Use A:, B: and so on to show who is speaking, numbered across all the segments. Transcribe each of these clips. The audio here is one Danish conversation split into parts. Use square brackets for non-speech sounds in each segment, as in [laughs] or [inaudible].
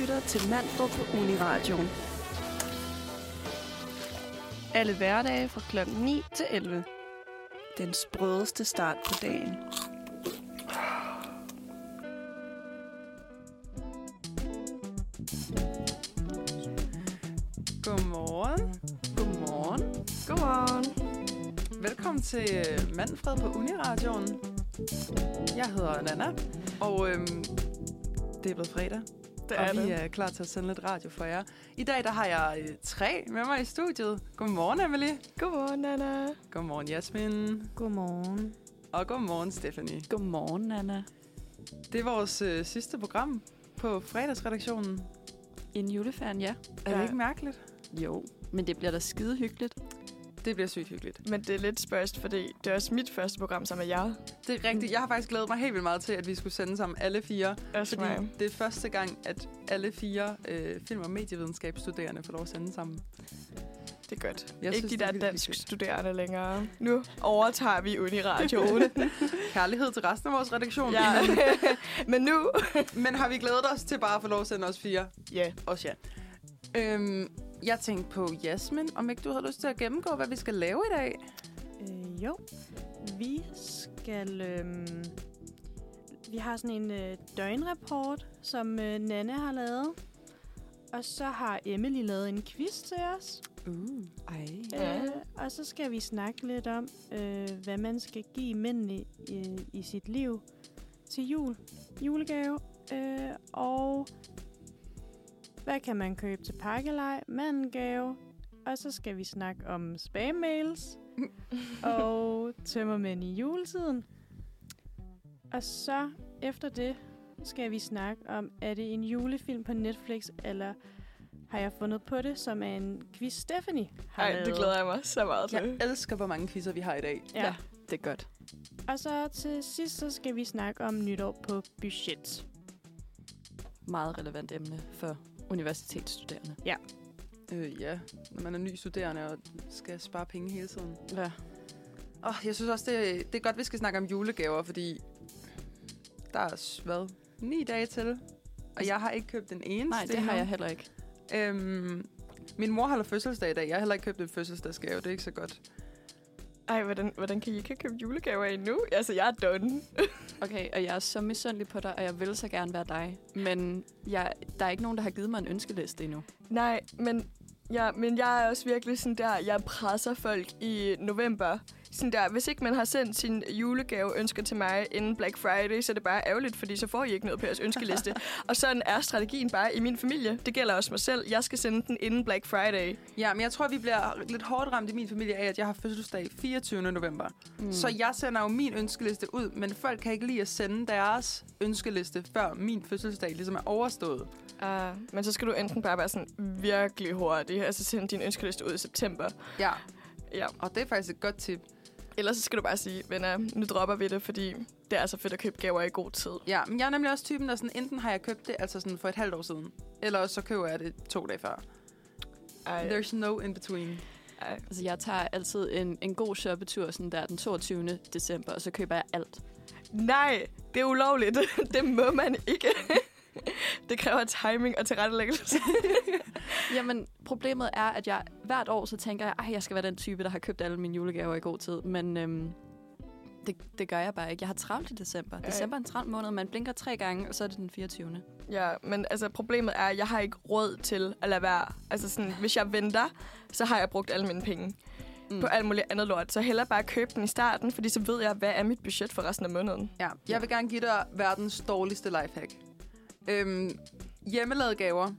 A: lytter til Manfred på Uniradioen. Alle hverdage fra kl. 9 til 11. Den sprødeste start på dagen.
B: Godmorgen.
A: Godmorgen. Godmorgen.
B: Velkommen til øh, Manfred på Uniradioen. Jeg hedder Nana, og øhm, det er blevet fredag,
A: Det
B: og vi er klar til at sende lidt radio for jer. I dag der har jeg øh, tre med mig i studiet. Godmorgen, Emily.
C: Godmorgen, Anna.
B: Godmorgen, Jasmin.
C: Godmorgen.
B: Og godmorgen, Stephanie.
D: Godmorgen, Anna.
B: Det er vores øh, sidste program på fredagsredaktionen.
D: En juleferien, ja.
B: Er det
C: Ja.
B: ikke mærkeligt?
D: Jo, men det bliver da skide hyggeligt.
B: Det bliver sygt hyggeligt.
C: Men det er lidt spøjst, fordi det er også mit første program sammen med jer.
B: Det er rigtigt. Jeg har faktisk glædet mig helt vildt meget til, at vi skulle sende sammen alle fire.
C: Også
B: Fordi
C: mig.
B: det er første gang, at alle fire øh, film- og medievidenskabsstuderende får lov at sende sammen.
C: Det er godt.
B: Jeg
C: Jeg ikke
B: synes, det
C: synes, de
B: er
C: der
B: vildt
C: dansk
B: hyggeligt.
C: studerende længere. Nu overtager
B: [laughs]
C: vi Uniradioen.
B: Kærlighed til resten af vores redaktion.
C: ja. [laughs] Men nu...
B: [laughs] Men har vi glædet os til bare at få lov at sende os fire?
C: Ja.
B: Os ja. Øhm, jeg tænkte på Jasmin, om ikke du havde lyst til at gennemgå, hvad vi skal lave i dag?
E: Øh, jo, vi skal... Øhm, vi har sådan en øh, døgnrapport, som øh, Nanne har lavet. Og så har Emily lavet en quiz til os.
B: Uh.
D: Ej.
C: Ja.
E: Øh, og så skal vi snakke lidt om, øh, hvad man skal give mændene øh, i sit liv til jul. Julegave. Øh, og hvad kan man købe til pakkelej, mandengave. Og så skal vi snakke om
B: [laughs]
E: spam-mails og tømmermænd i juletiden. Og så efter det skal vi snakke om, er det en julefilm på Netflix, eller har jeg fundet på det, som er en quiz Stephanie har
C: Ej,
E: lavet.
C: det glæder jeg mig så meget til.
B: Jeg elsker, hvor mange quizzer vi har i dag.
E: Ja.
D: Ja. Det er godt.
E: Og så til sidst, så skal vi snakke om nytår på budget.
D: Meget relevant emne for universitetsstuderende.
B: Øh, ja, når man er ny studerende og skal spare penge hele tiden.
D: Ja.
B: Og jeg synes også, det, det er godt, vi skal snakke om julegaver, fordi der er, s- hvad, ni dage til, og jeg har ikke købt den eneste.
D: Nej, det har jeg heller ikke.
B: Øhm, min mor holder fødselsdag i dag. Jeg har heller ikke købt en fødselsdagsgave. Det er ikke så godt.
C: Ej, hvordan, hvordan kan I ikke have købt julegaver endnu? Altså, jeg er done.
D: Okay, og jeg er så misundelig på dig, og jeg vil så gerne være dig. Men jeg, der er ikke nogen, der har givet mig en ønskeliste endnu.
C: Nej, men, ja, men jeg er også virkelig sådan der, jeg presser folk i november. Sådan der, hvis ikke man har sendt sin julegave ønsker til mig inden Black Friday, så er det bare ærgerligt, fordi så får I ikke noget på jeres ønskeliste. og sådan er strategien bare i min familie. Det gælder også mig selv. Jeg skal sende den inden Black Friday.
B: Ja, men jeg tror, vi bliver lidt hårdt ramt i min familie af, at jeg har fødselsdag 24. november. Mm. Så jeg sender jo min ønskeliste ud, men folk kan ikke lide at sende deres ønskeliste, før min fødselsdag ligesom er overstået.
C: Uh, men så skal du enten bare være sådan virkelig hurtig, altså sende din ønskeliste ud i september.
B: Ja,
C: Ja.
B: og det er faktisk et godt tip.
C: Ellers så skal du bare sige, venner, nu dropper vi det, fordi det er så fedt at købe gaver i god tid.
B: Ja, men jeg er nemlig også typen, der sådan, enten har jeg købt det altså sådan for et halvt år siden, eller også så køber jeg det to dage før.
C: Ej,
B: There's no in between.
C: ej.
D: Altså, jeg tager altid en, en god shoppetur sådan der den 22. december, og så køber jeg alt.
C: Nej, det er ulovligt. [laughs] Det må man ikke. [laughs] Det kræver timing og tilrettelæggelse. [laughs]
D: Jamen, problemet er, at jeg hvert år så tænker jeg, at jeg skal være den type, der har købt alle mine julegaver i god tid. Men øhm, det, det gør jeg bare ikke. Jeg har travlt i december.
C: Ej.
D: December er en travl måned. Man blinker tre gange, og så er det den 24.
C: Ja, men altså problemet er, at jeg har ikke råd til at lade være. Altså sådan, hvis jeg venter, så har jeg brugt alle mine penge
D: Mm.
C: mm. på alt muligt andet lort. Så hellere bare købe den i starten, fordi så ved jeg, hvad er mit budget for resten af måneden.
B: Ja, jeg vil gerne give dig verdens dårligste lifehack. Øhm, hjemmelavede gaver.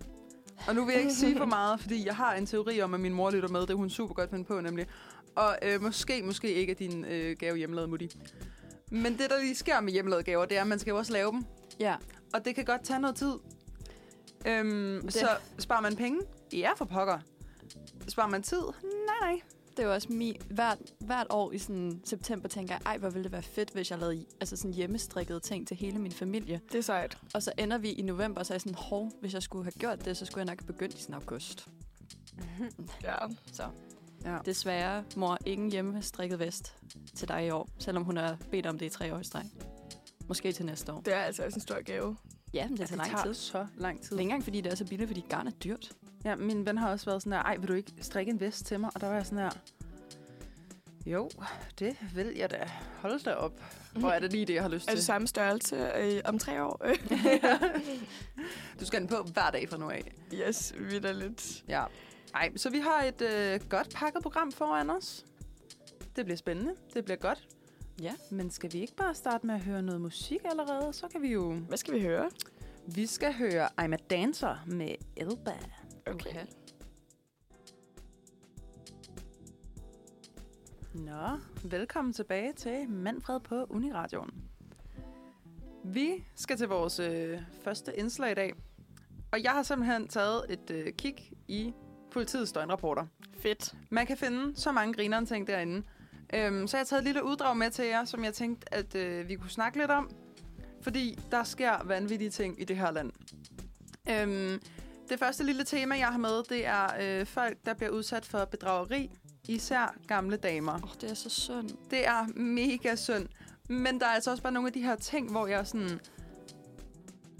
B: Og nu vil jeg ikke
D: [laughs]
B: sige for meget, fordi jeg har en teori om, at min mor lytter med. Det er hun super godt finde på, nemlig. Og øh, måske, måske ikke er din øh, gave hjemmelavet, Mutti. Men det, der lige sker med hjemmelavede gaver, det er, at man skal jo også lave dem.
D: Ja,
B: Og det kan godt tage noget tid. Øhm,
D: Det-
B: Så sparer man penge? Ja, for pokker. Sparer man tid? Nej, nej.
D: det er jo også mi. Hvert, hvert år i sådan september tænker jeg, ej, hvor ville det være fedt, hvis jeg lavede altså sådan hjemmestrikkede ting til hele min familie.
C: Det er sejt.
D: Og så ender vi i november, og så er jeg sådan, hov, hvis jeg skulle have gjort det, så skulle jeg nok have begyndt i sådan august.
C: Ja.
D: Så
B: Ja.
D: desværre, mor, ingen hjemmestrikket vest til dig i år, selvom hun har bedt om det i tre år i streg. Måske til næste år.
C: Det er altså også en stor gave.
D: Ja, men det
B: det
D: tager lang
B: tager
D: tid.
B: så lang tid.
D: Det er ikke engang, fordi det er så billigt, fordi garn er dyrt.
B: Ja, min ven har også været sådan der, ej, vil du ikke strikke en vest til mig? Og der var jeg sådan her, jo, det vil jeg da. Hold da op. Hvor er det lige det, jeg har lyst
C: Er
B: [laughs]
C: det
B: til.
C: samme størrelse øh, om tre [laughs] år? Øh,
B: [laughs] du skal den på hver dag fra nu af.
C: yes, vidderligt.
B: Ja. Ej, så vi har et øh, godt pakket program foran os. Det bliver spændende. Det bliver godt.
D: Ja.
B: Men skal vi ikke bare starte med at høre noget musik allerede? Så kan vi jo...
C: Hvad skal vi høre?
B: Vi skal høre I'm a Dancer med Elba.
C: Okay.
B: Nå, velkommen tilbage til Manfred på Uniradioen. Vi skal til vores øh, første indslag i dag. Og jeg har simpelthen taget et øh, kig i politiets døgnrapporter.
C: Fedt.
B: Man kan finde så mange grinerne ting derinde. Øhm, så jeg har taget et lille uddrag med til jer, som jeg tænkte, at øh, vi kunne snakke lidt om. Fordi der sker vanvittige ting i det her land. Øhm, det første lille tema, jeg har med, det er øh, folk, der bliver udsat for bedrageri. Især gamle damer.
D: Åh, oh, det er så synd.
B: Det er mega synd. Men der er altså også bare nogle af de her ting, hvor jeg er sådan...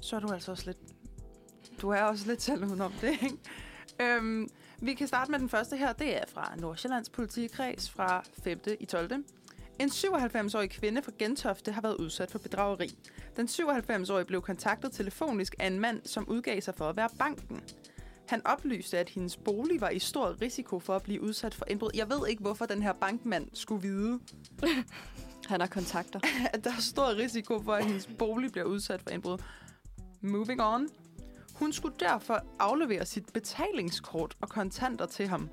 B: Så er du altså også lidt... Du er også lidt selv udenom det, ikke? Øhm, vi kan starte med den første her. Det er fra Nordsjællands politikreds fra 5. i 12. En 97-årig kvinde fra Gentofte har været udsat for bedrageri. Den 97-årige blev kontaktet telefonisk af en mand, som udgav sig for at være banken. Han oplyste, at hendes bolig var i stor risiko for at blive udsat for indbrud. Jeg ved ikke, hvorfor den her bankmand skulle vide,
D: Han har kontakter.
B: at der er stor risiko for, at hendes bolig bliver udsat for indbrud. Moving on. Hun skulle derfor aflevere sit betalingskort og kontanter til ham.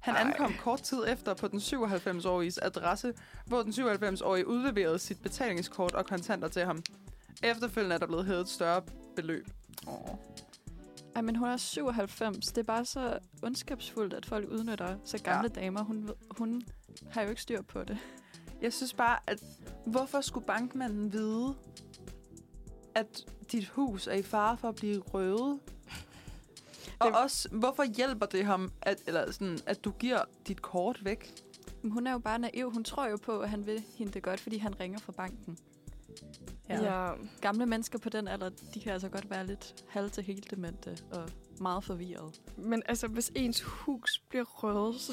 B: Han
C: Ej.
B: ankom kort tid efter på den 97-åriges adresse, hvor den 97-årige udleverede sit betalingskort og kontanter til ham. Efterfølgende er der blevet hævet et større beløb. Oh.
D: Ej, men hun er 97. Det er bare så ondskabsfuldt, at folk udnytter så gamle ja. damer. Hun, ved- hun har jo ikke styr på det.
B: Jeg synes bare, at hvorfor skulle bankmanden vide, at dit hus er i fare for at blive røvet? Og
C: Det-
B: også, hvorfor hjælper det ham, at, eller sådan, at du giver dit kort væk?
D: Men hun er jo bare naiv. Hun tror jo på, at han vil hende det godt, fordi han ringer fra banken.
C: Ja.
D: Gamle mennesker på den alder, de kan altså godt være lidt halv til helt demente og meget forvirrede.
C: Men altså, hvis ens hus bliver røvet, så...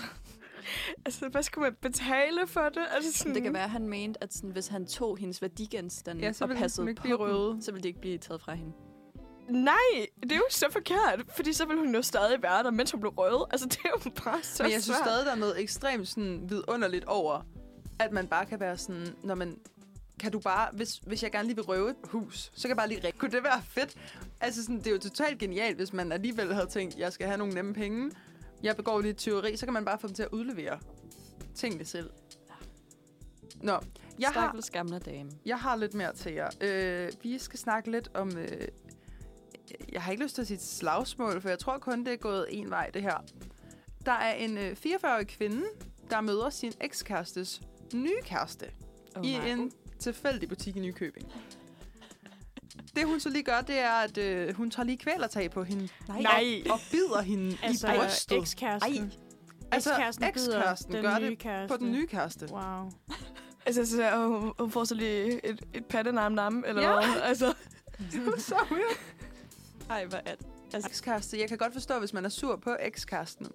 C: [laughs] altså, hvad skal man betale for det? Altså, sådan...
D: Det kan være, at han mente, at sådan, hvis han tog hendes værdigenstande
B: Ja, så
D: og
B: ville hun
D: passede
B: ikke
D: på
B: blive
D: dem,
B: røvet.
D: så ville de ikke blive taget fra hende.
C: Nej, det er jo så forkert, fordi så ville hun jo stadig være der, mens hun blev røvet. Altså, det er jo bare så
B: Så Men jeg synes
C: svært.
B: stadig, der er noget ekstremt sådan, vidunderligt over, at man bare kan være sådan, når man kan du bare, hvis, hvis jeg gerne lige vil røve et hus, så kan jeg bare lige ringe. Kunne det være fedt? Altså, sådan, det er jo totalt genialt, hvis man alligevel havde tænkt, jeg skal have nogle nemme penge. Jeg begår lidt teori, så kan man bare få dem til at udlevere tingene selv. Nå, jeg har,
D: Stakkels gamle dame.
B: jeg har lidt mere til jer. Øh, vi skal snakke lidt om... Øh, jeg har ikke lyst til at sige et slagsmål, for jeg tror kun, det er gået en vej, det her. Der er en øh, 44-årig kvinde, der møder sin ekskærestes nye kæreste
D: Oh,
B: oh, i
D: nej.
B: en tilfældig butik i Nykøbing. Det, hun så lige gør, det er, at øh, hun tager lige kvælertag på hende
D: Nej.
C: Nej.
B: og bider hende
E: Altså,
B: i brystet.
E: ekskæresten.
B: Altså,
E: Ekskæresten bider
B: ekskæresten
E: den
B: gør
E: nye
B: det
E: kæreste.
B: på den nye kæreste.
E: Wow.
C: Altså, så, så, hun, hun får så lige et, et pattenam-nam, eller
B: Ja.
C: ja. hvad? Altså,
D: [laughs]
B: Det var så weird.
D: Ej, hvor er det?
B: Altså, ekskæreste. Jeg kan godt forstå, hvis man er sur på ekskæresten.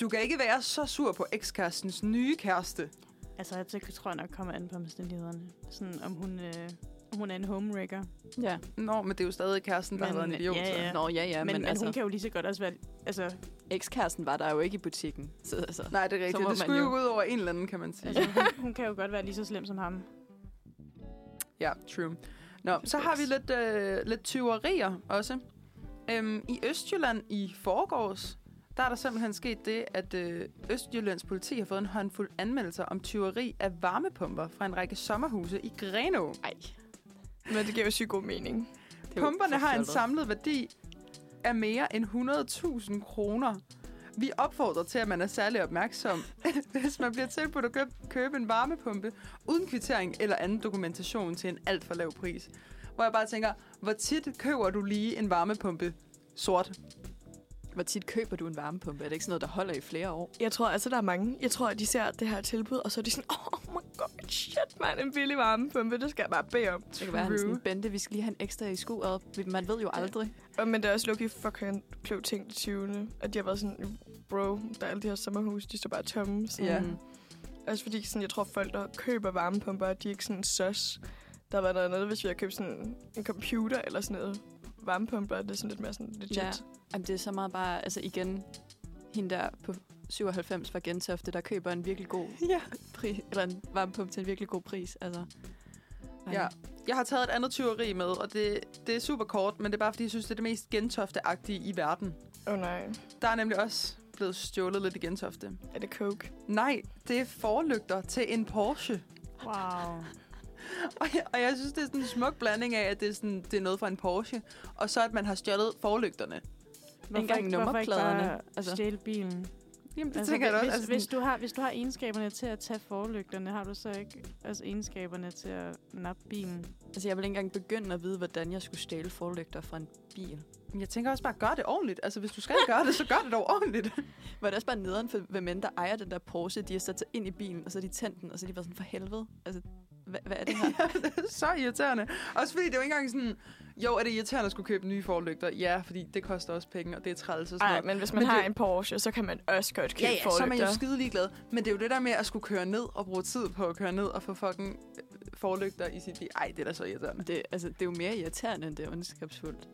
B: Du kan ikke være så sur på ekskærestens nye kæreste.
E: Altså, jeg tænker, tror jeg nok kommer an på omstændighederne. Sådan, om hun, øh, om hun er en homewrecker.
D: Ja.
B: Nå, men det er jo stadig kæresten, der
E: Men-
B: har været en idiot.
E: ja,
B: så.
E: ja.
D: Nå, ja, ja,
E: Ja,
D: men,
E: men, men,
D: altså,
E: hun kan jo lige så godt også være... Altså,
D: ekskæresten var der jo ikke i butikken. Så, altså,
B: Nej, det er
D: Så
B: rigtigt.
D: må
B: Det
D: man
B: skulle jo
D: jo.
B: ud over en eller anden, kan man sige.
E: altså hun, hun kan jo godt være lige så slem som ham.
B: Ja, true. Nå, så har vi lidt, øh, lidt tyverier også. Øhm, I Østjylland i forgårs, der er der simpelthen sket det, at øh, Østjyllands politi har fået en håndfuld anmeldelser om tyveri af varmepumper fra en række sommerhuse i Grenå.
D: Ej,
C: men det giver jo sygt god mening.
D: det er jo
B: Pumperne har en
D: forfjollet.
B: samlet værdi af mere end 100.000 kroner. Vi opfordrer til, at man er særlig opmærksom, [laughs] hvis man bliver tilbudt at købe, købe en varmepumpe uden kvittering eller anden dokumentation til en alt for lav pris. Hvor jeg bare tænker, hvor tit køber du lige en varmepumpe sort?
D: Hvor tit køber du en varmepumpe? Er det ikke sådan noget, der holder i flere år?
C: Jeg tror altså, der er mange. Jeg tror, at de ser det her tilbud, og så er de sådan, oh my god, shit, man, en billig varmepumpe, det skal jeg bare bede om.
D: Det kan være, han er sådan, Bente, vi skal lige have en ekstra i skuret. Man ved jo aldrig.
C: Og, men der er også Loki, fuck, han blev tænkt 20. Og de har været sådan, bro, der er alle de her sommerhuse, de står bare tomme. Sådan.
B: Ja.
D: Mm.
C: Også fordi, sådan, jeg tror, folk, der køber varmepumper, de er ikke sådan søs. Der var noget andet, hvis vi havde købt sådan en computer eller sådan noget varmepumper, det er sådan lidt mere sådan legit.
D: Ja. Jamen, det er så meget bare, altså igen, hende der på 97 fra Gentofte, der køber en virkelig god
C: ja.
D: pris, eller en varmepumpe til en virkelig god pris. Altså. Ej.
B: Ja. Jeg har taget et andet tyveri med, og det, det er super kort, men det er bare, fordi jeg synes, det er det mest gentofte-agtige i verden.
C: Åh oh, nej,
B: Der er nemlig også blevet stjålet lidt i gentofte.
C: er det coke?
B: Nej, det er forlygter til en Porsche.
E: Wow.
B: [laughs] Og jeg, og jeg synes, det er sådan en smuk blanding af, at det er, sådan, det er noget fra en Porsche, og så at man har stjålet forlygterne.
E: Hvorfor ikke, hvorfor ikke bare
D: nummerpladerne, altså.
E: stjæle bilen?
B: Jamen, det
E: Altså,
B: altså, tænker jeg da
E: hvis,
B: også. Altså,
E: hvis, hvis,
B: hvis,
E: du har, hvis du har egenskaberne til at tage forlygterne, har du så ikke også egenskaberne til at nappe bilen?
D: Altså, jeg ville ikke engang begynde at vide, hvordan jeg skulle stjæle forlygter fra en bil.
B: jeg tænker også bare, gør det ordentligt. Altså, hvis du skal gøre det, så gør det dog [laughs] ordentligt.
D: Var det også bare nederen for, hvem end der ejer den der Porsche, de har sat sig ind i bilen, og så har de tændt den, og så har de været sådan, for helvede, altså, hvad, hvad er det
B: [laughs]
D: her?
B: så irriterende. Også fordi det er jo ikke engang sådan, jo, er det irriterende at skulle købe nye forlygter? Ja, fordi det koster også penge, og det er træls og sådan
C: Nej,
B: noget.
C: men hvis man
B: Men
C: men har
B: det-
C: en Porsche, så kan man også godt købe
B: Ja, ja, så er man jo
C: forlygter.
B: skide ligeglad. Men det er jo det der med at skulle køre ned og bruge tid på at køre ned og få fucking øh, forlygter i sit bil. Ej, det er da så irriterende.
D: Det, altså, det er jo mere irriterende, end det er ondskabsfuldt.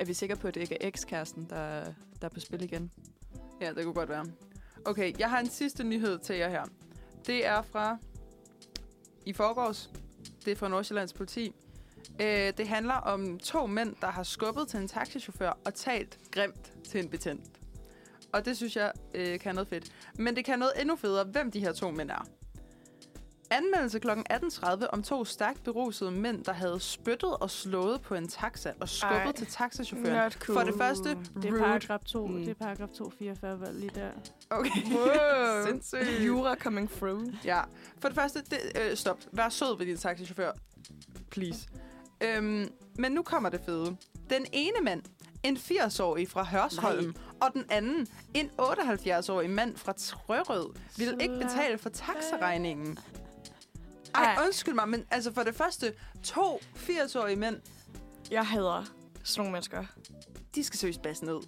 D: Er vi sikre på, at det ikke er ekskæresten, der, der er på spil igen?
B: Ja, det kunne godt være. Okay, jeg har en sidste nyhed til jer her. Det er fra i forgårs. Det er fra Nordsjællands politi. Øh, det handler om to mænd, der har skubbet til en taxichauffør og talt grimt til en betjent. Og det synes jeg øh, kan noget fedt. Men det kan noget endnu federe, hvem de her to mænd er. Anmeldelse kl. 18.30 om to stærkt berusede mænd, der havde spyttet og slået på en taxa og skubbet
C: Ej,
B: Ej, til taxachaufføren.
C: not cool.
B: For det første,
E: Uh, Det er
B: rude.
E: paragraf 2,
D: Mm.
E: mm. det er paragraf 244 vold lige der.
B: Okay. [laughs]
C: Wow.
B: Sindssygt.
C: Jura coming through.
B: Ja. For det første, det, øh, stop. Vær sød ved din taxichauffør. Please. Øhm, men nu kommer det fede. Den ene mand, en 80-årig fra Hørsholm, Nej. og den anden, en 78-årig mand fra Trørød, ville ikke betale for taxaregningen. Ej,
C: Ej.
B: undskyld mig, men altså for det første, to 80-årige mænd,
C: Jeg hader sådan nogle mennesker.
B: de skal søges bassen ned.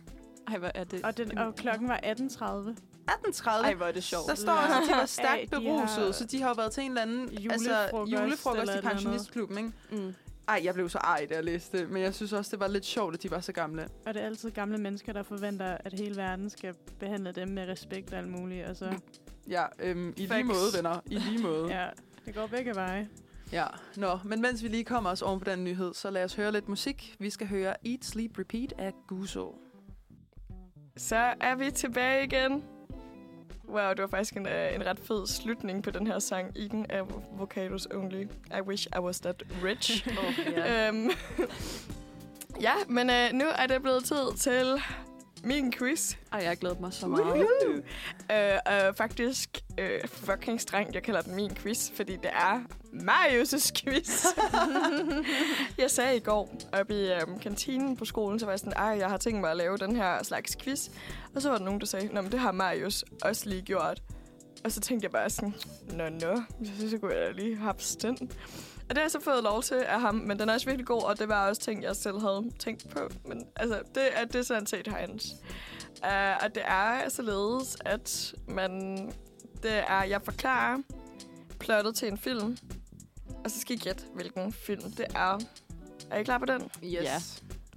D: Ej, hvor er det?
E: Og, den, og klokken var 18.30.
B: 18.30,
D: Ej, hvor er det sjovt.
B: Der står også, at de var stærkt
E: Ej, de har-
B: berusede, så de har jo været til en eller anden altså,
E: Julefrokost
B: julefrokost i
E: eller et eller andet.
B: pensionistklubben, ikke?
D: Mm.
B: Ej, jeg blev så ej, da jeg læste det, men jeg synes også, det var lidt sjovt, at de var så gamle.
E: Og det er altid gamle mennesker, der forventer, at hele verden skal behandle dem med respekt og alt muligt. Og så,
B: Ja, øhm, i lige
C: Facts.
B: måde, venner. I lige måde. ja.
E: ja, det går begge veje.
B: ja. Nå, men mens vi lige kommer os oven på den nyhed, så lad os høre lidt musik. Vi skal høre Eat, Sleep, Repeat af Guso.
C: Så er vi tilbage igen. Wow, det var faktisk en, øh, en ret fed slutning på den her sang. Eden af Vocados Only. I wish I was that rich.
D: Oh, [laughs] ja.
C: øhm, [laughs] ja, men øh, nu er det blevet tid til min quiz.
D: Ej, jeg glæder mig så meget.
C: Øh, og faktisk øh, fucking strengt, jeg kalder den min quiz, fordi det er Marius' quiz. jeg sagde i går oppe i øhm, kantinen på skolen, så var jeg sådan, ej, jeg har tænkt mig at lave den her slags quiz. Og så var der nogen, der sagde, Nå, men det har Marius også lige gjort. Og så tænkte jeg bare sådan, nå, nå, jeg synes, jeg kunne jeg da lige hapse den. Og det har jeg så fået lov til af ham, men den er også virkelig god, og det var også ting, jeg selv havde tænkt på. Men altså, det er det er sådan set hans. Uh, og det er således, at man... Det er, jeg forklarer plottet til en film, og så skal I gætte, hvilken film det er. Er I klar på den?
B: Yes.
D: Ja.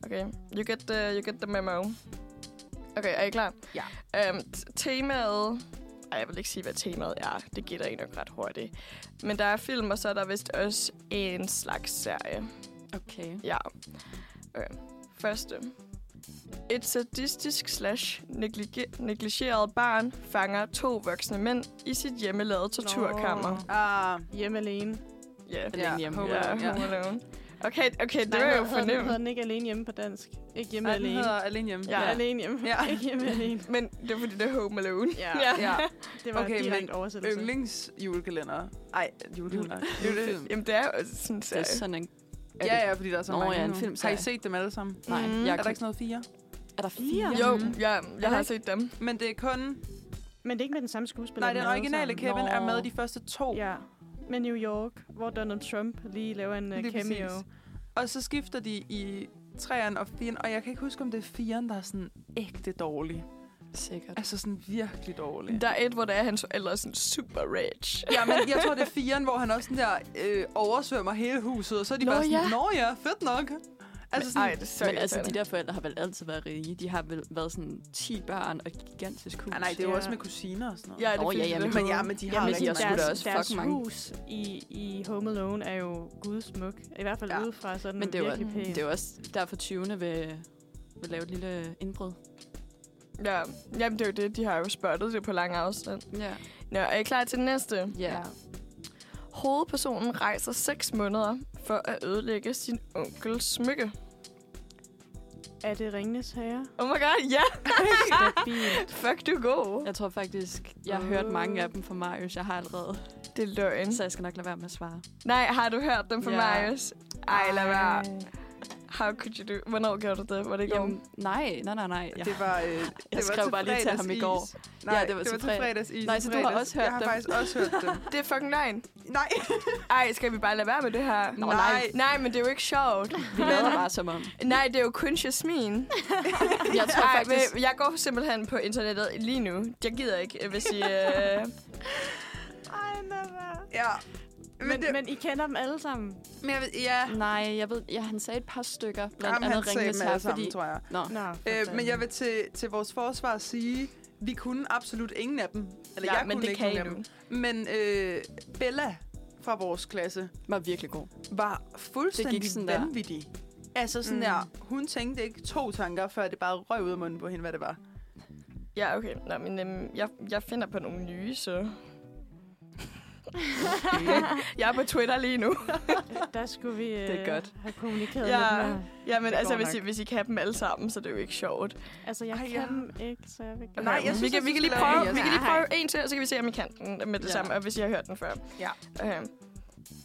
C: Okay, you get the, you get the memo. Okay, er I klar?
B: Ja.
C: Øhm, t- temaet... Ej, jeg vil ikke sige, hvad temaet er. Det gætter I nok ret hurtigt. Men der er film, og så er der vist også en slags serie.
D: Okay.
C: Ja. Okay. Første. Et sadistisk slash neglige- negligeret barn fanger to voksne mænd i sit hjemmelavede torturkammer.
B: Ah,
E: Hjemme alene.
C: Ja,
B: ja.
D: Alene hjemme.
B: Home
C: ja,
B: Alone, ja.
C: Home Alone. Okay, okay, det var
E: hedder-
C: jo
E: hedder den-
C: fornemt.
E: Hedder den ikke alene hjemme på dansk? Ikke hjemme
B: Ej, den
E: alene.
B: hedder Alene Hjemme.
C: Ja.
E: Ja. Alene hjemme.
B: Ja.
E: Ja. ikke
C: [laughs]
E: hjemme alene.
C: Men det er fordi, det er Home Alone.
E: Ja.
B: ja.
E: Det var
B: Okay,
E: okay, direkte
B: men øhm,
E: oversættelse.
B: Yndlings julekalender. Ej, julekalender. Julefilm.
C: Jamen, det er jo sådan en
D: Det er
C: serie.
D: sådan en... Er
B: Ja, ja, fordi der er så
D: Nå,
B: mange.
D: ja, en
B: nu. Har
D: filmserie.
B: I set dem alle sammen?
D: Nej,
C: Mm.
D: jeg
B: Er der
D: kan...
B: ikke sådan noget fire?
D: Er der fire? Mm,
C: Jo,
B: Mhm.
C: ja, jeg har
E: ikke-
C: set dem.
B: Men det er kun...
E: Men det er ikke med den samme skuespiller.
B: Nej,
E: den
B: den
E: er alle
B: originale
E: sammen.
B: Kevin er
D: Nå.
B: med de første to.
E: Ja. med New York, hvor Donald Trump lige laver en lige
B: Lige
E: cameo.
B: præcis. Og så skifter de i træerne og firen, og jeg kan ikke huske, om det er firen, der er sådan ægte dårlig.
D: Sikkert.
B: Altså sådan virkelig dårlig.
C: Der er et, hvor der er hans forældre er sådan super rich.
B: Ja, men jeg tror, det er firen, hvor han også sådan der øh, oversvømmer hele huset, og så er de
D: Nå,
B: bare sådan,
D: ja.
B: Nå ja, fedt nok. Altså sådan,
C: Ej, det er så
D: Men altså, de
C: der...
D: der forældre har vel altid været rige. De har vel været sådan 10 børn og et gigantisk hus.
B: ah, nej, det er jo
E: Ja.
B: også med kusiner og sådan noget.
C: Ja, det
D: Nå, ja,
C: findes
D: ja,
C: det.
B: men ja, men de har
D: Jamen,
B: rigtig
D: de er
B: mange.
D: sgu da
E: altså, deres,
D: også fuck
E: deres
D: mange.
E: hus i, i Home Alone er jo gudsmuk. I hvert fald
B: Ja.
E: ja. udefra, så er den
D: Men det er jo
E: virkelig
D: også-
E: pæn.
D: Det er jo også derfor 20'erne vil, vil lave et lille indbrud.
C: Ja, jamen det er jo det. De har jo spottet det på lang afstand.
D: Ja.
C: Nå, er I klar til den næste?
D: Ja.
C: Hovedpersonen rejser 6 måneder for at ødelægge sin onkels smykke.
E: Er det Ringnes Herre?
C: Oh my god, ja!
E: [laughs] Stabilt.
C: Fuck, du er god.
D: Jeg tror faktisk, jeg har
E: Åh.
D: hørt mange af dem fra Marius. Jeg har allerede.
C: Det er løgn.
D: Så jeg skal nok lade være med at svare.
C: Nej, har du hørt dem fra
D: Ja.
C: Marius? Ej, lad være.
E: Ej.
C: How could you do? Hvornår gjorde du det? Var det i går?
D: Jamen, nej, nej, nej, nej. Jeg,
B: Det var, øh, jeg det var
D: skrev bare lige til ham i
B: fredagsis.
D: går.
B: Nej,
D: Ja,
B: det var, det var til
D: fred-
B: fredags is.
D: Nej, så du har også hørt
B: jeg har
D: dem.
B: faktisk også hørt
D: [laughs]
B: dem.
C: Det er fucking løgn.
B: Nej,
C: Ej, skal vi bare lade være med det her?
D: Nå,
B: nej.
D: nej.
C: Nej, men det er jo ikke sjovt.
D: Vi lader bare som om.
C: Nej, det er jo kun Jasmine.
D: [laughs] Jeg tror
C: Ej,
D: faktisk...
C: men jeg går simpelthen på internettet lige nu. Jeg gider ikke, hvis I... Øh...
E: Ej, lad være.
B: Ja. Men,
E: Men,
B: det, men,
E: men I kender dem alle sammen?
B: men jeg ved, ja,
D: Nej, jeg ved, ja, han sagde et par stykker, blandt
B: Jamen, han
D: andet
B: sagde
D: Ringenes
B: dem alle
D: Herre,
B: sammen,
D: fordi...
B: tror jeg.
D: Nå,
E: Nå, for
B: Øh,
E: fanden.
B: men jeg vil til, til vores forsvar sige, vi kunne absolut ingen af dem. Eller
C: Ja,
B: jeg
C: men
B: kunne
C: det
B: ikke
C: kan I
B: nogen af
C: nu.
B: dem. Men øh, Bella fra vores klasse
D: var virkelig god.
B: var fuldstændig
D: gik sådan der.
B: vanvittig. Altså sådan mm.
C: Mm.
B: der, hun tænkte ikke to tanker, før det bare røg ud af munden på hende, hvad det var.
C: Ja, okay. Nå, men øhm, jeg, jeg finder på nogle nye, så... [laughs] jeg er på Twitter lige
B: [laughs]
C: nu.
E: Der skulle vi øh,
D: Det er godt.
E: have kommunikeret
C: Ja.
E: ja. lidt mere.
C: Jamen,
B: Det
C: altså,
B: går
C: hvis I,
B: nok.
C: hvis I kan have dem alle sammen, så det er jo ikke sjovt.
E: Altså, jeg
B: Ej,
E: Ej,
B: ja.
E: kan dem ikke, så jeg vil gerne.
B: Nej, jeg
C: vi
B: synes,
C: kan,
B: du
C: vi kan
B: skal
C: lige
B: lave
C: prøve,
B: en,
C: vi kan lige
E: Jasmin.
C: prøve en til, og så kan vi se, om I kan den øh, med det
D: Ja.
C: samme, og hvis I har hørt den før.
B: Ja.
C: Okay.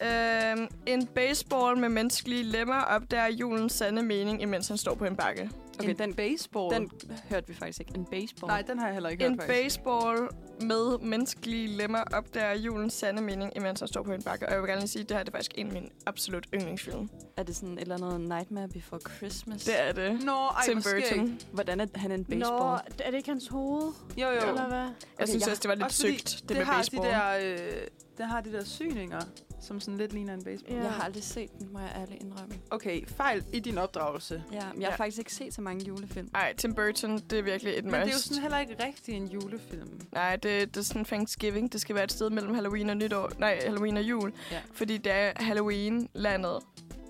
C: Øhm, en baseball med menneskelige lemmer opdager julens sande mening, imens han står på en bakke.
D: Okay,
B: en
D: den,
B: baseball.
D: den hørte vi faktisk ikke. En baseball.
B: Nej, den har jeg heller ikke
C: En
B: hørt, faktisk.
C: baseball med menneskelige lemmer opdager julens sande mening, imens han står på en bakke. Og jeg vil gerne lige sige, at det her det er faktisk en af mine absolut yndlingsfilm.
D: Er det sådan et eller andet Nightmare Before Christmas?
C: Det er det.
B: Nå, ej,
C: Tim
B: hvor skægt.
C: Burton.
D: Hvordan er han en
E: Nå,
D: baseball?
E: er det ikke hans hoved,
B: Jo, jo.
E: eller hvad?
C: Jeg synes
D: jeg-
C: også, det var lidt
B: Også fordi
C: sygt, det,
B: det
C: med
B: har
C: baseball.
B: De der, øh, det har de der syninger, som sådan lidt ligner en baseball.
D: Jeg har aldrig set den, må jeg ærligt indrømme.
B: Okay, fejl i din opdragelse.
D: Ja, men jeg har
C: Ja.
D: faktisk ikke set så mange julefilm.
C: Ej, Tim Burton, det er virkelig et
B: Men
C: must.
B: det er jo sådan heller ikke rigtig en julefilm.
C: Nej, det, det er sådan Thanksgiving. Det skal være et sted mellem Halloween og nytår. Nej, Halloween og jul.
D: Ja.
C: Fordi det er Halloween-landet,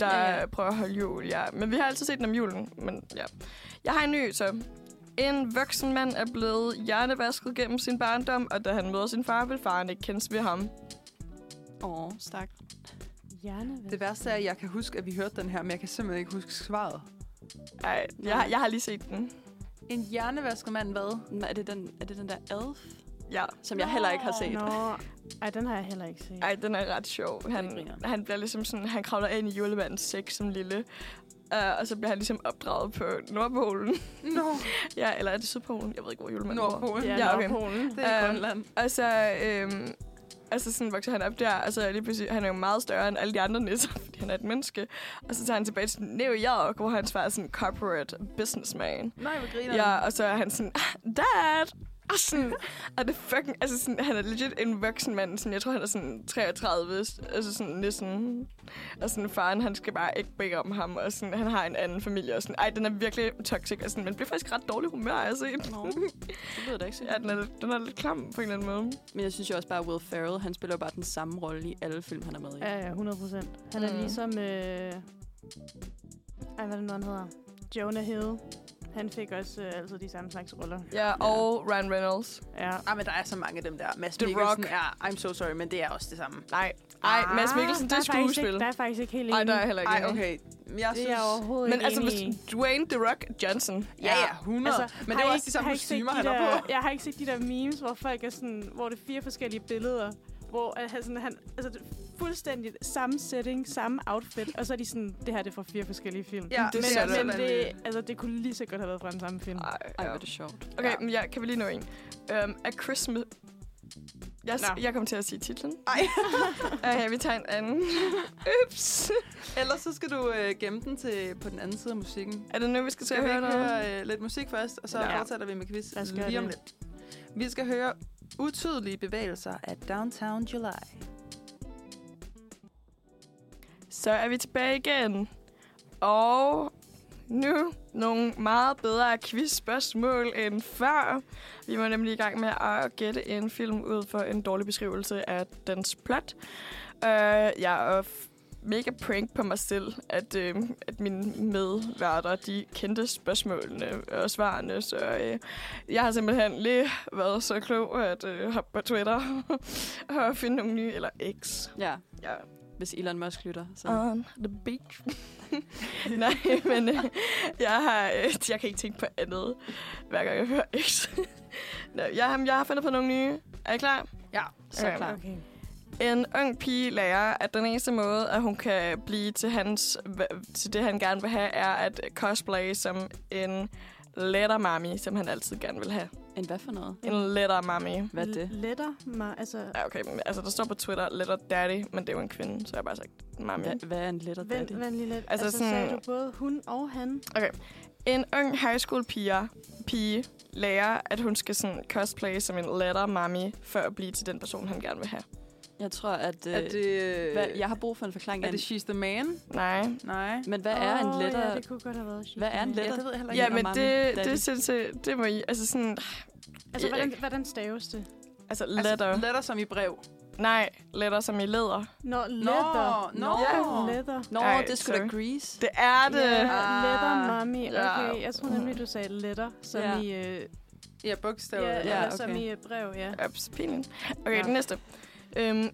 C: der
D: Ja,
C: ja,
D: ja.
C: ja. prøver at holde jul. Ja. Men vi har altid set den om julen. Men ja. Jeg har en ny, så. En voksen mand er blevet hjernevasket gennem sin barndom, og da han møder sin far, vil faren ikke kendes ved ham.
D: Åh, oh, stak.
E: Hjernevæg.
B: Det værste er, at jeg kan huske, at vi hørte den her, men jeg kan simpelthen ikke huske svaret.
C: Ej, jeg, har- jeg har lige set den.
B: En hjernevasket mand hvad?
D: Men Er det, den, er det den der elf,
C: Ja.
D: som jeg heller ikke har set? [laughs]
E: Nå, ej, den har jeg heller ikke set.
C: Ej, den er ret sjov.
D: Den
C: Han,
D: griner.
C: han bliver ligesom sådan, han kravler ind i julemandens sæk som lille. Uh, og så bliver han ligesom opdraget på Nordpolen. [laughs]
B: Nå,
C: Ja, eller er det Sydpolen? Jeg ved ikke, hvor julemanden bor.
B: Nordpolen.
E: Ja,
B: Ja.
C: ja, okay.
E: Nordpolen.
B: Det er i
C: Øhm,
B: Grønland.
C: Og så, øhm, altså sådan vokser han op der, og så er lige pludselig, han er jo meget større end alle de andre nisser, [laughs] fordi han er et menneske. Og så tager han tilbage til New York, hvor hans far er sådan corporate businessman.
B: Nej, hvor griner
C: Ja, og så er han sådan, "Ah, dad! Og, sådan, og det fucking, altså sådan, han er legit en voksen mand, sådan, jeg tror han er sådan 33, altså sådan næsten, og sådan faren, han skal bare ikke bede om ham, og sådan, han har en anden familie, og sådan, ej, den er virkelig toxic, og sådan, man bliver faktisk ret dårlig humør, altså.
D: Nå, det lyder da ikke så
C: Ja, den er, lidt- den er lidt klam på en eller anden måde.
D: Men jeg synes jo også bare, at Will Ferrell, han spiller jo bare den samme rolle i alle film, han er med i.
E: Ja, ja, 100 procent. Han er
C: Mm.
E: ligesom... Øh... Ej, hvad er det nu, han hedder? Jonah Hill. Han fik også øh, altid de samme slags roller.
C: Ja, og Ryan Reynolds.
E: Ja.
B: Ah, men der er så mange af dem der. Mads
C: The
B: Mikkelsen
C: Rock.
B: er, I'm so sorry, men det er også det samme.
C: Nej. Ej, ah, Mads Mikkelsen, det
E: der
C: er
E: faktisk
C: skuespil.
E: Ikke, der er jeg faktisk ikke helt enig.
C: Nej, der er jeg heller ikke
B: Ej,
C: enig.
B: okay. Jeg
E: Det
B: synes...
E: er jeg overhovedet
C: Men
E: ikke
C: altså,
E: enig
C: hvis
E: i.
C: Dwayne The Rock Johnson.
B: Ja, ja, 100. Altså, men det
E: har
B: er
E: I
B: også de
E: ikke-
B: samme
E: har I ikke set
B: kostymer,
E: de
B: han er
E: der,
B: på.
E: Jeg har ikke set de der memes, hvor folk er sådan, hvor det er fire forskellige billeder, hvor at han, sådan, han, altså, det er fuldstændig samme setting, samme outfit, og så er de sådan, det her det er fra fire forskellige film.
B: Ja,
C: Det
E: men,
C: ser du.
E: men det, altså, det kunne lige så godt have været fra den samme film.
C: Ej,
D: Ej,
C: ja.
D: hvor er det sjovt.
C: Okay,
B: Ja.
C: men ja, kan vi lige nå en? Um, A Øhm, Christmas... Jeg, s-
A: Nå.
C: jeg kom til at sige titlen.
B: [laughs] Ej.
C: okay, vi tager en anden. [laughs] Ups.
B: Ellers så skal du øh, gemme den til på den anden side af musikken.
C: Er det nu, vi skal til
B: Skal
C: at
B: vi
C: høre
B: ikke
C: noget?
B: høre øh, lidt musik først, og så
A: Ja.
B: ja. fortsætter vi med quiz
E: Lad os gøre
B: lige om
E: det.
B: lidt. Vi skal høre utydelige bevægelser af Downtown July.
C: Så er vi tilbage igen. Og nu nogle meget bedre quizspørgsmål end før. Vi var nemlig i gang med at gætte en film ud for en dårlig beskrivelse af dens plot. Uh, jeg er f- mega prank på mig selv, at, øh, at mine medværter, de kendte spørgsmålene og svarene, så øh, jeg har simpelthen lige været så klog at øh, hoppe på Twitter [laughs] og finde nogle nye, eller X.
D: Ja,
C: Ja,
D: hvis Elon Musk lytter. Så.
C: On the beach. [laughs] Nej, men øh, jeg, har, øh, jeg kan ikke tænke på andet, hver gang jeg hører X. [laughs] Nå, jeg, har- jeg har fundet på nogle nye. Er I klar?
B: Ja,
D: så
C: Okay.
D: klar.
E: Okay.
C: En ung pige lærer, at den eneste måde, at hun kan blive til, hans, hva- til det, han gerne vil have, er at cosplay som en letter mami, som han altid gerne vil have.
D: En hvad for noget?
C: En letter mami.
D: Hvad er det?
E: Letter mig, altså...
C: Ja, okay, men, altså der står på Twitter, letter daddy, men det er jo en kvinde, så jeg har bare sagt mami.
D: Hvad, hvad er en letter daddy?
E: Vent, vent lige lidt.
C: Altså
E: Altså,
C: sådan-
E: sagde du både hun og han?
C: En ung high school pige, pige lærer, at hun skal sådan cosplay som en letter mommy, for at blive til den person, han gerne vil have.
D: Jeg tror, at... Øh,
B: Er det,
D: hvad, jeg har brug for en forklaring.
B: er
D: Er
B: det She's the Man?
C: Nej.
B: Nej.
D: men hvad er en
E: Åh,
D: letter...
E: Ja, det kunne godt have været shit.
D: Hvad er en
E: Ja.
D: letter?
B: Ja, det ved jeg heller ikke.
C: Ja, men
D: Mommy,
C: det,
D: daddy.
C: det, sindssygt, det må I... Altså sådan... Jeg-
E: Altså, hvordan, hvordan staves det?
C: Altså, letter. Altså,
B: letter som i brev.
C: Nej, letter som i leder.
E: Nå, letter.
B: nå.
E: Ja, letter.
D: Nå,
C: Ej,
D: det skulle da
C: sorry.
D: Grease.
C: Det er det.
E: Ja,
C: Yeah.
B: Ah.
E: letter, mami.
C: Ja.
E: Okay, jeg tror nemlig, du sagde letter, som
D: Ja.
E: i... Øh,
B: Ja,
E: ja,
B: bogstaver.
E: ja,
B: Ja,
D: ja,
E: eller som
D: okay.
E: i øh, brev, ja.
C: Ups, pinligt. Okay,
E: Ja.
C: den næste. Øhm,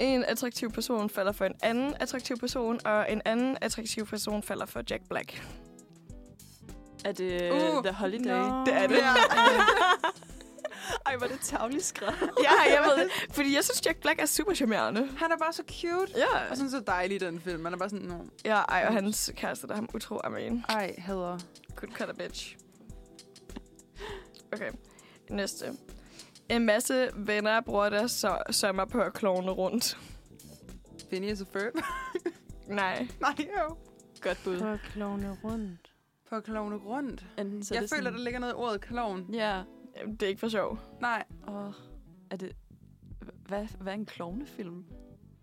C: en attraktiv person falder for en anden attraktiv person, og en anden attraktiv person falder for Jack Black.
D: Er det
B: Uh,
D: uh, The Holiday?
E: Nå.
C: Det er det.
B: Ja.
D: Ej, hvor er det tavligt skrevet.
C: [laughs] ja, jeg ved det. Fordi jeg synes, Jack Black er super charmerende.
B: Han er bare så cute.
C: Ja.
B: Og sådan så dejlig i den film. Man er bare sådan, no.
C: Ja, ej, og hans kæreste, der er ham utro, I mean,
B: Ej, hader.
C: could cut a bitch. Okay, næste. En masse venner bruger deres så sommer på at klovne rundt.
B: Phineas og Ferb. [laughs]
C: Nej.
B: Nej, jo.
D: Godt bud.
E: For at klovne rundt.
B: For klovne rundt.
D: Enten så
B: Så jeg
D: er det
B: føler,
D: sådan,
B: der ligger noget i ordet klovn.
D: Ja,
C: Jamen, Det er ikke for sjov.
B: Nej,
D: og er det... Hvad, hvad er en klovnefilm?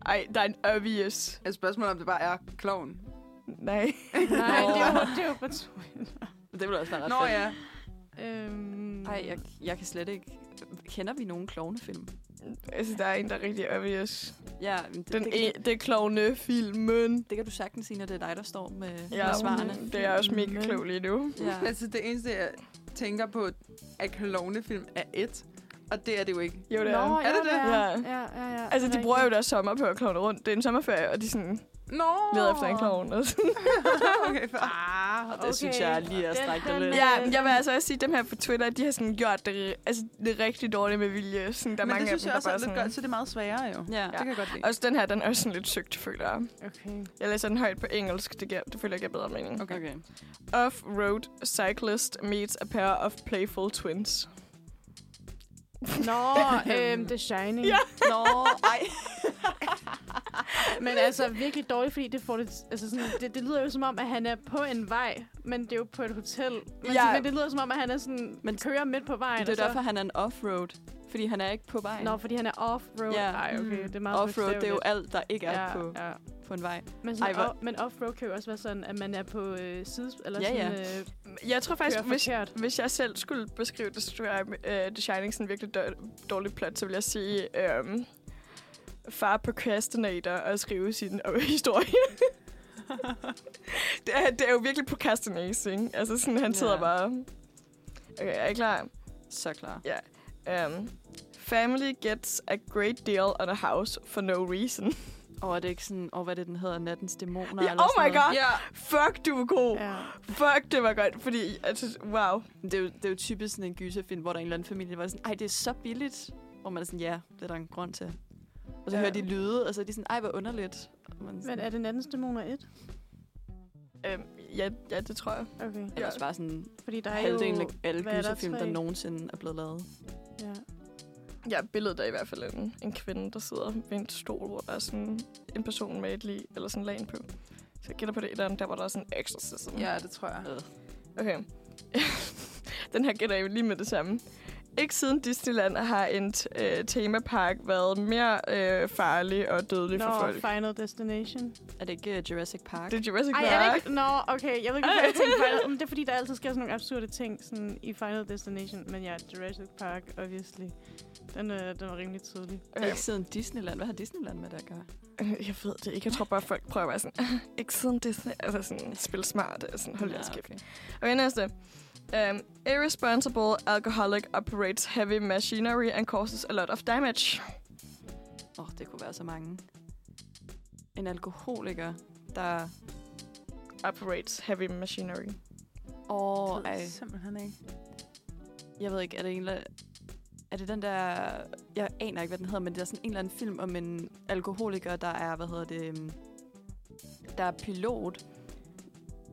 C: Ej, der er en obvious.
B: et spørgsmål om det bare er klovn.
C: Nej.
E: Nej,
D: Nå.
E: det er jo- det er jo på Twitter.
D: Det ville også være ret
B: Nå
D: fedt.
B: ja.
E: Øhm,
D: Ej, jeg, jeg kan slet ikke... Kender vi nogen klovnefilm?
C: Altså, der er en, der er rigtig obvious.
D: Ja, men det,
C: Den
D: det,
E: e-
C: det, det er klovnefilmen.
D: det kan du sagtens sige, når det er dig, der står med, ja,
C: Ja,
D: med svarene.
C: det er også mega klog lige nu.
D: Ja.
B: [laughs] Altså, det eneste, jeg tænker på, er klovnefilm er et. Og det er det jo ikke.
C: Jo, det er.
E: Nå,
C: Nå,
E: ja,
B: det det?
E: Ja,
C: Ja.
E: ja, ja. ja
C: altså,
E: det er
C: de bruger jo
E: rigtigt.
C: deres sommer på at klovne rundt. Det er en sommerferie, og de sådan
B: Nå!
C: leder efter en klovn. altså. Og
B: [laughs]
C: sådan.
B: okay, fair.
D: Ah, og det
E: okay.
D: okay. synes jeg lige er
E: Den-
D: strækt
E: den-
D: lidt.
E: Ja.
D: Ja.
C: Ja, men jeg vil altså også sige, at dem her på Twitter, de har sådan gjort det, altså, det er rigtig dårligt med vilje. Sådan, der er
B: Men
C: mange
B: det synes
C: af dem,
B: jeg også er
C: der bare
B: lidt
C: sådan...
B: godt, så det er meget sværere jo.
D: ja.
B: Det kan jeg godt lide.
C: Også den her, den er også sådan lidt søgt, føler jeg.
E: Okay.
C: Jeg læser den højt på engelsk, det, giver, det føler jeg giver bedre mening.
D: Okay. okay.
C: Off-road cyclist meets a pair of playful twins.
E: Nå, øhm, The Shining.
C: Ja.
D: Nå, [laughs] ej.
E: Men altså virkelig dårligt, fordi det får det, altså sådan, det, det lyder jo som om, at han er på en vej, men det er jo på et hotel. Men
C: Ja.
E: ja. sådan, det lyder som om, at han er sådan,
D: Men-
E: men kører midt på
D: Det
E: vejen.
D: er
E: og så-
D: derfor, han er en offroad. Fordi han er ikke på vejen.
E: Nå, fordi han er off-road.
D: Ja.
E: Ej, okay,
B: Mm.
E: det er meget
D: offroad, det er jo
E: bogstaveligt.
D: alt, der ikke er
E: ja,
D: på,
E: Ja.
D: på en vej.
E: Men, sådan,
D: Ej, hvor-
E: o- men off-road kan jo også være sådan, at man er på øh, sides... Eller
D: Ja, ja.
E: sådan, øh,
C: Jeg tror faktisk,
E: kører
C: hvis,
E: forkert.
C: hvis jeg selv skulle beskrive det, så tror jeg, uh, The Shining sådan virkelig dår- dårligt plot, så vil jeg sige, um, far procrastinator og skrive sin øh, [laughs] historie. det, er, det er jo virkelig procrastinating. Altså sådan, han sidder
D: Ja.
C: bare... Okay, er I klar?
D: Så klar.
C: Um, family gets a great deal on a house for no reason.
D: Og er det ikke sådan, oh, hvad er det, den hedder? Nattens dæmoner?
C: Ja,
D: eller
C: oh
D: sådan
C: my
D: noget?
C: god!
B: Ja,
C: Fuck, du var god.
E: Ja.
C: Fuck, det var godt. Fordi, altså, wow.
D: Men Det er, jo, det er jo typisk sådan en gyserfilm, hvor der er en eller anden familie, hvor er sådan, ej, det er så billigt. Hvor man er sådan, ja, det er der en grund til. Og så
C: Ja.
D: hører de lyde, og så er de sådan, ej, hvor underligt. Og man
E: Men
D: sådan,
E: er det nattens dæmoner 1?
C: Um, ja, ja, det tror jeg.
E: Okay.
D: Eller også bare sådan
E: Fordi der er jo...
D: halvdelen af alle
E: hvad er der,
D: gyserfilm, der
E: tre?
D: nogensinde er blevet lavet.
E: Ja.
C: Ja, billedet er i hvert fald en, en kvinde, der sidder ved en stol, hvor der er sådan en person med et lig, eller sådan lagen på. Så jeg gætter på det et eller andet, der hvor der er sådan en exorcism.
B: Ja, det tror jeg.
C: Okay. [laughs] Den her gætter jeg jo lige med det samme. Ikke siden Disneyland har en t- øh, temapark været mere øh, farlig og dødelig
E: Nå,
C: for folk.
E: Final Destination.
D: Er det ikke øh, Jurassic Park?
C: Det er Jurassic
E: Ej,
C: Park.
E: er det ikke? Nå, okay. Jeg ved ikke, hvorfor jeg tænkte Final... Men det er fordi, der altid sker sådan nogle absurde ting sådan i Final Destination. Men ja, Jurassic Park, obviously. Den, øh, den var rimelig tydelig.
D: Okay. Ikke siden Disneyland. Hvad har Disneyland med det at gøre?
C: Øh, Jeg ved det ikke. Jeg tror bare, folk prøver at være sådan, [laughs] "Ah, ikke siden Disney. Altså sådan, spil smart. og Sådan, hold jeres kæft.
D: okay.
C: Okay, næste. Um, irresponsible alcoholic operates heavy machinery and causes a lot of damage.
D: Åh, oh, det kunne være så mange. En alkoholiker, der...
C: Operates heavy machinery.
D: Åh, oh,
B: Det ved
D: ej.
B: jeg simpelthen ikke.
D: Jeg ved ikke, er det en eller... Er det den der... Jeg aner ikke, hvad den hedder, men det er sådan en eller anden film om en alkoholiker, der er, hvad hedder det... øhm, Der er pilot.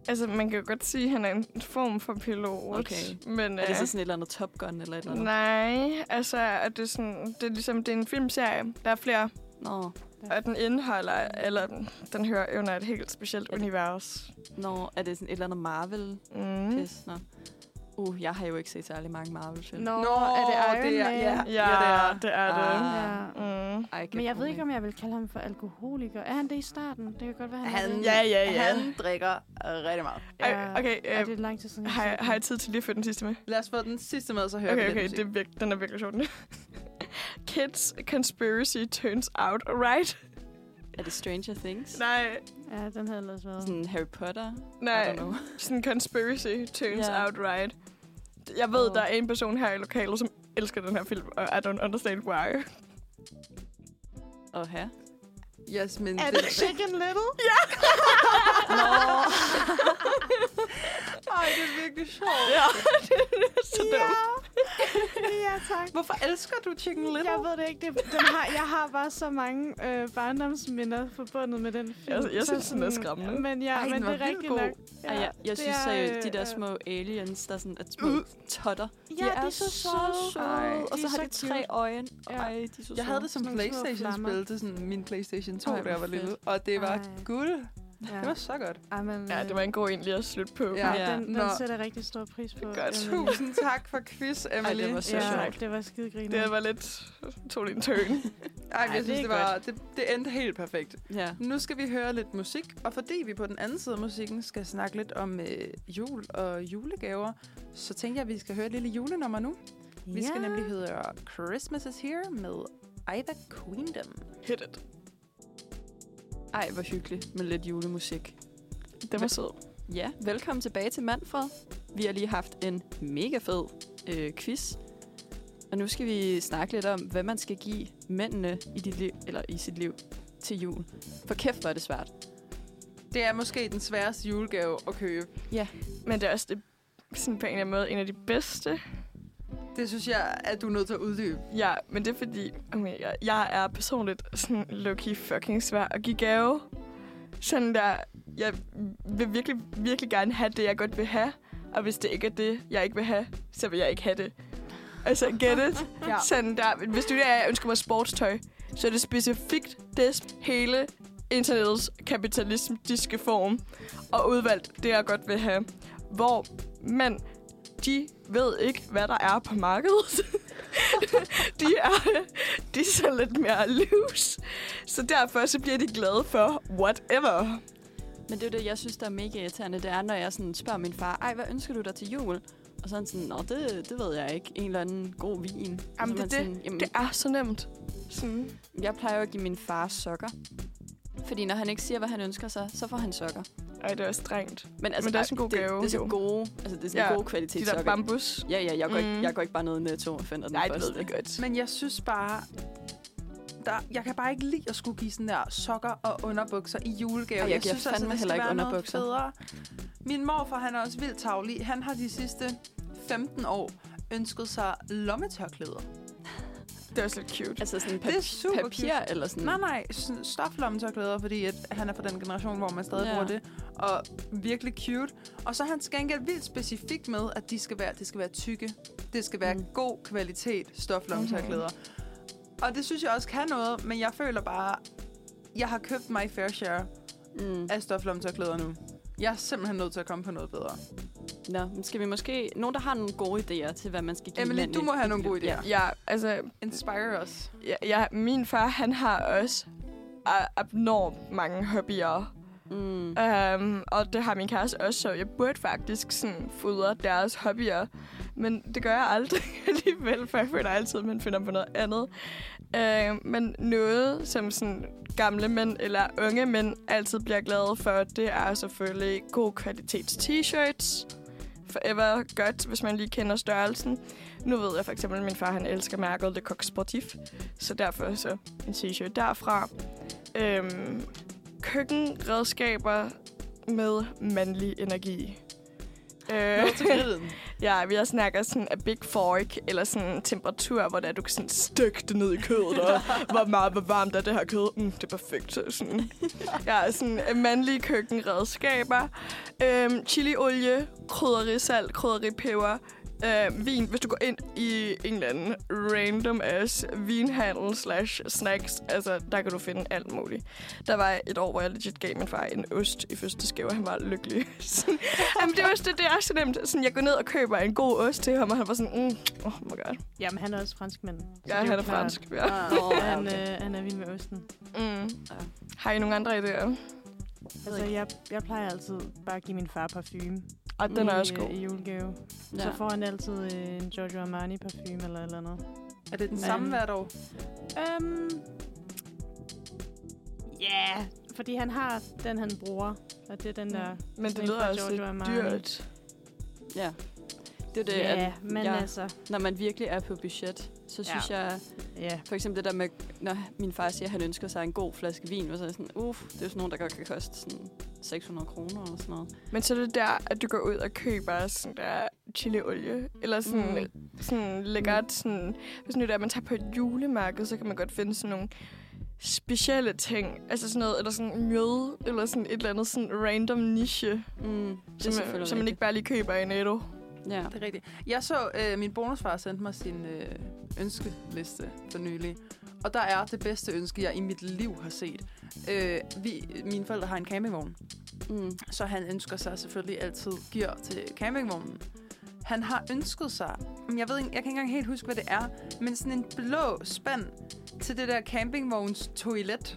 C: Altså, man kan jo godt sige, at han er en form for pilot.
D: Okay.
C: Men,
D: Er det
C: øh,
D: så sådan et eller andet Top Gun eller et eller andet?
C: Nej, altså, at det, er sådan, det er ligesom, det er en filmserie. Der er flere,
D: Nå,
C: og den indeholder, eller den hører under et helt specielt
D: Ja.
C: univers.
D: nå, er det sådan et eller andet Marvel?
C: Mm.
D: Pis, nå. Uh, jeg har jo ikke set særlig mange Marvel-film.
E: Nå,
B: Nå,
E: er det Iron
B: det er-
E: Man?
B: ja.
C: Ja,
B: det er.
C: det er det.
D: Ah.
E: ja.
C: Mm.
D: Ej, giv
E: Men jeg
D: god
E: ved ikke,
D: mening.
E: om jeg vil kalde ham for alkoholiker. Er han det i starten? Det kan godt være, han, er
B: Han,
E: det.
C: Ja, ja, ja.
B: han drikker øh, rigtig meget.
C: Ej, okay,
E: Ej,
C: øh,
E: det er lang tid
D: Mm.
E: siden. jeg
C: Har, jeg-
E: set den.
C: har jeg tid til lige at få den sidste med?
B: Lad os få den sidste med, så hører
C: Okay,
B: vi
C: okay,
B: lidt
C: det er virk- den er virkelig sjov. den. Kids conspiracy turns out alright.
D: Er det Stranger Things?
C: Nej,
E: Ja, den havde ellers været.
D: Sådan Harry Potter? I
C: nej.
D: don't know.
C: Sådan conspiracy turns
D: Ja.
C: out right. Jeg ved,
D: Åh.
C: der er en person her i lokalet, som elsker den her film, og I don't understand why.
D: Og her?
B: musik. Yes, men
E: Er
B: det,
E: det Chicken Little?
C: Ja!
D: Nå.
B: [laughs] Ej, det er virkelig sjovt.
C: ja, det er så dumt.
E: ja, tak.
B: Hvorfor elsker du Chicken Little?
E: Jeg ved det ikke. Det, den har, jeg har bare så mange øh, barndomsminder forbundet med den film.
C: Jeg- jeg
E: Så
C: synes, den er skræmmende.
E: Men ja,
B: Ej, den
E: men
B: var
E: det er
B: vildt
E: rigtig
B: god.
E: nok.
D: Ej, jeg, jeg
E: det
D: synes
E: er,
D: seriøst, de
E: øh,
D: der
E: øh,
D: små aliens, der sådan er små
B: Uh.
D: totter.
E: Ja,
D: de er,
E: så
D: så søde.
E: Ej,
D: Og
E: de
D: så
E: er
D: har
E: så
D: de
E: cute.
D: tre øjne.
E: Ja.
D: Ej, de er så søde.
B: Jeg havde det som
E: Sådan nogle små
B: Playstation-spil. Det er sådan min Playstation 2,
D: Ej,
B: da jeg var
D: hvor fedt.
B: lille. Og det var
E: Ej.
B: guld.
E: Ja.
B: Det var så godt.
E: Ej, men, øh,
C: Ja, det var en god en lige at slutte på.
B: Ja.
E: Ja, ja. Den,
B: Nå.
E: den sætter jeg rigtig stor pris på.
C: Godt.
E: Emily.
B: Tusind tak for quiz, Emily.
D: det var så
E: Ja,
D: sjovt.
E: det var skidegrinende.
C: Det var lidt... tog lige en turn.
B: Ej, men
E: Ej,
B: jeg
E: det
B: synes,
E: er
B: det, var, det, det endte helt perfekt.
D: Ja.
B: Nu skal vi høre lidt musik, og fordi vi på den anden side af musikken skal snakke lidt om øh, jul og julegaver, så tænker jeg, at vi skal høre et lille julenummer nu. Vi skal nemlig høre Christmas is Here med Ida Queendom.
C: Hit it.
D: Ej, hvor hyggeligt med lidt julemusik.
C: Den var sød.
D: Ja, velkommen tilbage til Manfred. Vi har lige haft en mega fed øh, quiz. Og nu skal vi snakke lidt om, hvad man skal give mændene i, dit liv, eller i sit liv til jul. For kæft, hvor er det svært.
B: Det er måske den sværeste julegave at købe.
C: Men det er også det, sådan på en eller anden måde en af de bedste.
B: Det synes jeg, at du er nødt til at uddybe.
C: Ja, men det er fordi, okay, jeg, jeg er personligt sådan low-key fucking svær at give gave. Sådan der, jeg vil virkelig, virkelig gerne have det, jeg godt vil have. Og hvis det ikke er det, jeg ikke vil have, så vil jeg ikke have det. Altså, get it?
B: Ja.
C: Sådan der, hvis du der, jeg ønsker mig sportstøj, så er det specifikt det hele internettets kapitalistiske form og udvalgt det, jeg godt vil have. Hvor mænd, de ved ikke, hvad der er på markedet. [laughs] de, er, de er så lidt mere loose. Så derfor så bliver de glade for whatever.
D: Men det er jo det, jeg synes, der er mega irriterende. Det er, når jeg sådan spørger min far, ej, hvad ønsker du dig til jul? Og så er han sådan, nå, det, det ved jeg ikke. En eller anden god vin. Jamen,
C: det er det.
D: Sådan, Jamen,
C: Det er så nemt. Sådan.
D: Jeg plejer jo at give min far sokker. Fordi når han ikke siger, hvad han ønsker sig, så får han sokker.
C: Ej, det er også strengt.
D: Men, altså,
C: Men det er også en god
D: det,
C: gave,
D: Det er så
C: jo.
D: gode, altså, det er sådan
C: Ja,
D: ja, gode
C: De
D: kvalitetssokker.
C: der bambus.
D: Ja, ja, jeg går, ikke,
C: Mm.
D: jeg går ikke bare ned i Netto og finder den
C: Nej, det
D: første.
C: ved vi godt.
B: Men jeg synes bare, der, jeg kan bare ikke lide at skulle give sådan der sokker og underbukser i julegave.
D: Ej, jeg giver
B: synes altså,
D: fandme
B: det
D: heller
B: skal
D: ikke
B: være noget
D: underbukser.
B: Federe. Min morfar, han er også vildt tavlig. Han har de sidste 15 år ønsket sig lommetørklæder.
C: Det er også lidt cute.
D: Altså sådan
B: Det er
D: pap-
B: super
D: papir eller sådan.
B: Mm. Nej, nej, sådan stoflommetørklæder, fordi at han er fra den generation, hvor man stadig
D: Ja.
B: ja. bruger det. Og virkelig cute. Og så er han til gengæld vildt specifik med, at de skal være, det skal være tykke. Det skal være
D: Mm.
B: mm. god kvalitet stoflommetørklæder. Mm-hmm. Og det synes jeg også kan noget, men jeg føler bare, jeg har købt my fair share
D: Mm.
B: af stoflomterklæder nu. Jeg er simpelthen nødt til at komme på noget bedre.
D: Nå, men skal vi måske... Nogen, der har nogle gode idéer til, hvad man skal give
B: Emily,
D: manden
B: du må
D: i-
B: have
D: i-
B: nogle gode
D: Ja.
B: idéer.
C: Ja, altså,
B: Inspire os.
C: ja, ja, min far, han har også a- abnormt mange hobbyer.
D: Mm.
C: Um, og det har min kæreste også, så jeg burde faktisk sådan fodre deres hobbyer. Men det gør jeg aldrig [laughs] alligevel, for jeg føler altid, at man finder på noget andet. Uh, men noget, som sådan gamle mænd eller unge mænd altid bliver glade for, det er selvfølgelig god kvalitets t-shirts. Forever godt, hvis man lige kender størrelsen. Nu ved jeg for eksempel, at min far han elsker mærket Le Coq Sportif, så derfor så en t-shirt derfra. Øhm, køkkenredskaber med mandlig energi. Øh,
B: Noget til griden.
C: ja, vi har snakker sådan en big fork, eller sådan en temperatur, hvor der, du kan sådan stykke det ned i kødet, og hvor meget hvor varmt er det her kød. Mm, det er perfekt. Sådan. Ja, sådan øh, mandlige køkkenredskaber. Øhm, chiliolie, krydderisalt, krydderipeber, øh, vin. Hvis du går ind i en eller anden random ass vinhandel slash snacks, altså der kan du finde alt muligt. Der var et år, hvor jeg legit gav min far en ost i fødselsdagsgave, og han var lykkelig. Sådan, Jamen, det, var, det, det er så nemt. Sådan, jeg går ned og køber en god ost til ham, og han var sådan, mm, oh my god.
E: Jamen, han er også franskmand. så det
C: Ja,
E: jo
C: han er
E: klart.
C: fransk. Ja.
B: Ah. [laughs]
D: Nå, ja,
E: Han,
D: okay.
E: øh, han er vild med osten.
C: Mm. Har I nogle andre idéer?
E: Altså, jeg, jeg plejer altid bare at give min far parfume.
C: Og den er
E: i,
C: også
E: øh,
C: god.
E: I julegave. Ja. Så
D: Ja.
E: får han altid øh, en Giorgio Armani parfume eller et eller andet.
B: Er det den samme
E: Mm.
B: hvert år?
E: Øhm... Ja, fordi han har den, han bruger. Og det er den der...
C: Mm. Men
E: sådan
C: det
E: en
C: lyder
E: fra
C: også
E: Giorgio
C: lidt
E: Armani.
C: dyrt.
D: ja. Det er jo det,
E: ja,
D: at
E: men
D: jeg-
E: altså...
D: når man virkelig er på budget, så synes jeg,
E: Ja.
D: for eksempel det der med, når min far siger, at han ønsker sig en god flaske vin, og så er jeg sådan, uff, det er jo sådan nogen, der godt kan koste sådan 600 kroner eller sådan noget.
C: Men så er det der, at du går ud og køber sådan der chiliolie. Eller sådan, mm. sådan lækkert sådan... Hvis nu det er, at man tager på et julemarked, så kan man godt finde sådan nogle specielle ting. Altså sådan noget, eller sådan mjød, eller sådan et eller andet sådan random niche,
D: Mm, det er
C: som, man,
D: selvfølgelig
C: som man ikke
D: rigtigt.
C: bare lige køber i Netto.
D: Ja.
B: Det er rigtigt. Jeg så, øh, min bonusfar sendte mig sin øh, ønskeliste for nylig. Og der er det bedste ønske, jeg i mit liv har set. Øh, vi, mine forældre har en campingvogn,
D: Mm.
B: så han ønsker sig selvfølgelig altid gear til campingvognen. Han har ønsket sig, men jeg ved ikke, jeg kan ikke engang helt huske, hvad det er, men sådan en blå spand til det der campingvogns toilet.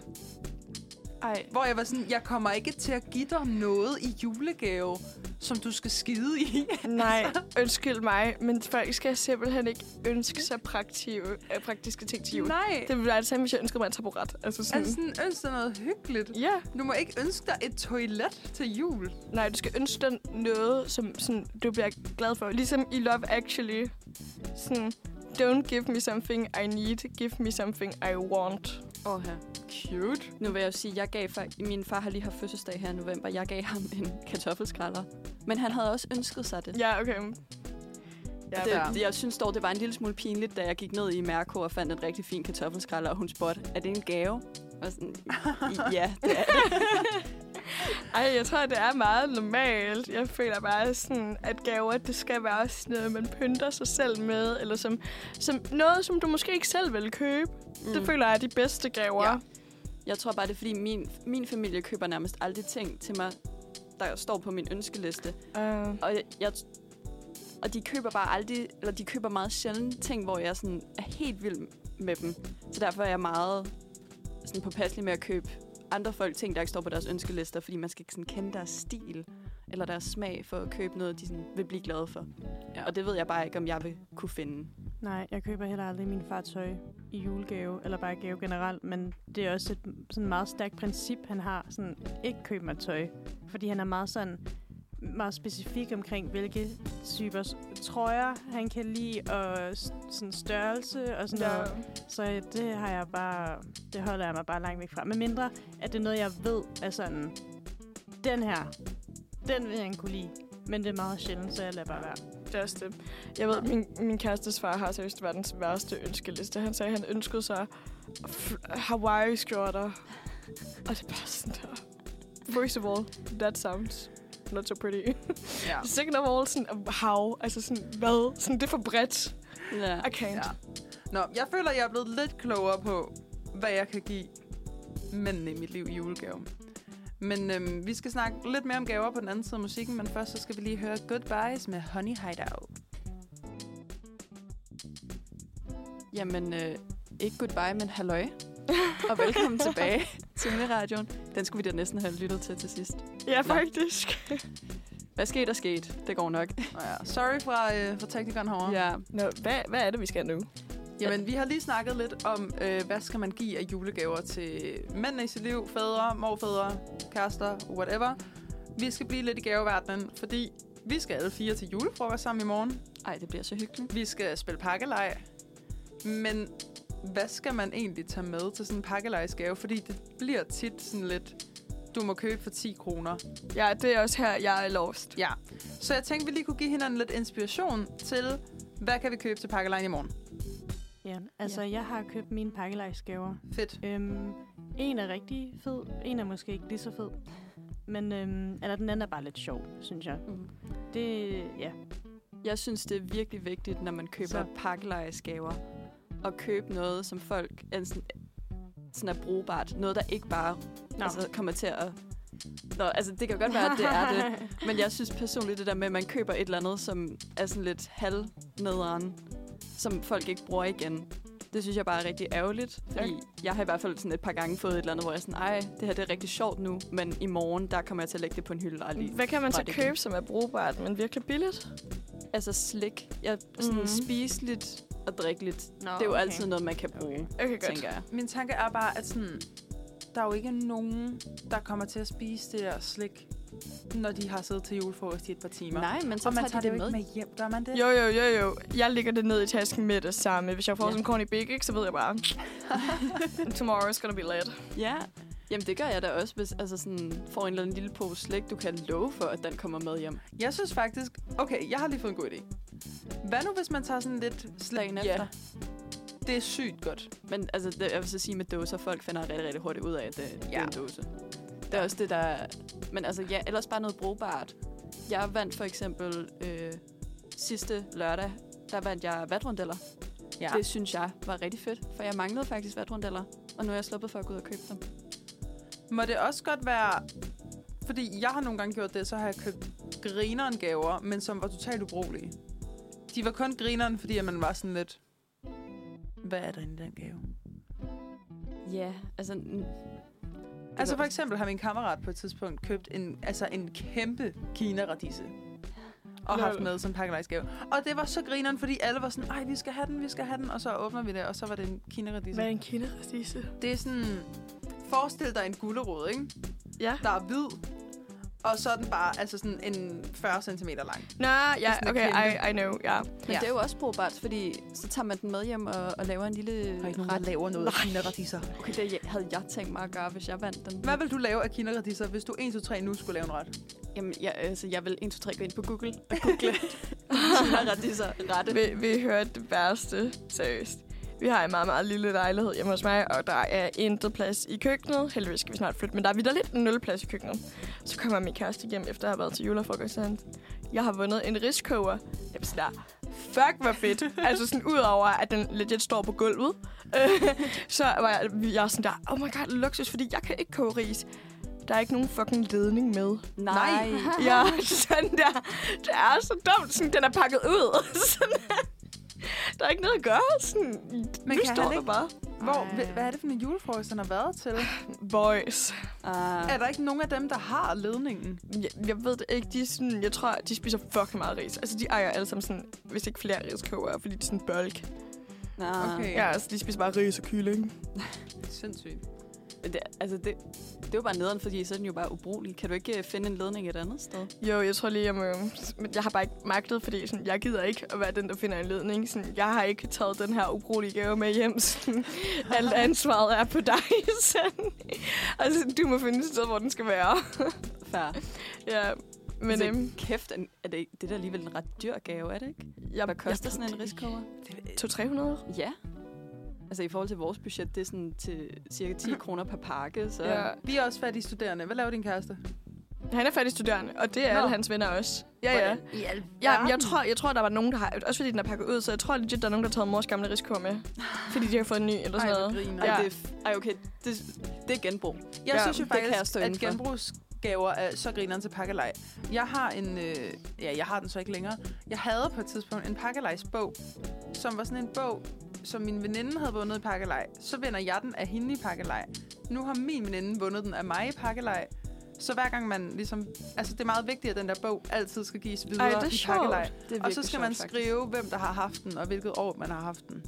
C: Ej.
B: Hvor jeg var sådan, jeg kommer ikke til at give dig noget i julegave, som du skal skide i.
C: Nej, [laughs] undskyld mig, men folk skal simpelthen ikke ønske sig praktive, øh, praktiske ting til jul. Nej.
B: Nej.
C: Det ville være det samme, hvis jeg ønskede mig en taburet. Altså sådan...
B: Altså sådan, ønsk dig noget hyggeligt.
C: ja,
B: Du må ikke ønske dig et toilet til jul.
C: nej, du skal ønske dig noget, som sådan, du bliver glad for. Ligesom i Love Actually. Sådan, don't give me something I need, give me something I want.
D: Åh, her.
B: Cute.
D: Nu vil jeg jo sige, at jeg gav fa- min far har lige haft fødselsdag her i november. Jeg gav ham en kartoffelskralder. Men han havde også ønsket sig det.
C: Ja, okay. Ja,
D: Og
C: det,
D: det, jeg synes dog, det var en lille smule pinligt, da jeg gik ned i Mærko og fandt en rigtig fin kartoffelskralder, og hun spurgte, er det en gave? Og
C: [laughs]
D: sådan, "I- ja, det er det.
C: ej, jeg tror, det er meget normalt. Jeg føler bare sådan, at gaver, det skal være også sådan noget, man pynter sig selv med, eller som, som noget, som du måske ikke selv vil købe. Mm. Det føler jeg er de bedste gaver.
D: Ja. Jeg tror bare, det er fordi, min, min familie køber nærmest aldrig ting til mig, der står på min ønskeliste.
C: Uh,
D: Og, jeg, jeg, og de køber bare aldrig, eller de køber meget sjældent ting, hvor jeg sådan er helt vild med dem. Så derfor er jeg meget sådan påpasselig med at købe andre folk ting, der ikke står på deres ønskelister, fordi man skal ikke sådan kende deres stil eller deres smag for at købe noget, de sådan vil blive glade for.
B: Ja.
D: Ja. Og det ved jeg bare ikke, om jeg vil kunne finde.
E: Nej, jeg køber heller aldrig min far tøj i julegave, eller bare i gave generelt, men det er også et sådan meget stærkt princip, han har, sådan ikke køb mig tøj, fordi han er meget sådan meget specifik omkring, hvilke typer s- trøjer han kan lide, og s- sådan størrelse og sådan ja. noget. Så det har jeg bare, det holder jeg mig bare langt væk fra. Med mindre, at det er noget, jeg ved er sådan, den her, den vil han kunne lide. Men det er meget sjældent, så jeg lader bare være.
C: Det er også det. Jeg ved, min, min kærestes far har seriøst verdens værste ønskeliste. Han sagde, at han ønskede sig f- Hawaii-skjorter. Og det er bare sådan der. First of all, that sounds not so pretty.
B: Ja.
C: Second of all, sådan, how? Altså sådan, hvad? Sådan, det er for bredt.
D: Ja.
C: I can't.
B: Ja. Nå, jeg føler, jeg er blevet lidt klogere på, hvad jeg kan give mændene i mit liv i julegave. Men øhm, vi skal snakke lidt mere om gaver på den anden side af musikken, men først så skal vi lige høre Goodbyes med Honey Hideout.
D: Jamen, øh, ikke goodbye, men halløj. og velkommen
C: [laughs]
D: tilbage til Uniradioen. Den skulle vi da næsten have lyttet til til sidst.
C: Ja, faktisk.
D: Hvad skete der skete? Det går nok.
B: Nå ja, [laughs] sorry fra, øh, fra teknikeren herovre.
D: ja.
C: Nå, hvad, hvad er det, vi skal nu?
B: Jamen, vi har lige snakket lidt om, øh, hvad skal man give af julegaver til mændene i sit liv, fædre, morfædre, kærester, whatever. Vi skal blive lidt i gaveverdenen, fordi vi skal alle fire til julefrokost sammen i morgen.
D: Ej, det bliver så hyggeligt.
B: Vi skal spille pakkelej. Men hvad skal man egentlig tage med til sådan en pakkelejsgave? Fordi det bliver tit sådan lidt, du må købe for 10 kroner.
C: Ja, det er også her, jeg er lost.
B: Ja. Så jeg tænkte, vi lige kunne give hinanden lidt inspiration til, hvad kan vi købe til pakkelejen i morgen?
E: Ja, altså jeg har købt mine pakkelejsgaver.
B: Fedt.
E: Øhm, en er rigtig fed, en er måske ikke lige så fed. Men øhm, eller den anden er bare lidt sjov, synes jeg.
D: Mm.
E: Det, ja.
D: Jeg synes, det er virkelig vigtigt, når man køber
E: Så.
D: pakkelejsgaver, at købe noget, som folk er sådan, sådan er brugbart. Noget, der ikke bare
E: Nå.
D: altså, kommer til at... Nå, altså, det kan godt være, at det er
C: [laughs]
D: det. Men jeg synes personligt, det der med, at man køber et eller andet, som er sådan lidt halvnederen, som folk ikke bruger igen, det synes jeg bare er rigtig ærgerligt. Fordi jeg har i hvert fald sådan et par gange fået et eller andet, hvor jeg er sådan, ej, det her det er rigtig sjovt nu, men i morgen, der kommer jeg til at lægge det på en hylde og aldrig.
C: Hvad kan man så
D: røre det igen."
C: købe, som er brugbart, men virkelig billigt?
D: Altså slik. Jeg, sådan
C: Mhm.
D: mm. spiseligt og drikkeligt.
E: Nå,
D: Det er jo okay. altid noget, man kan bruge, okay.
C: Okay, godt.
D: tænker jeg.
B: Min tanke er bare, at sådan, der er jo ikke nogen, der kommer til at spise det der slik, når de har siddet til julefrokost i et par timer.
D: Nej, men så
B: og man
D: tager,
B: tager
D: de
B: det jo
D: med.
B: ikke med hjem, gør man det?
C: Jo, jo, jo, jo. Jeg lægger det ned i tasken med det samme. Hvis jeg får
D: Ja.
C: ja. sådan en corny big, ikke, så ved jeg bare... Tomorrow's gonna be late.
D: Ja. Jamen, det gør jeg da også, hvis altså sådan, får en eller anden lille pose slik, du kan love for, at den kommer med hjem.
B: Jeg synes faktisk, okay, jeg har lige fået en god idé. Hvad nu, hvis man tager sådan lidt slik?
D: Dagen
B: Ja,
D: efter.
B: det er sygt godt.
D: Men altså, det, jeg vil så sige med dåser, folk finder rigtig, rigtig hurtigt ud af, at det, ja. det er
B: Ja.
D: en dåse. Det er også det, der... Men altså, ja, ellers bare noget brugbart. Jeg vandt for eksempel øh, sidste lørdag, der vandt jeg vatrundeller.
B: Ja.
D: Det synes jeg var rigtig fedt, for jeg manglede faktisk vatrundeller, og nu er jeg sluppet for at gå ud og købe dem.
B: Må det også godt være... Fordi jeg har nogle gange gjort det, så har jeg købt grineren gaver, men som var totalt ubrugelige. De var kun grineren, fordi at man var sådan lidt... Hvad er der inde i den gave?
D: Ja, altså... n-
B: Altså
D: var-
B: for eksempel har min kammerat på et tidspunkt købt en, altså en kæmpe kinaradisse. Og haft med som pakkelejsgave. Og det var så grineren, fordi alle var sådan, ej, vi skal have den, vi skal have den. Og så åbner vi det, og så var det en kinaradisse.
C: Hvad er en kinderracisse?
B: Det er sådan... Forestil dig en gullerod, ikke?
C: Ja.
B: Der er hvid. Og så er den bare altså sådan en 40 cm lang.
C: Nå, ja,
B: Sådan en
C: okay,
B: kæmpe.
C: I, I know, ja.
D: Men ja.
B: Ja.
D: det er jo også brugbart, fordi så tager man den med hjem og, og laver en lille ret.
B: laver noget af kinaradisser.
D: Okay, det havde jeg tænkt mig at gøre, hvis jeg vandt den.
B: Hvad vil du lave af kinaradisser, hvis du 1, 2, 3 nu skulle lave en ret?
D: Jamen, jeg, altså, jeg vil 1, 2, 3 gå ind på Google og google kinderradiser rette.
C: Vi, vi hørte det værste, seriøst. Vi har en meget, meget lille lejlighed hjemme hos mig, og der er intet plads i køkkenet. Heldigvis skal vi snart flytte, men der er vidt lidt nul plads i køkkenet. Så kommer min kæreste hjem, efter at have været til julefrokost, og han, jeg har vundet en riskoger. Jeg var sådan der, fuck hvor fedt. altså sådan ud over, at den legit står på gulvet. [laughs] Øh, så var jeg, jeg er sådan der, oh my god, luksus, fordi jeg kan ikke koge ris. Der er ikke nogen fucking ledning med.
D: Nej.
C: [laughs] Ja, sådan der. Det er så dumt, sådan, den er pakket ud. [laughs] sådan, der er ikke noget at gøre. Sådan,
B: Men
C: nu
B: kan
C: står
B: han
C: der
B: ikke-
C: bare.
B: Hvor,
E: Ej.
B: hva- hvad er det for en julefrokost, han har været til?
C: Boys.
D: Uh,
B: Er der ikke nogen af dem, der har ledningen?
C: Jeg, jeg ved det ikke. De er sådan, jeg tror, de spiser fucking meget ris. Altså, de ejer alle sammen sådan, hvis ikke flere riskoger, fordi de er sådan bulk.
D: ah.
B: Okay.
C: Ja, altså, de spiser bare ris og kylling.
B: Sindssygt.
D: Det, altså, det, det er jo bare nederen, fordi så er den jo bare ubrugelig. Kan du ikke øh, finde en ledning et andet sted?
C: Jo, jeg tror lige, jeg må... Men jeg har bare ikke magtet, fordi sådan, jeg gider ikke at være den, der finder en ledning. Sådan, jeg har ikke taget den her ubrugelige gave med hjem. Sådan, alt ansvaret er på dig. [laughs] Sådan. Altså, du må finde et sted, hvor den skal være.
D: Færre.
C: ja, men
D: altså,
C: øhm,
D: kæft, en- er det, det er da alligevel en ret dyr gave, er det ikke?
C: jeg,
D: Hvad koster
C: jeg,
D: sådan en riskover?
C: 200-300?
D: Ja. Altså i forhold til vores budget, det er sådan til cirka 10 kroner per pakke, så...
C: Ja.
D: Ja.
B: Vi er også fattige studerende. Hvad laver din kæreste?
C: Han er faktisk studerende, og det er
B: Nå.
C: Nå. alle hans venner også. Ja, ja.
B: I al...
C: ja jeg, tror, jeg tror, der var nogen, der har... Også fordi den er pakket ud, så jeg tror legit, der er nogen, der har taget mors gamle risiko med. Fordi de har fået en ny eller sådan noget.
B: griner.
D: Ej,
C: Ja.
D: det, er f- ej, okay. Det, det er genbrug.
B: Jeg
C: Ja,
B: synes jo
D: det kan
B: faktisk,
D: jeg stå
B: at
D: indenfor.
B: genbrugsgaver er så grineren til pakkelej. Jeg har en, øh, ja, jeg har den så ikke længere. Jeg havde på et tidspunkt en pakkelejsbog, som var sådan en bog, som min veninde havde vundet i pakkelej. Så vinder jeg den af hende i pakkelej. Nu har min veninde vundet den af mig i pakkelej. Så hver gang man ligesom... Altså, det er meget vigtigt, at den der bog altid skal gives videre
C: det er
B: i
C: sjovt.
B: pakkelej.
D: Det er
B: Og så
D: virkelig
B: skal man
D: sjovt,
B: skrive, hvem der har haft den, og hvilket år man har haft den.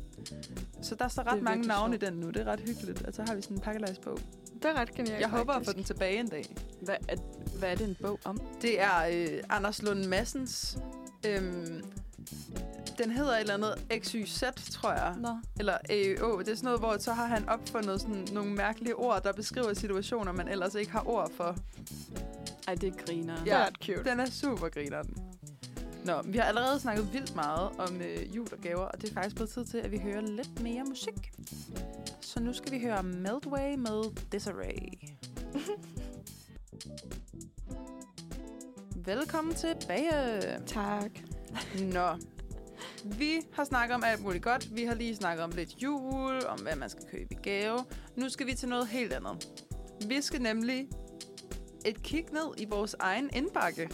B: Så der står
D: Det
B: ret
D: er
B: mange
D: virkelig
B: navne i
D: sjovt.
B: den nu. Det er ret hyggeligt. Og så har vi sådan en pakkelejsbog.
C: Det er ret genialt,
B: Jeg håber at
C: faktisk.
B: få den tilbage en dag.
D: faktisk. Hvad er, hvad er det en bog om?
B: Det er øh, Anders Lund Massens... Øhm, den hedder et eller andet XYZ, tror jeg.
D: Nå.
B: Eller AØ. Det er sådan noget, hvor så har han opfundet sådan nogle mærkelige ord, der beskriver situationer, man ellers ikke har ord for.
D: Ej, det er griner.
C: Det
B: Ja.
C: er ret cute.
B: Den er super grineren. Nå, vi har allerede snakket vildt meget om øh, jul og gaver, og det er faktisk blevet tid til, at vi hører lidt mere musik. Så nu skal vi høre Meltway med Disarray. Velkommen tilbage.
C: Tak.
B: Nå. Vi har snakket om alt muligt godt. Vi har lige snakket om lidt jul, om hvad man skal købe i gave. Nu skal vi til noget helt andet. Vi skal nemlig et kig ned i vores egen indbakke.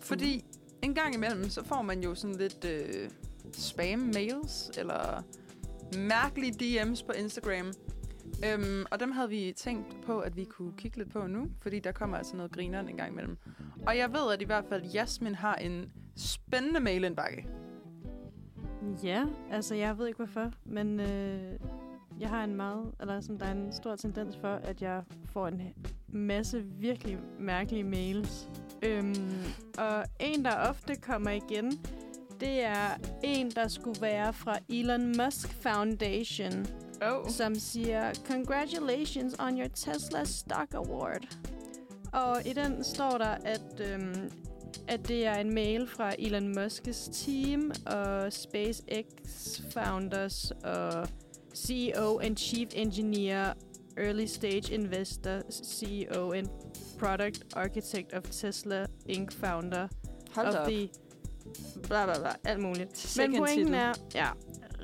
B: Fordi en gang imellem, så får man jo sådan lidt øh, spam-mails, eller mærkelige DM's på Instagram. Øhm, og dem havde vi tænkt på, at vi kunne kigge lidt på nu, fordi der kommer altså noget grineren en gang imellem. Og jeg ved, at i hvert fald Jasmin har en spændende mailindbakke.
E: [laughs] Ja, altså jeg ved ikke hvorfor, men øh, jeg har en meget, eller sådan, der er en stor tendens for, at jeg får en masse virkelig mærkelige mails. Øhm, og en, der ofte kommer igen, det er en, der skulle være fra Elon Musk Foundation,
C: Oh.
E: som siger, Congratulations on your Tesla Stock Award. Og i den står der, at, øhm, at det er en mail fra Elon Musk's team og SpaceX founders og CEO and Chief Engineer, Early Stage Investor, CEO and Product Architect of Tesla Inc. Founder
D: Hold
E: of
D: da op.
E: the... Bla, bla, bla, alt muligt.
D: Sikke en
E: Men pointen
D: titel.
E: er, ja,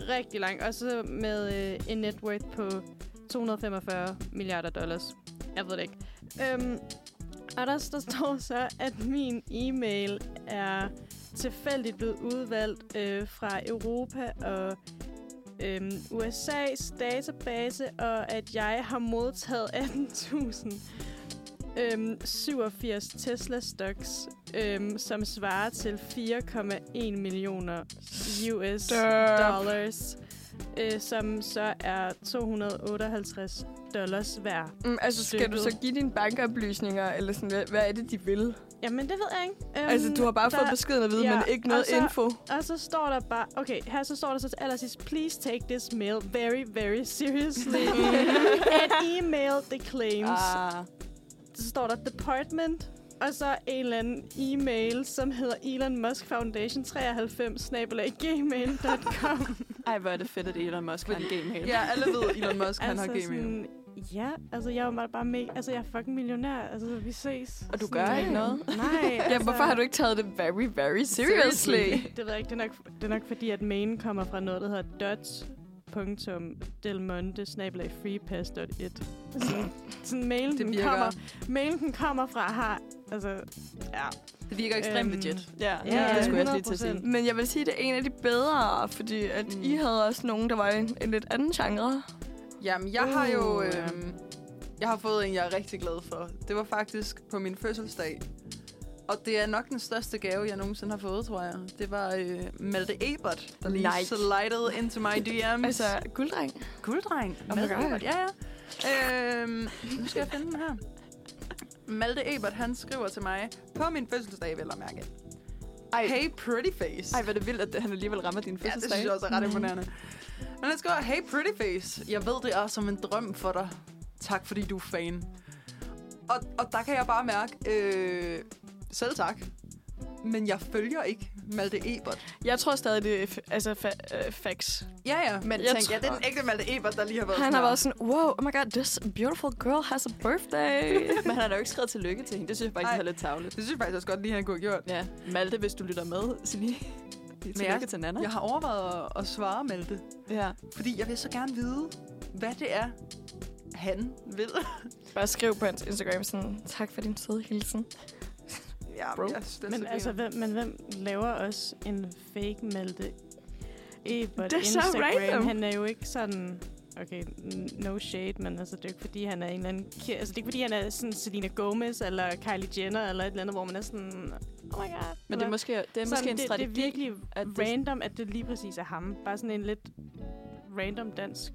E: rigtig lang. Og så med øh, en net worth på 245 milliarder dollars. Jeg ved det ikke. Øhm, og der, der står så, at min e-mail er tilfældigt blevet udvalgt øh, fra Europa og øhm, USA's database, og at jeg har modtaget 18.000 øhm, 87 Tesla stocks, øhm, som svarer til 4,1 millioner US dollars, øh, som så er 258 dollars værd.
C: Mm, altså, skal du
E: Stykket.
C: så give dine bankoplysninger, eller sådan, hvad, hvad er det, de vil? Um,
E: Jamen, det ved jeg ikke. Øhm,
C: altså, du har bare
E: der,
C: fået beskeden at vide,
E: ja,
C: ja, altså- men ikke noget
E: og så-
C: info.
E: Og så står der bare... Okay, her så står der så til allersidst, Please take this mail very, very
C: [laughs]
E: seriously. An email the claims.
D: Ah,
E: Så står der department. Og så en eller anden e-mail, som hedder Elon Musk Foundation 93
C: [laughs]
E: gmail.com.
D: ej, hvor er det fedt, at Elon Musk har en gmail.
B: Ja, alle ved, Elon Musk han har
E: altså,
B: gmail.
E: sådan, ja, altså jeg er jo bare med, altså jeg er fucking millionær, altså vi ses.
D: Og du
E: Sådan,
D: gør
E: nej.
D: ikke noget?
E: Nej,
C: [laughs] Ja,
E: altså,
C: hvorfor har du ikke taget det very, [laughs] very seriously?
E: Det ved jeg ikke, det er nok, det er nok fordi, at main kommer fra noget, der hedder dot.delmonte-freepass.it. Sådan, sådan mailen,
B: Det
E: den
B: virker.
E: kommer, mailen den kommer fra har, altså, ja.
B: Det virker ekstremt
E: Øhm,
B: legit.
D: Ja,
E: Ja,
D: ja, det skulle jeg også lige til at
E: 100%.
D: sige.
C: Men jeg vil sige, det er en af de bedre, fordi at
D: Mm.
C: mm. I havde også nogen, der var i en, en lidt anden genre.
B: Jamen, jeg har jo...
E: Uh, ja.
B: Øhm, jeg har fået en, jeg er rigtig glad for. Det var faktisk på min fødselsdag. Og det er nok den største gave, jeg nogensinde har fået, tror jeg. Det var øh, Malte Ebert, der lige
D: Nej.
B: slidede into my DM's.
C: Altså, gulddreng.
B: gulddreng.
C: Oh my
B: Malte
C: God.
B: Ebert, ja, ja. Øhm, nu skal jeg finde den her. Malte Ebert, han skriver til mig på min fødselsdag, vil jeg mærke.
D: Ej,
B: Hey, pretty face.
D: ej, hvor er det vildt, at han alligevel rammer din
B: Ja,
D: fødselsdag.
B: det synes jeg også er ret
D: [laughs]
B: imponerende. Men han skriver, hey pretty face, jeg ved det er som en drøm for dig. Tak fordi du er fan. Og, og der kan jeg bare mærke, øh, selv tak. men jeg følger ikke Malte Ebert.
C: Jeg tror stadig, det er f- altså fa- øh, facts.
B: Ja, ja.
D: Men
C: Jeg
D: jeg tænk,
C: tror-
D: jeg,
B: Det er den ægte Malte Ebert, der lige har været
C: Han har
B: sådan her.
C: været sådan, wow, oh my god, this beautiful girl has a [laughs] birthday.
D: den, men han har da jo ikke skrevet tillykke til hende. Det synes jeg faktisk
B: Ej.
D: er lidt tavligt.
B: Det synes jeg faktisk også godt, lige han kunne have gjort.
D: Ja, Malte, hvis du lytter med, så lige tillykke
B: jeg-
D: til Nana.
B: Jeg har overvejet at, at svare Malte,
D: Ja.
B: fordi jeg vil så gerne vide, hvad det er, han vil.
C: Bare skriv på hans Instagram sådan, tak for din søde hilsen.
B: ja,
D: Bro.
B: Jeg, synes, det er
E: Men
B: så
E: altså,
B: grineren.
E: hvem, men hvem laver også en fake Malte Ebert
C: Det er så
E: Instagram?
C: random.
E: Han er jo ikke sådan... Okay, n- no shade, men altså, det er jo ikke, fordi han er en eller anden... ki- Altså, det er ikke, fordi han er sådan Selena Gomez eller Kylie Jenner eller et eller andet, hvor man er sådan... Oh my god.
D: Men det er
E: Hvor-
D: måske, det er
E: sådan,
D: måske en
E: det,
D: strategi.
E: Det er virkelig
D: at
E: at
D: det-
E: random, at det lige præcis er ham. Bare sådan en lidt random dansk...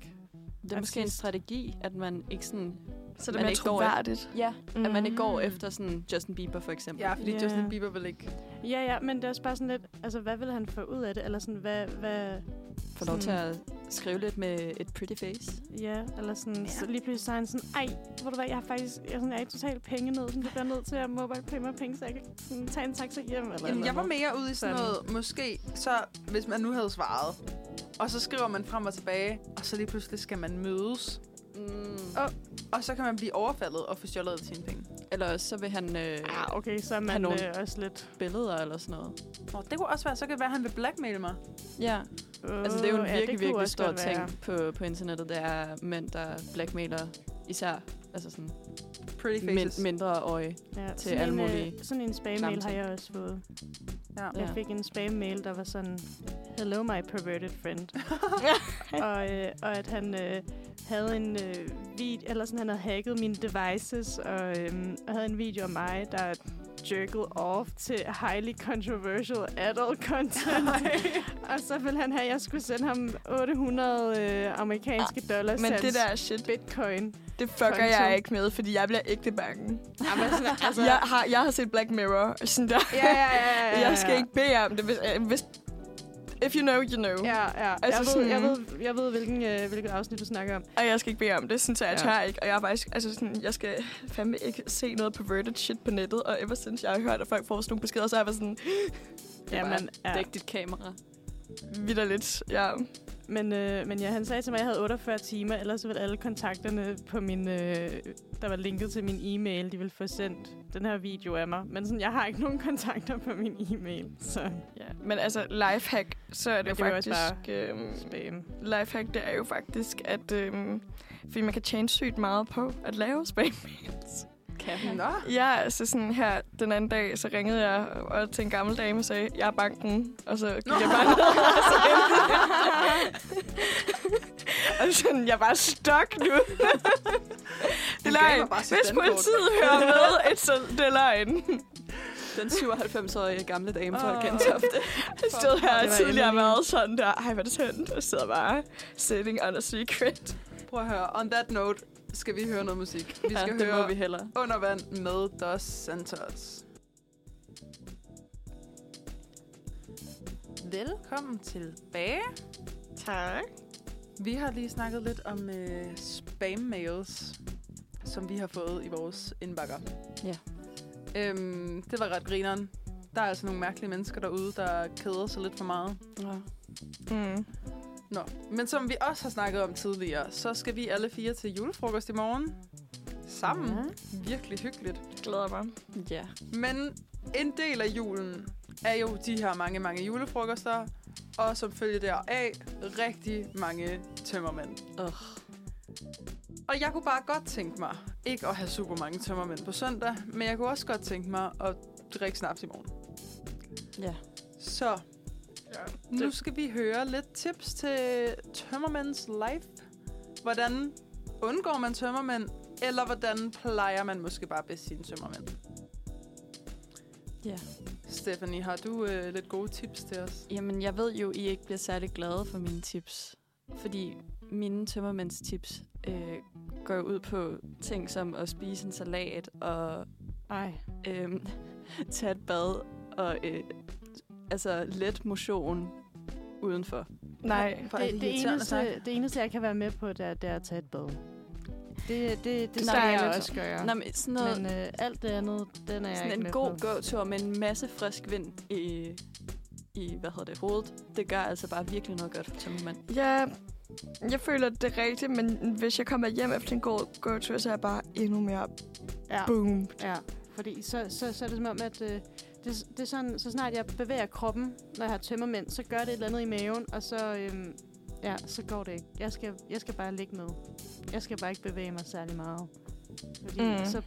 D: Det er måske en
E: Artist.
D: strategi, at man ikke sådan...
C: Så det
D: Man
C: er mere
D: ikke går efter-
C: troværdigt.
D: Ja, mm. at man ikke går
E: Mm.
D: efter sådan Justin Bieber for eksempel.
B: ja, fordi
E: Ja.
B: Justin Bieber vil ikke.
E: Ja, ja, men det er også bare sådan lidt... Altså, hvad vil han få ud af det? Eller sådan, hvad... hvad
D: Få lov til
E: sådan-
D: at skrive lidt med et pretty face.
E: Ja, eller sådan,
B: Ja.
E: ja. så lige pludselig så er han sådan, ej, hvor du hvad, jeg har faktisk, jeg, er sådan, jeg er i total penge ned, sådan, det bliver nødt til at mobile pay mig penge, så jeg kan sådan, tage en taxa hjem, eller
B: Jamen,
E: eller
B: jeg var
E: andet.
B: mere ude i sådan
E: Sådan.
B: noget, måske, så hvis man nu havde svaret, og så skriver man frem og tilbage, og så lige pludselig skal man mødes,
D: Mm.
B: og så kan man blive overfaldet og få stjålet af sine penge.
D: Eller også så vil han øh,
E: Ah, okay, så er man
D: Kanon.
E: øh, også lidt...
D: billeder eller sådan noget.
B: Nå, det kunne også være, så kan det være, at han vil blackmail mig.
D: Ja,
E: Uh,
D: altså det er jo en
E: ja, det
D: virkelig,
E: kunne
D: virkelig
E: også
D: stor
E: godt
D: ting
E: være.
D: på, på internettet. Det er mænd, der blackmailer især altså sådan,
B: Pretty faces.
D: mind, mindre øje.
E: Ja,
D: til
E: sådan
D: alle
E: en, øh,
D: mulige
E: Sådan en spam-mail
D: klamme
E: har
D: ting.
E: jeg også fået.
B: Ja.
E: Jeg fik en spam-mail, der var sådan, hello my perverted friend.
C: [laughs]
E: og, øh, og at han øh, havde en øh, video, eller sådan, han havde hacket mine devices, og, øh, og havde en video af mig, der jerkede off til highly controversial adult content.
C: [laughs]
E: og så ville han have, at jeg skulle sende ham 800 øh, amerikanske dollars
C: Ah, Men det der shit, [laughs]
E: bitcoin.
C: det fucker
E: Konto.
C: jeg ikke med, fordi jeg bliver ægte bange.
B: Jamen, sådan,
C: Altså, jeg, har, jeg har set Black Mirror, og sådan der.
B: ja, ja, ja, ja, ja.
C: jeg skal ikke bede jer om det, hvis, øh, hvis... If you know, you know.
E: Ja, ja.
C: Altså
E: Altså, jeg, ved, jeg,
C: sådan-
E: ved, jeg ved, hvilken, øh, hvilket afsnit du snakker om.
C: Og jeg skal ikke bede om det, sådan, så jeg
D: Ja.
C: ja. tør ikke. Og jeg er faktisk, altså sådan, jeg skal fandme ikke se noget perverted shit på nettet. Og ever since jeg har hørt, at folk får sådan nogle beskeder, så har jeg været sådan,
D: Det er bare,
E: ja.
D: dæk dit kamera.
C: vidt lidt. Ja.
E: Men, øh, men ja, han sagde til mig, at jeg havde 48 timer, ellers ville alle kontakterne, på min, øh, der var linket til min e-mail, de ville få sendt den her video af mig. Men sådan, jeg har ikke [laughs] nogen kontakter på min e-mail, så
C: ja. Men altså, lifehack, så er det, jo
E: Men det er jo også
C: faktisk...
D: Mm.
C: øhm,
E: spam.
C: lifehack, det er jo faktisk, at... Øhm, fordi man kan tjene sygt meget på at lave spam.
D: Kan han?
B: Nå,
C: Ja, altså sådan her den anden dag, så ringede jeg og til en gammel dame og sagde, jeg er banken. Og så gik jeg bare ned, og så endte [laughs] Og sådan, jeg er bare stok nu. det er
B: gav
C: løgn.
B: mig bare sit
C: Hvis
B: dankort.
C: politiet hører med, it's a, det er løgn.
D: Den 97-årige gamle dame fra
E: Åh.
D: Gentofte.
C: Jeg stod her
E: var
C: og tidligere
E: Emily.
C: været sådan der, ej, hvor er det tændt. Og sidder bare, sitting on a secret.
B: prøv at høre. On that note skal vi høre noget musik. Vi skal
D: ja, [laughs] det må
B: høre
D: vi hellere.
B: Under Vand med Dos Santos. Velkommen tilbage.
C: Tak.
B: Vi har lige snakket lidt om øh, spam-mails, som vi har fået i vores indbakker.
D: Ja.
B: Øhm, det var ret grineren. Der er altså nogle mærkelige mennesker derude, der keder sig lidt for meget.
D: Ja.
C: Mm.
B: Nå, men som vi også har snakket om tidligere, så skal vi alle fire til julefrokost i morgen. Sammen.
E: Ja.
B: Virkelig hyggeligt.
C: Glæder mig.
D: ja.
B: Men en del af julen er jo de her mange, mange julefrokoster, og som følge deraf rigtig mange tømmermænd.
D: Ugh.
B: Og jeg kunne bare godt tænke mig, ikke at have super mange tømmermænd på søndag, men jeg kunne også godt tænke mig at drikke snaps i morgen.
D: Ja.
B: Så nu skal vi høre lidt tips til tømmermænds life. Hvordan undgår man tømmermænd, eller hvordan plejer man måske bare bedst sine tømmermænd?
D: Ja.
B: Stephanie, har du øh, lidt gode tips til os?
D: Jamen, jeg ved jo, I ikke bliver særlig glade for mine tips. Fordi mine tømmermænds tips øh, går jo ud på ting som at spise en salat og
E: Ej.
D: øh, [laughs] tage et bad og øh, altså let motion udenfor.
C: Nej.
B: Hvor er
E: Det, det,
B: irriterende sagt.
E: eneste, det eneste, jeg kan være med på, det er, det er at tage et bad. det, det, det
D: Nej,
E: skal
D: det
E: jeg
D: er
E: også gøre.
D: Nå, men sådan noget,
E: Men øh, alt det andet, den er jeg ikke
D: sådan
E: med
D: en god
E: på.
D: gåtur med en masse frisk vind i, i hvad hedder det, hovedet, det gør altså bare virkelig noget godt for tømmermand.
C: Ja, jeg føler det er rigtigt, men hvis jeg kommer hjem efter en god gåtur, så er jeg bare endnu mere
E: Ja,
C: boom.
E: ja. Fordi så, så, så er det som om, at øh, det, det er sådan, så snart jeg bevæger kroppen, når jeg har tømmermænd, så gør det et eller andet i maven, og så, øhm, ja, så går det ikke. Jeg skal, jeg skal bare ligge ned. Jeg skal bare ikke bevæge mig særlig meget. Fordi
C: Mm.
E: mm. så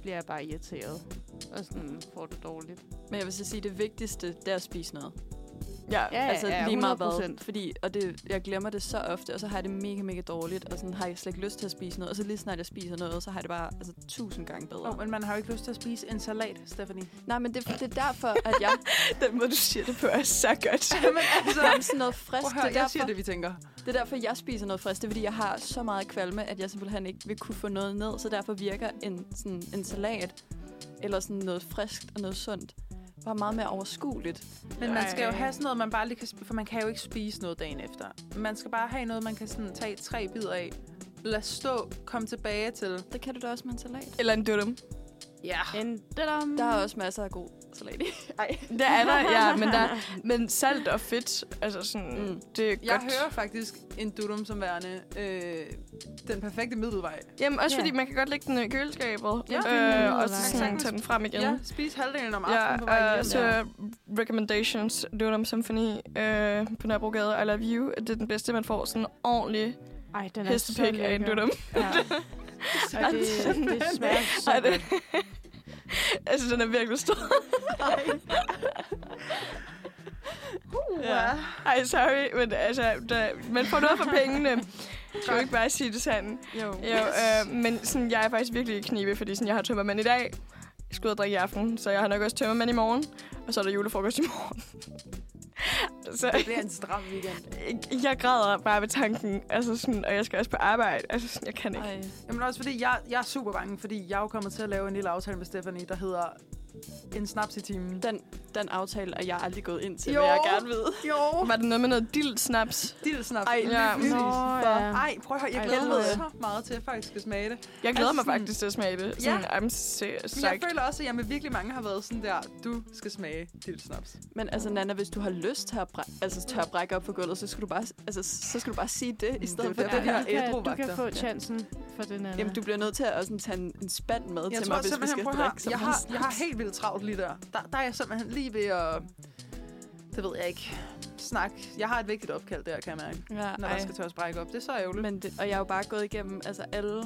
E: bliver jeg bare irriteret, og sådan får det dårligt.
D: Men jeg vil så sige, det vigtigste, det er at spise noget.
C: Ja,
E: Ja,
D: altså
E: ja,
D: lige meget
E: 100%.
D: hvad. Fordi, og det, jeg glemmer det så ofte, og så har jeg det mega, mega dårligt, og sådan har jeg slet ikke lyst til at spise noget. Og så lige snart jeg spiser noget, så har jeg det bare altså, tusind gange bedre.
B: Oh, men man har jo ikke lyst til at spise en salat, Stephanie.
D: Nej, men det, det er derfor, at jeg
C: den måde, du siger det på, er så godt.
B: [laughs] Jamen altså,
D: har sådan noget frisk.
B: prøv at høre,
D: det, er
B: jeg siger
D: derfor,
B: det, vi tænker.
D: det er derfor, jeg spiser noget frisk. Det er fordi, jeg har så meget kvalme, at jeg simpelthen ikke vil kunne få noget ned. Så derfor virker en, sådan, en salat eller sådan noget friskt og noget sundt bare meget mere overskueligt.
B: Men man skal jo
E: Ej.
B: have sådan noget, man bare lige kan sp- for man kan jo ikke spise noget dagen efter. Man skal bare have noget, man kan sådan tage tre bidder af, lade stå, komme tilbage til.
D: Det kan du da også med en salat.
C: Eller en dudum.
B: Ja.
E: En dadam.
D: Der er også masser af god salat i.
C: Det er der, ja, men,
E: [laughs]
C: der, men salt og fedt, altså sådan,
D: Mm.
C: mm. det er
B: Jeg
C: godt.
B: hører faktisk en dudum som værende øh, den perfekte middelvej.
C: Jamen også
E: Ja.
C: fordi, man kan godt lægge den i køleskabet,
E: Ja, Mm,
C: ja, øh,
E: eller-
C: og så sådan,
B: Sagtens.
C: tage den frem igen.
B: Ja, spis halvdelen om aftenen på vej
C: Ja,
B: hjem.
C: øh, [laughs] så recommendations, Dudum Symphony øh, på Nørrebrogade, I Love You, det er den bedste, man får sådan en ordentlig
E: Ej, den er så
C: hestepik af en [laughs]
E: lækker.
C: Dudum.
E: Ja. Ej, det, det smager så
C: Ej, det-
E: godt.
C: altså, den er virkelig
E: [laughs]
C: stor. ja. Ej, sorry, men altså, der, man får noget for pengene. Kan jo ikke bare sige det sådan.
D: Jo.
C: Jo,
E: [laughs]
C: øh, men sådan, jeg er faktisk virkelig i knibe, fordi sådan, jeg har tømmermand i dag. Jeg skal ud og drikke i aften, så jeg har nok også tømmermand i morgen. Og så er der julefrokost i morgen. så
B: Det bliver en stram weekend.
C: jeg græder bare ved tanken, altså sådan, og jeg skal også på arbejde. Altså sådan, jeg kan ikke.
D: Ej.
B: Jamen også fordi, jeg, jeg er super bange, fordi jeg er jo kommet til at lave en lille aftale med Stephanie, der hedder en snaps i timen.
D: Den, den aftale er jeg aldrig gået ind til,
B: Jo.
D: vil jeg gerne vide.
E: [laughs]
B: Jo,
C: Var det noget med noget dildsnaps?
B: dild snaps.
C: Ej,
B: lige
C: ja.
B: præcis.
E: Nå, ja.
B: Ej, prøv at høre, jeg
E: Ej,
B: glæder mig
E: helvede.
B: så meget til, at folk skal smage det.
C: Jeg glæder mig
B: Altså sådan-
C: faktisk til at smage det. Sådan, I'm serious.
B: Men jeg føler også, at jeg med virkelig mange har været sådan der, du skal smage dild snaps.
D: Men altså, Nana, hvis du har lyst til at, bræ- altså, til at brække op på gulvet, så skal du bare, altså, så skal du bare sige det, i stedet
B: det
D: for
B: er
D: det,
B: jo
D: det
B: derfor,
D: her
B: de har
E: du, kan, du
B: ædruvagter.
E: kan få chancen for den anden.
D: Jamen, du bliver nødt til at også tage en, en spand med
B: Jeg
D: til
B: tror
D: mig, hvis vi
B: simpelthen,
D: skal
B: prøv at høre,
D: drikke så
B: jeg
D: meget
B: har, jeg har
D: snaps.
B: helt vildt travlt lige der. der. Der er jeg simpelthen lige ved at, det ved jeg ikke, snakke. Jeg har et vigtigt opkald der, kan jeg mærke,
D: Ja,
B: når
D: ej.
B: der skal til at sprække op. Det er så ærgerligt.
D: Men det, og jeg er jo bare gået igennem altså, alle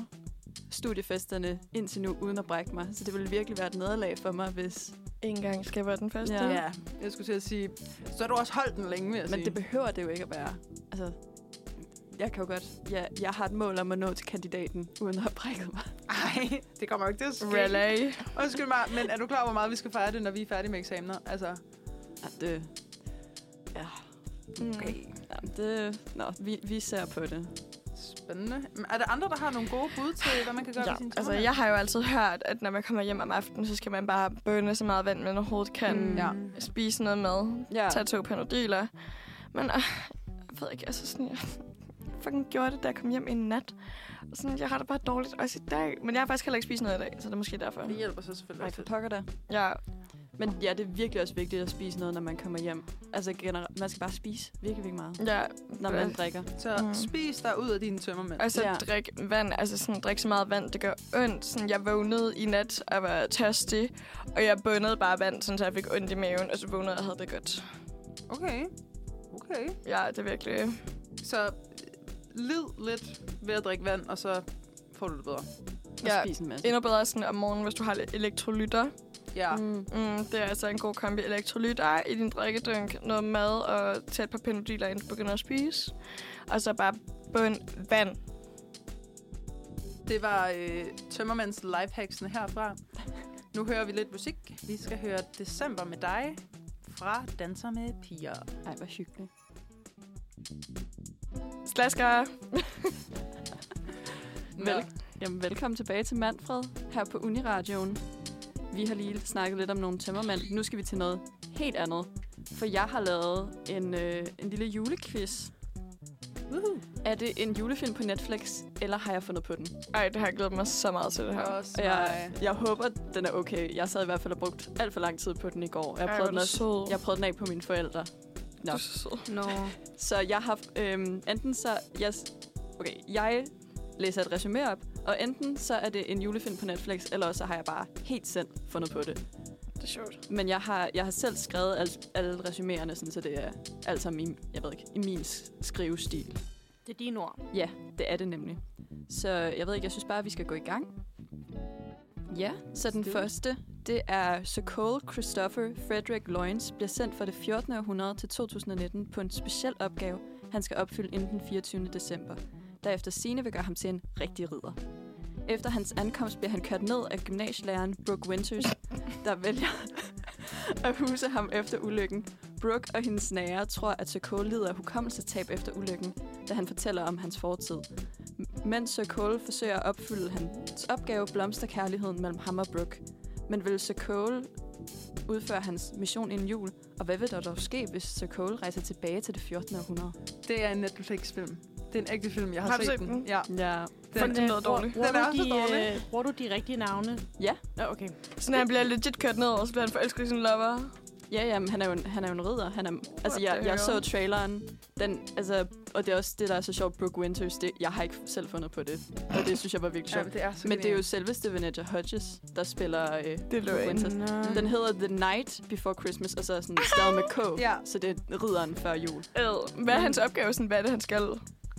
D: studiefesterne indtil nu, uden at brække mig. Så det ville virkelig være et nederlag for mig, hvis...
C: Ikke engang skal jeg være den første.
D: Ja.
B: Ja, jeg skulle til at sige, så har du også holdt den længe, vil jeg
D: Men
B: sige.
D: det behøver det jo ikke at være. Altså, jeg kan jo godt... Jeg, jeg har et mål om at nå til kandidaten, uden at have brækket mig.
B: Ej, det kommer jo ikke til at ske.
C: Relay.
B: Undskyld mig, men er du klar over, hvor meget vi skal fejre det, når vi er færdige med eksamener? Altså,
D: Ja, det... Ja,
B: okay.
D: Mm. ja det... Nå, vi, vi ser på det.
B: Spændende. Men Er der andre, der har nogle gode bud til, hvad man kan gøre
C: Ja,
B: med sin
C: altså, jeg har jo altid hørt, at når man kommer hjem om aftenen, så skal man bare bønne så meget vand, man overhovedet kan.
D: Mm.
C: Mm.
B: Ja.
C: Spise noget mad.
D: Ja.
C: Tage to panodiler. Men øh, jeg ved ikke, altså sådan, jeg fucking gjorde det, da jeg kom hjem i nat. Og sådan, jeg har det bare dårligt også i dag. Men jeg har faktisk heller ikke spist noget i dag, så det er måske derfor.
B: Det hjælper så selvfølgelig
D: Ej,
B: også
D: for
B: lidt.
D: pokker da.
C: Ja,
D: Men ja, det er virkelig også vigtigt at spise noget, når man kommer hjem. Altså generelt, man skal bare spise virkelig, virkelig meget,
C: ja.
D: når man drikker.
B: Så
C: Mm.
B: spis dig ud af dine tømmermænd.
C: Og så
D: Ja.
C: ja. altså, drik vand, altså sådan, drik så meget vand, det gør ondt. Sådan, jeg vågnede i nat og var tørstig, og jeg bundede bare vand, sådan, så jeg fik ondt i maven, og så vågnede jeg og havde det godt.
B: Okay. Okay.
C: Ja, det er virkelig...
B: Så øh, lid lidt ved at drikke vand, og så får du det bedre.
D: Og
C: Ja.
D: spise en masse.
C: Endnu bedre sådan om morgenen, hvis du har lidt elektrolytter.
B: Ja.
D: Mm.
C: Mm, det er altså en god kombi. Elektrolytter i din drikkedunk, noget mad og tæt på penodiler, inden du begynder at spise. Og så bare bund vand.
B: Det var øh, tømmermands lifehacksene herfra. Nu hører vi lidt musik. Vi skal høre December med dig fra Danser med piger.
D: Ej, hvor hyggeligt.
C: Slasker.
D: Vel, jamen, velkommen tilbage til Manfred her på Uniradioen. Vi har lige snakket lidt om nogle tømmermænd. Nu skal vi til noget helt andet. For jeg har lavet en, øh, en lille julequiz.
E: Woohoo.
D: Er det en julefilm på Netflix, eller har jeg fundet på den?
C: Ej, det har jeg glædet mig så meget til det her.
B: Også
D: Og
B: jeg...
D: jeg, jeg håber, den er okay. Jeg sad i hvert fald og brugt alt for lang tid på den i går. Jeg
C: Ej,
D: prøvede,
C: hvor
D: den
C: er du
D: også,
C: sød.
D: jeg prøvede den af på mine forældre.
C: Du
D: Nå.
C: er så sød.
A: Nå.
D: Så jeg har øhm, enten så... Jeg, okay, jeg læser et resume op, og enten så er det en julefilm på Netflix, eller også så har jeg bare helt selv fundet på det.
C: Det er sjovt.
D: Men jeg har, jeg har selv skrevet alt, alle resuméerne, sådan, så det er alt sammen i, jeg ved ikke, i min s- skrivestil.
E: Det er dine ord.
D: Ja, det er det nemlig. Så jeg ved ikke, jeg synes bare, at vi skal gå i gang. Ja, så den
B: Stil.
D: første, det er Sir Cole Christopher Frederick Lawrence bliver sendt fra det 14. århundrede til 2019 på en speciel opgave, han skal opfylde inden den 24. december, der efter sine vil gøre ham til en rigtig ridder. Efter hans ankomst bliver han kørt ned af gymnasielæreren Brooke Winters, der vælger at huse ham efter ulykken. Brooke og hendes nære tror, at Sir Cole lider af hukommelsetab efter ulykken, da han fortæller om hans fortid. M- Mens Sir Cole forsøger at opfylde hans opgave, blomster kærligheden mellem ham og Brooke. Men vil Sir Cole udføre hans mission inden jul? Og hvad vil der dog ske, hvis Sir Cole rejser tilbage til det 14. århundrede?
B: Det er en Netflix-film. Det er en ægte film. Jeg har,
C: Har du
B: set,
C: set
B: den.
C: den?
B: Ja.
D: Ja.
B: Den,
C: Fuck, det lyder dårligt.
E: øh, Bruger,
B: Den er
E: du
B: så
E: de,
B: dårlig.
E: øh, bruger du de rigtige navne?
D: Ja.
E: Ah, okay.
C: Sådan, han bliver legit kørt ned, og så bliver han forelsket i sin lover.
D: Ja, jamen, han er jo en, han er jo en ridder. Han er, altså, jeg,
C: the
D: jeg så
C: hell?
D: traileren, den, altså, og det er også det, der er så sjovt, Brooke Winters, det, jeg har ikke selv fundet på det, og det synes jeg var virkelig
B: Ja,
D: sjovt.
B: det er så
D: Men det er jo
B: genialt.
D: selveste Vanessa Hodges, der spiller øh,
C: Det løg
D: Brooke Winters.
E: Nå.
D: Den hedder The Night Before Christmas, og så er sådan stadig med K,
B: Ja.
D: så det er ridderen før jul.
C: Ad. Hvad er hans opgave? Sådan, hvad er det, han skal?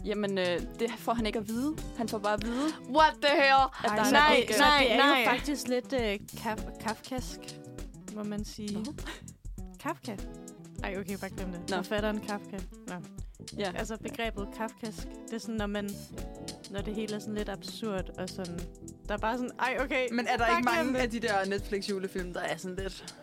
D: Jamen, øh, det får han ikke at vide. Han får bare at vide,
C: What the hell?
D: at der
E: Ej,
D: er
C: nej,
D: en opgave.
E: Så
C: nej,
E: det er
C: nej.
E: jo faktisk lidt øh, kaf- kafkask, må man sige.
D: Hvad?
E: Kafka? Ej, okay, bare glem det.
D: Nå.
E: Nå. Forfatteren Kafka. Nå.
D: Ja.
E: Altså begrebet kafkask, det er sådan, når man... Når det hele er sådan lidt absurd, og sådan... Der er bare sådan, ej, okay.
B: Men er der
E: bare
B: ikke
E: glem
B: mange
E: det.
B: af de der Netflix-julefilm, der er sådan lidt...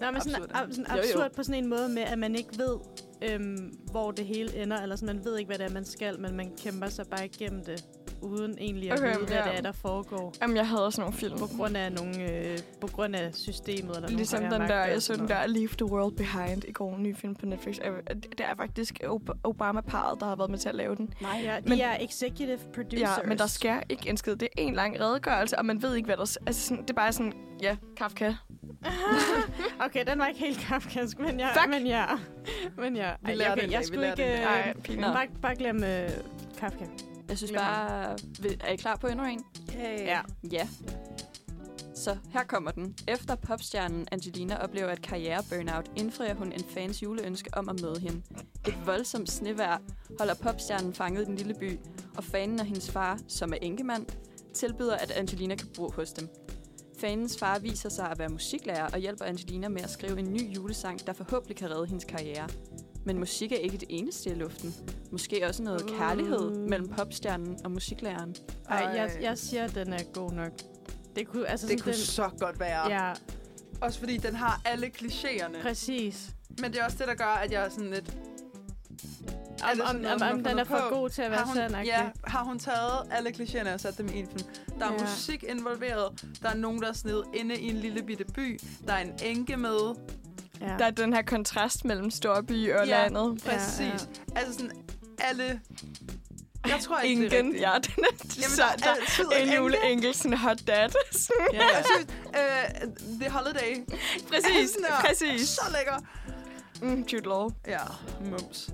E: Nå, men sådan,
B: absurde?
E: ab- sådan
D: Jo, jo.
E: absurd på sådan en måde med, at man ikke ved, øhm, hvor det hele ender, eller sådan, man ved ikke, hvad det er, man skal, men man kæmper sig bare igennem det, uden egentlig at
C: Okay,
E: okay, vide, hvad
C: ja.
E: det er, der foregår.
C: Jamen, jeg havde også nogle film.
E: På grund af, nogle, øh, på grund af systemet. Eller nogle
C: Ligesom
E: højere
C: den der,
E: magter
C: jeg
E: og
C: så
E: sådan
C: den
E: noget.
C: der Leave the World Behind i går, en ny film på Netflix. Er- Det er faktisk Ob- Obama-paret, der har været med til at lave den.
D: Nej,
E: Ja, de
C: Men-
E: men, er executive producers.
C: Ja, men der sker ikke en skid. Det er en lang redegørelse, og man ved ikke, hvad der... s- Altså, sådan, det er bare sådan, ja, Kafka.
E: [laughs] Okay, den var ikke helt kafkask, men ja.
C: Fuck!
E: Men ja. Men ja.
B: Vi lærer
E: okay,
B: den dag,
E: jeg
B: vi
E: skulle
B: lærer
E: ikke...
B: den dag.
E: Øh,
C: Ej, pinligt.
D: Nå.
E: bare, bare glem øh, Kafka.
D: jeg synes
E: Glem ham.
D: bare... Vil- Er I klar på endnu en?
B: Hey.
E: Ja.
D: Ja. Så her kommer den. Efter popstjernen Angelina oplever et karriereburnout, indfrier hun en fans juleønske om at møde hende. Et voldsomt snevær holder popstjernen fanget i den lille by, og fanen og hendes far, som er enkemand, tilbyder, at Angelina kan bo hos dem. Fanens far viser sig at være musiklærer og hjælper Angelina med at skrive en ny julesang, der forhåbentlig kan redde hendes karriere. Men musik er ikke det eneste i luften. Måske også noget kærlighed
E: Uh.
D: mellem popstjernen og musiklæreren.
E: Ej, jeg, jeg siger, den er god nok. Det kunne, altså,
B: Det
E: sådan,
B: kunne
E: den,
B: så godt være.
E: Ja,
B: Også fordi den har alle klichéerne.
E: præcis.
B: Men det er også det, der gør, at jeg er sådan lidt... Er
E: Om,
B: det
E: om,
B: sådan noget, hun
E: om,
B: har
E: om den
B: fundet
E: er for
B: på?
E: god til at være
B: har hun,
E: sand
B: ja, har hun taget alle klichéerne og sat dem i en film? Der er
E: Ja.
B: ja. musik involveret. Der er nogen, der er snedet inde i en lille bitte by. Der er en enke med.
E: ja.
C: Der er den her kontrast mellem storby og
B: Ja.
C: landet.
B: Præcis. Ja, ja. Altså sådan alle... Jeg tror ikke, det er
C: Ingen,
B: rigtigt.
C: ja, den er
B: Jamen,
C: så,
B: der,
C: der
B: er altid
C: er en juleenkel, sådan hot dad. [laughs] Sådan.
D: Ja,
B: Jeg synes, øh, The Holiday.
C: præcis,
B: Sådan der.
C: Altså, præcis.
B: Så lækker.
C: Mm, Jude Law.
B: Ja, mums.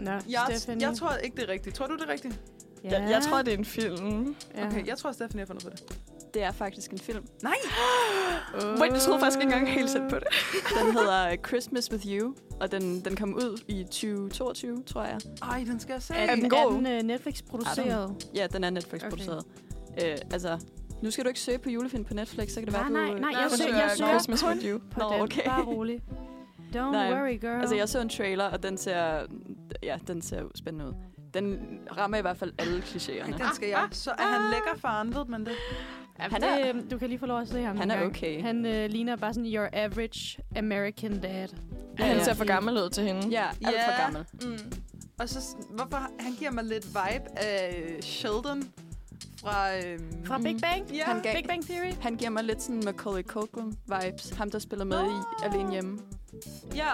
E: Nå,
B: Jeg,
E: Stephanie.
B: jeg tror ikke, det er rigtigt. Tror du, det er rigtigt?
C: Ja. Jeg, jeg tror, det er en film.
E: Ja.
B: Okay, jeg tror, Stephanie har fundet på det.
D: Det er faktisk en film.
C: [gasps]
B: Nej!
C: Wait, jeg troede faktisk ikke engang helt selv på det.
D: Den hedder Christmas With You, og den, den kom ud i 2022, tror jeg.
B: Ej, den skal jeg se.
C: Er den
E: Er
C: god?
E: den øh, Netflix-produceret?
D: Ja, den er Netflix-produceret. Okay. Øh, altså, nu skal du ikke søge på julefilm på Netflix, så kan det
E: Nej,
D: være,
E: nej,
D: du...
E: nej, jeg
D: du
E: søger-
D: søger
E: jeg søger
D: Christmas
E: kun
D: With You.
E: På
D: Nå,
E: den.
D: okay.
E: Bare rolig. Don't
D: Nej.
E: worry, girl.
D: Altså, jeg så en trailer, og den ser, ja, den ser jo spændende ud. Den rammer i hvert fald alle
B: Ej,
D: klichéerne.
B: den
C: Ah,
B: skal jeg. Så er han lækker forandret, men det...
E: han
D: han
E: er, det, øh, du kan lige få lov at se ham
D: Han
E: en
D: er
E: gang.
D: okay.
E: Han øh, ligner bare sådan your average American dad.
D: Ja,
C: Han
D: ja.
C: ser for gammel ud til hende.
D: Ja, alt
B: Ja.
D: for gammel.
C: Mm.
B: Og så, sådan- hvorfor, han giver mig lidt vibe af Sheldon fra... Øhm,
E: Fra Big Bang?
B: Ja.
D: Han gav-
E: Big Bang Theory?
D: Han giver mig lidt sådan Macaulay Culkin-vibes. Ham, der spiller med i Alene Hjemme.
B: Ja,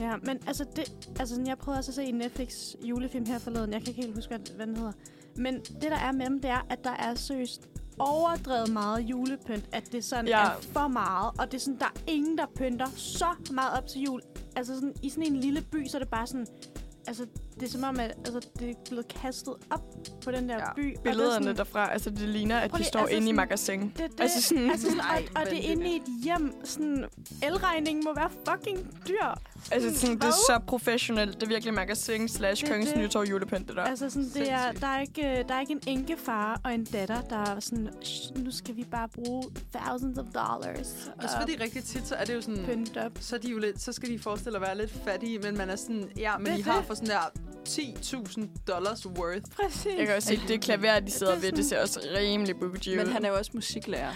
E: Ja, men altså, det, altså sådan, jeg prøvede også at se en Netflix julefilm her forleden. Jeg kan ikke helt huske, hvad- hvad den hedder. Men det, der er med dem, det er, at der er seriøst overdrevet meget julepynt. At det sådan
C: Ja.
E: ja. er for meget. Og det er sådan, der er ingen, der pynter så meget op til jul. Altså sådan, i sådan en lille by, så er det bare sådan... Altså, det er som om, at altså, det er blevet kastet op på den der
B: Ja.
E: ja. by. og det er
C: Billederne
E: sådan-
C: derfra, altså det ligner, at
E: Prøv
C: de
E: lige,
C: står
E: altså
C: inde i
E: sådan-
C: magasin.
E: Det, det,
C: Altså sådan-
E: altså sådan,
B: Nej,
E: og, og det er
B: vanvittigt.
E: inde i et hjem. Sådan, elregningen må være fucking dyr.
C: Altså sådan, det
E: Hmm, hvad?
C: er så professionelt. Det er virkelig magasin slash
E: Det er
C: Kongens
E: det.
C: Nytorv julepynt, det der.
E: Altså sådan, det er,
B: Sindssygt.
E: der, er ikke, øh, der er ikke en enkefar og en datter, der er sådan, "Shh, nu skal vi bare bruge thousands of dollars og
B: Også altså, fordi rigtig tit, så er det jo sådan...
E: pynte op. [laughs]
B: Så, er de jo lidt, så skal de forestille at være lidt fattige, men man er sådan... Ja, men
E: Det er
B: I har
E: det.
B: for sådan der 10.000 dollars worth.
E: Præcis.
C: Jeg kan også se, det klaver, de sidder
E: Det er
C: ved, det
E: sådan-
C: ser også rimelig bougie
D: Men
C: ud.
D: han er jo også musiklærer.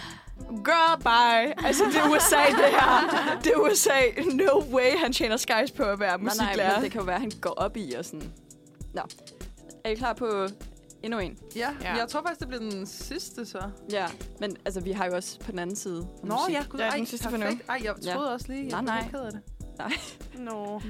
C: Girl, bye! Altså, det er USA, det her. Det er USA. No way, han tjener skies på at
D: Nej,
C: være
D: nej,
C: musiklærer.
D: men det kan jo være, at han går op i og sådan... Nå. Er I klar på endnu en?
B: Ja,
C: Ja.
B: ja, jeg tror faktisk, det bliver den sidste så.
D: Ja, men altså, vi har jo også på den anden side af
B: Nå
D: musik.
B: ja, gud,
C: Ja,
B: ej,
C: den sidste for nu.
B: perfekt. Ej, jeg
D: Ja.
B: troede også lige, jeg
D: Nej,
B: blev
D: nej.
B: lidt ked af det.
E: Nå.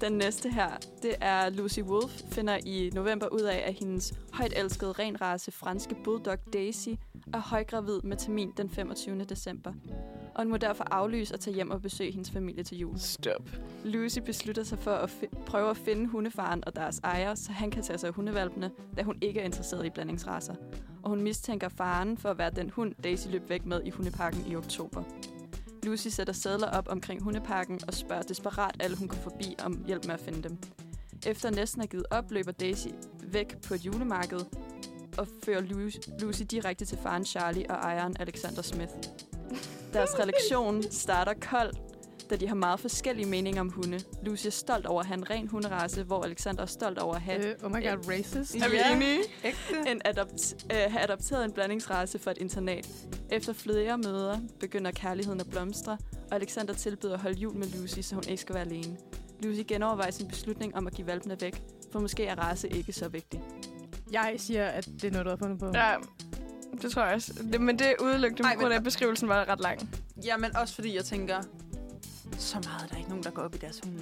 D: Den næste her, det er Lucy Wolf, finder i november ud af, at hendes højt elskede renrace franske bulldog Daisy er højgravid med termin den 25. december. Og hun må derfor aflyse og tage hjem og besøge hendes familie til jul.
C: Stop.
D: Lucy beslutter sig for at fi- prøve at finde hundefaren og deres ejer, så han kan tage sig af hundevalpene, da hun ikke er interesseret i blandingsraser. Og hun mistænker faren for at være den hund, Daisy løb væk med i hundeparken i oktober. Lucy sætter sædler op omkring hundeparken og spørger desperat alle, hun går forbi, om hjælp med at finde dem. Efter næsten er givet op, løber Daisy væk på et julemarked og fører Lu- Lucy direkte til faren Charlie og ejeren Alexander Smith. Deres relation starter kold, da de har meget forskellige meninger om hunde. Lucy er stolt over at have en ren hunderace, hvor Alexander er stolt over at have
B: Øh, oh my god, racist.
C: Er vi
D: Ja.
C: enige?
B: Ægte.
D: en adopt, øh, have adopteret en blandingsrace for et internat. Efter flere møder begynder kærligheden at blomstre, og Alexander tilbyder at holde jul med Lucy, så hun ikke skal være alene. Lucy genovervejer sin beslutning om at give valpene væk, for måske er race ikke så vigtig.
E: Jeg siger, at det er noget, du har fundet på.
C: Ja, det tror jeg også. Det, men det er udelukkende
B: Ej,
C: på
B: men-
C: grund af, at beskrivelsen var ret lang.
B: Ja, men også fordi jeg tænker, så meget er der ikke nogen, der går op i deres hunde.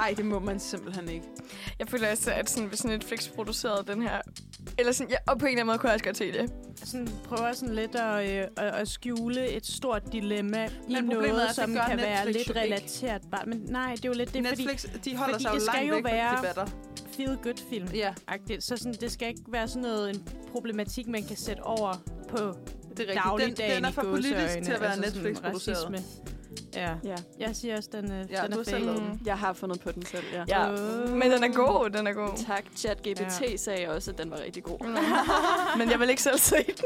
B: Ej, det må man simpelthen ikke.
C: Jeg føler også, at sådan, hvis sådan Netflix producerede den her... Eller sådan, ja, og på en eller anden måde kunne jeg også godt se det.
E: Altså, Sådan, prøver sådan lidt at, øh, at, at skjule et stort dilemma i
B: problemet er, at
E: noget,
B: det
E: som
B: gør
E: kan være
B: Netflix
E: lidt
B: jo ikke.
E: relateret. Bare. Men nej, det er jo lidt
B: Det
E: det,
B: er
E: er
B: Netflix, de holder
E: fordi
B: sig jo
E: det skal
B: langt
E: jo
B: væk
E: være-
B: fra debatter.
E: fordi feel-good-film.
B: Ja,
E: Så sådan, det skal ikke være sådan noget en problematik, man kan sætte over på
B: det er rigtigt. Den, den er for politisk til at være Netflix-produceret.
E: Ja,
D: Ja.
E: Altså jeg siger også, den, øh,
B: Ja,
E: den
B: du
E: er
B: har selv
E: fake.
B: lavet den.
C: Mm.
D: Jeg har fundet på den selv, ja. Mm.
C: Ja. Men den er god, den er [laughs] god.
D: Tak. ChatGPT ja. sagde også, at den var rigtig [laughs] god.
C: men jeg vil ikke selv se den.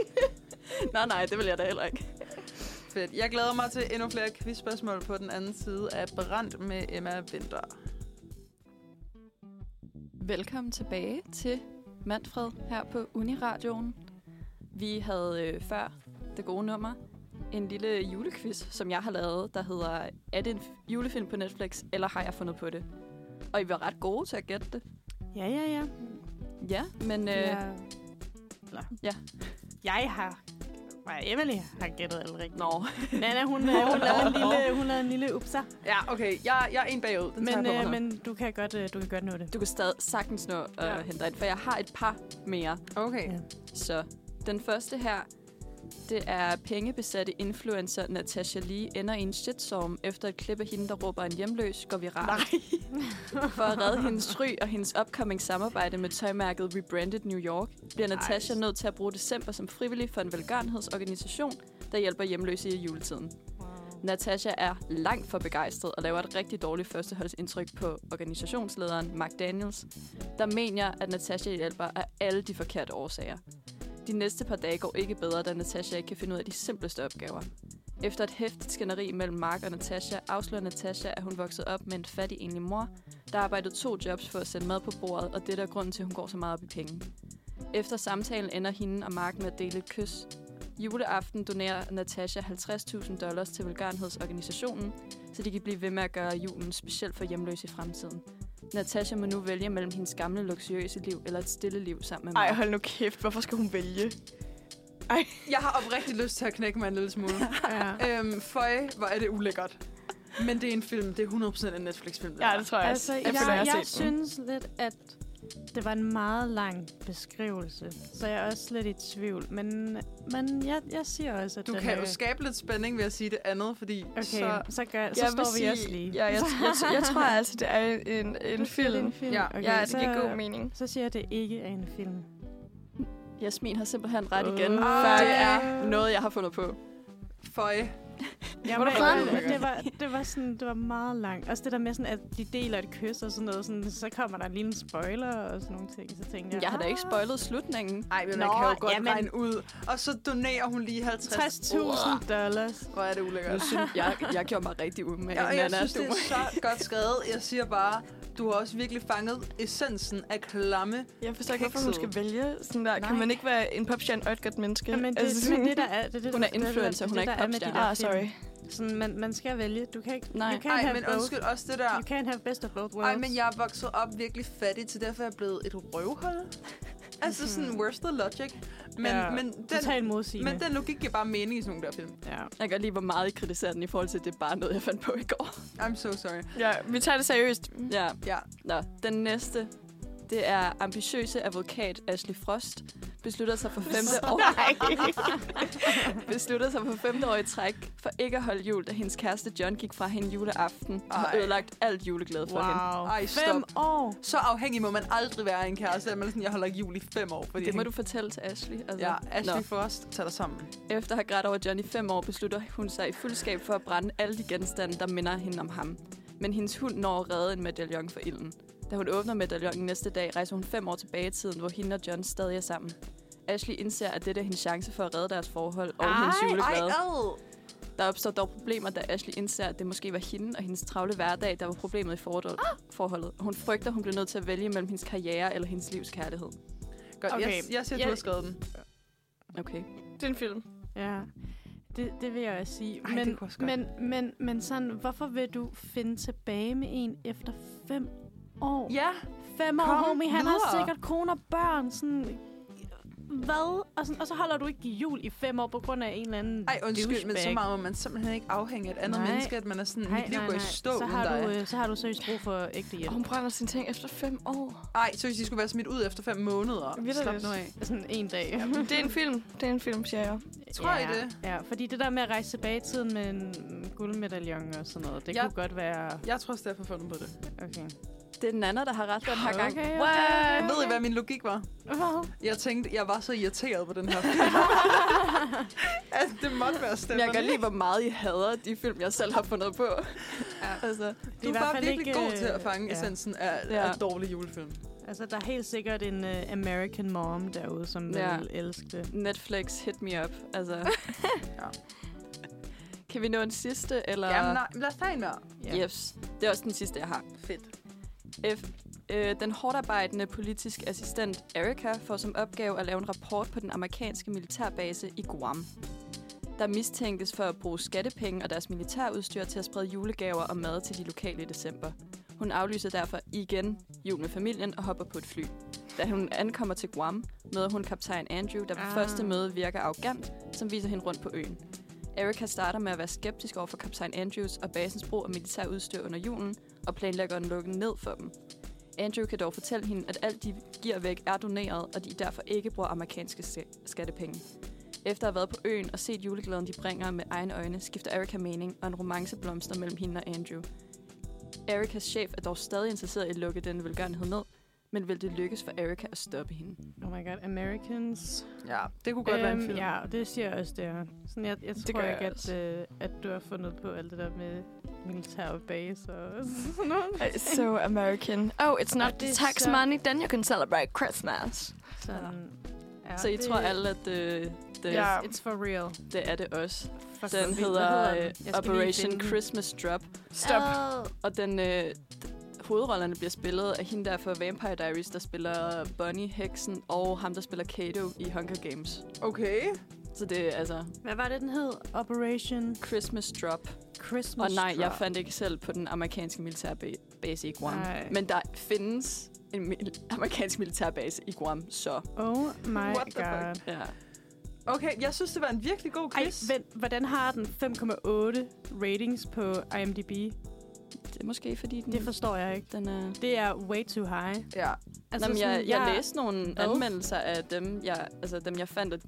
D: nej, nej, det vil jeg da heller ikke.
B: Fedt. Jeg glæder mig til endnu flere quizspørgsmål på den anden side af Brandt med Emma Winter.
D: Velkommen tilbage til Manfred her på Uniradioen. Vi havde øh, før det gode nummer en lille julequiz, som jeg har lavet, der hedder Er det en f- julefilm på Netflix, eller har jeg fundet på det? Og I var ret gode til at gætte det.
E: Ja, ja, ja.
D: Ja, men øh, ja.
E: Jeg- Eller,
D: ja.
E: Jeg har... Nej, Emily har gættet alt [laughs] rigtigt.
D: Nå,
E: Nana, hun, øh, hun, lavede en lille, hun lavede en lille upser.
B: Ja, okay. Jeg, jeg er en bagud. Den
E: Men,
B: tager jeg på
E: øh,
B: mig.
E: men du kan godt, øh, du kan godt nå det.
D: du kan stadig sagtens nå at ja.
E: Ja.
D: hente dig ind, for jeg har et par mere.
B: Okay.
E: Ja.
D: Så den første her, det er pengebesatte influencer Natasha Lee ender i en shitstorm efter et klip af hende, der råber en hjemløs, går viralt. Nej. For at redde hendes ry og hendes upcoming samarbejde med tøjmærket Rebranded New York, bliver Natasha nødt til at bruge december som frivillig for en velgørenhedsorganisation, der hjælper hjemløse i juletiden. Natasha er langt for begejstret og laver et rigtig dårligt førsteholdsindtryk på organisationslederen Mark Daniels, der mener, at Natasha hjælper af alle de forkerte årsager. De næste par dage går ikke bedre, da Natasha ikke kan finde ud af de simpleste opgaver. Efter et hæftigt skænderi mellem Mark og Natasha, afslører Natasha, at hun voksede op med en fattig enlig mor, der arbejdede to jobs for at sætte mad på bordet, og det er grunden til, at hun går så meget op i penge. Efter samtalen ender hende og Mark med at dele et kys. Juleaften donerer Natasha 50.000 dollars til velgørenhedsorganisationen, så de kan blive ved med at gøre julen specielt for hjemløse i fremtiden. Natasha må nu vælge mellem hendes gamle luksuriøse liv eller et stille liv sammen med Mark.
C: Ej, hold nu kæft. Hvorfor skal hun vælge? [laughs]
B: Jeg har oprigtigt lyst til at knække mig en lille smule.
E: Ja.
B: øhm, føj, hvor er det ulækkert. Men det er en film. Det er 100% en Netflix-film. det
C: Ja,
B: der.
C: det tror jeg også.
E: Altså, jeg,
C: jeg, føler, jeg,
E: jeg,
C: har
E: jeg
C: set den.
E: synes lidt, at det var en meget lang beskrivelse, så jeg er også lidt i tvivl. Men, men jeg, jeg siger også, at
B: Du
E: den
B: kan
E: er,
B: jo skabe lidt spænding ved at sige det andet, fordi
E: Okay,
B: så...
E: så, så, gør, så
C: Jeg vil
E: står vi
C: sige-
E: også lige.
C: Ja, jeg, jeg, jeg, [laughs] jeg tror altså, det er en, en
E: Du siger, [laughs] det er
C: film.
E: en film.
B: Ja,
E: okay,
C: Ja, det
E: så,
C: giver god mening.
E: Så siger jeg, at det ikke er en film.
D: Jasmin har simpelthen ret igen.
E: Åh.
D: Fuck er noget, jeg har fundet på.
B: Føj.
E: Ja,
C: Hvor er du
E: men,
B: fra?
E: øh, det, var, det var sådan, det var meget langt. Også det der med sådan, at de deler et kys og sådan noget, sådan, så kommer der lige en spoiler og sådan nogle ting. Så tænkte jeg,
D: Jeg har da ikke
E: ah,
D: spoilet slutningen.
B: Ej, men man
E: Nå,
B: kan jo godt
E: jamen.
B: regne ud. Og så donerer hun lige 50.
E: 60.000 dollars.
B: Hvor er det ulækkert.
D: Nu synes jeg, jeg gjorde mig rigtig umage. altså,
B: Ja, og jeg
D: Nana.
B: synes, det
D: Du-
B: er så godt skrevet. Jeg siger bare, du har også virkelig fanget essensen af klamme.
C: Jeg forstår ikke, hvorfor hun
B: Kikset.
C: skal vælge sådan der.
B: Nej.
C: Kan man ikke være en popstjerne og et godt menneske?
E: Ja, men det, altså, det, er det, der er, det, er det,
D: Hun er
E: det er det, der-
D: influencer,
E: det
D: hun er
E: det,
D: ikke
E: der med de
D: popstjerne.
E: der
C: Ah,
E: film.
C: sorry.
E: Sådan, man, man skal vælge. Du kan ikke...
D: Nej.
E: You can't
B: Ej,
E: have
B: men
E: both.
B: undskyld også det der.
E: You can't have best of both worlds.
B: Ej, men jeg er vokset op virkelig fattig, til derfor er jeg blevet et røvhul. altså sådan, where's the logic? Men,
E: Mhm. Ja,
B: men, den,
E: Total modsigende.
B: men den logik giver bare mening i sådan nogle der film.
E: Ja.
D: Jeg kan godt lide, hvor meget I kritiserer den i forhold til, at det er bare noget, jeg fandt på i går.
B: I'm so sorry.
C: Ja, vi tager det seriøst.
D: Ja.
B: Ja.
D: Nå, den næste. Det er ambitiøse advokat Ashley Frost beslutter sig for [laughs] femte år. beslutter sig for femte år i træk for ikke at holde jul, da hendes kæreste John gik fra hende juleaften og har
B: Ej.
D: ødelagt alt juleglæde for hende.
E: Wow.
B: Ej, stop.
E: Fem år.
B: Så afhængig må man aldrig være af en kæreste, at man er sådan, jeg holder ikke jul i fem år. Fordi
D: Det må
B: jeg
D: du fortælle til Ashley.
B: tænker,
D: Altså.
B: Ja, Ashley
D: Nå.
B: Frost, tag dig sammen.
D: Efter at have grædt over John i fem år, beslutter hun sig i fuldskab for at brænde alle de genstande, der minder hende om ham. Men hendes hund når at redde en medaljon for ilden. Da hun åbner medaljonen næste dag, rejser hun fem år tilbage i tiden, hvor hende og John stadig er sammen. Ashley indser, at dette er hendes chance for at redde deres forhold og hendes juleglade.
B: ad.
D: Der opstår dog problemer, da Ashley indser, at det måske var hende og hendes travle hverdag, der var problemet i forhold-
E: Ah!
D: forholdet. Hun frygter, hun bliver nødt til at vælge mellem hendes karriere eller hendes livs kærlighed.
B: Godt, okay. jeg,
E: Okay.
B: jeg siger, du
C: Jeg-
B: har skrevet den.
D: Okay.
C: Det er en film.
E: Ja. Det, det vil jeg også sige.
B: Mm-hmm. Ej, det
E: men,
B: kunne også godt.
E: men, men, men sådan, hvorfor vil du finde tilbage med en efter fem år?
B: Ja,
E: Fem år,
B: kom
E: homie. Han har
B: videre.
E: sikkert kone og børn. Sådan, hvad? Og, sådan, og så holder du ikke jul i fem år på grund af en eller anden
B: ej undskyld, men så
E: douchebag.
B: meget må man simpelthen ikke afhænge af et andet
E: Nej.
B: menneske, at man er sådan,
E: Nej,
B: mit liv
E: nej,
B: går i
E: nej.
B: stå
E: så
B: uden
E: har, du,
B: dig.
E: øh, så har du seriøst brug for ægte hjælp.
C: Og hun brænder sine ting efter fem år.
B: Ej, så hvis de skulle være smidt ud efter fem måneder.
C: Vildt
B: Slap
C: lidt.
B: nu af.
E: Sådan en dag.
C: Det er en film. Det er en film, siger jeg.
B: Tror I
E: ja.
B: det?
E: Ja, fordi det der med at rejse tilbage i tiden med en mm, guldmedaljon og sådan noget, det
B: Ja.
E: kunne godt være...
B: Jeg tror Steph har fundet på det.
E: Okay.
D: Det er den anden, der har ret den her gang.
E: Okay,
D: What?
B: Ved I, hvad min logik var?
E: Hvad?
B: Jeg tænkte, jeg var så irriteret på den her film. [laughs] at det måtte være
D: Men jeg
B: Stefan.
D: kan godt lide, hvor meget I hader de film, jeg selv har fundet på.
B: Ja.
D: altså,
B: Du er
E: i hvert
B: bare
E: fald
B: virkelig
E: ikke,
B: god til at
E: øh,
B: fange
E: ja.
B: essensen af,
D: Ja.
B: af dårlige julefilm.
E: Altså, der er helt sikkert en uh, American mom derude, som
D: Ja.
E: ja. vil elske det.
D: Netflix, hit me up. Altså.
B: [laughs]
D: ja. Kan vi nå en sidste? Eller?
B: Jamen nej, lad os tage en mere.
D: Ja. Yes. Det er også den sidste, jeg har.
B: Fedt.
D: F. Øh, den hårdarbejdende politisk assistent Erica får som opgave at lave en rapport på den amerikanske militærbase i Guam. Der mistænkes for at bruge skattepenge og deres militærudstyr til at sprede julegaver og mad til de lokale i december. Hun aflyser derfor igen jul med familien og hopper på et fly. Da hun ankommer til Guam, møder hun kaptajn Andrew, der ved ah.
E: Ah.
D: første møde virker arrogant, som viser hende rundt på øen. Erica starter med at være skeptisk over for kaptajn Andrews og basens brug af militærudstyr under julen, og planlægger at lukke ned for dem. Andrew kan dog fortælle hende, at alt de giver væk er doneret, og de derfor ikke bruger amerikanske se- skattepenge. Efter at have været på øen og set juleglæden, de bringer med egne øjne, skifter Erika mening, og en romance blomster mellem hende og Andrew. Erikas chef er dog stadig interesseret i at lukke denne velgørenhed ned, men vil det lykkes for Erika at stoppe hende?
E: Oh my god, Americans.
B: Ja, det kunne godt øhm, være en film. Ja.
E: ja, det siger jeg også, det er. Sådan, jeg, jeg
C: Det
E: tror
C: gør jeg
E: ikke, at,
C: også.
E: øh, at du har fundet på alt det der med militær og base og sådan noget.
C: It's so American. Oh, it's
E: Og
C: not
E: det
C: the
E: er
C: tax
E: så-
C: money, then you can celebrate Christmas.
E: Sådan, ja,
D: Så I
E: det-
D: tror alle, at øh, det,
C: Ja.
E: It's for real.
D: det er det også.
E: For
D: Den hedder øh, Operation Christmas Drop,
C: Stop.
D: og den, øh, d- hovedrollerne bliver spillet af hende der fra Vampire Diaries, der spiller Bonnie, Heksen, og ham, der spiller Kato i Hunger Games.
B: Okay.
D: Så det er altså
E: Hvad var det, den hed? Operation
D: Christmas Drop.
E: Christmas
D: Og nej, jeg
E: Drop.
D: fandt ikke selv på den amerikanske militærbase i Guam.
E: Ej.
D: Men der findes en mil- amerikansk militærbase i Guam, så
E: Oh my
B: What the fuck?
E: god.
D: ja.
B: Okay, jeg synes, det var en virkelig god
E: Ej,
B: quiz.
E: vent, hvordan har den 5,8 ratings på IMDb?
D: Det er måske fordi, den,
E: Det forstår jeg ikke.
D: den er...
E: Det er way too high.
B: Ja.
D: Altså, Jamen, jeg, jeg,
E: sådan,
D: jeg læste nogle
E: Hvad?
D: anmeldelser af dem, jeg, altså, dem, jeg fandt, at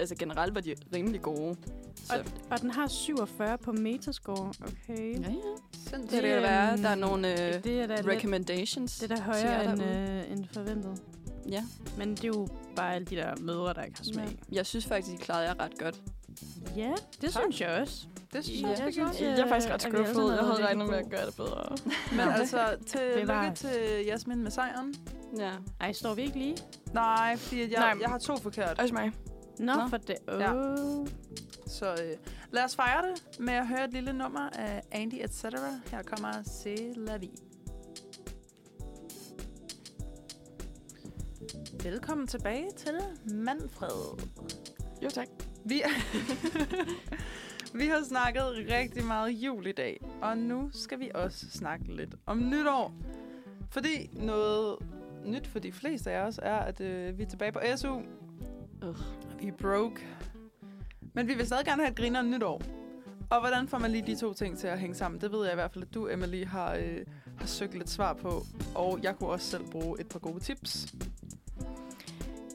D: altså, generelt var de rimelig gode. Så,
E: Og den har 47 på Metascore. Okay.
D: ja, ja.
B: Sindssygt.
D: Så det kan
E: øhm,
D: være, at der er nogle øh,
E: Det er da lidt,
D: recommendations.
E: det er da
D: til jer
E: højere end,
D: derude.
E: øh, end forventet.
D: Ja.
E: Men det er jo bare alle de der mødre, der ikke har smag.
D: Jeg synes faktisk, de klarede jer ret godt.
E: Ja, det
B: Tak.
E: synes jeg også.
B: Det synes
D: Ja,
B: jeg også, vi gjorde.
E: synes
C: Jeg er faktisk ret
E: at vi også har
C: skuffet. øh, Jeg
E: lavet
C: havde
E: rigtig
C: regnet med
E: god-
C: at gøre det bedre.
B: Men altså, til, lykke
E: Bevares.
B: til Jasmin med sejren.
D: Ja.
E: Ej, står vi ikke lige?
B: Nej, fordi at jeg,
C: Nej,
B: Nej.
C: men-
B: jeg har to forkert.
C: Også mig.
E: Nå,
D: Nå.
E: Nå. for det. Oh.
B: Ja.
E: Ja.
B: Så øh, lad os fejre det med at høre et lille nummer af Andy etc. Her kommer C'est la vie. Velkommen tilbage til Manfred.
C: Jo, tak.
B: Vi, [laughs] vi har snakket rigtig meget jul i dag, og nu skal vi også snakke lidt om nytår. Fordi noget nyt for de fleste af os er, at øh, vi er tilbage på SU.
D: Ugh.
B: Vi er broke. Men vi vil stadig gerne have et griner nytår. Og hvordan får man lige de to ting til at hænge sammen? Det ved jeg i hvert fald, at du, Emily, har, øh, har søgt lidt svar på. Og jeg kunne også selv bruge et par gode tips.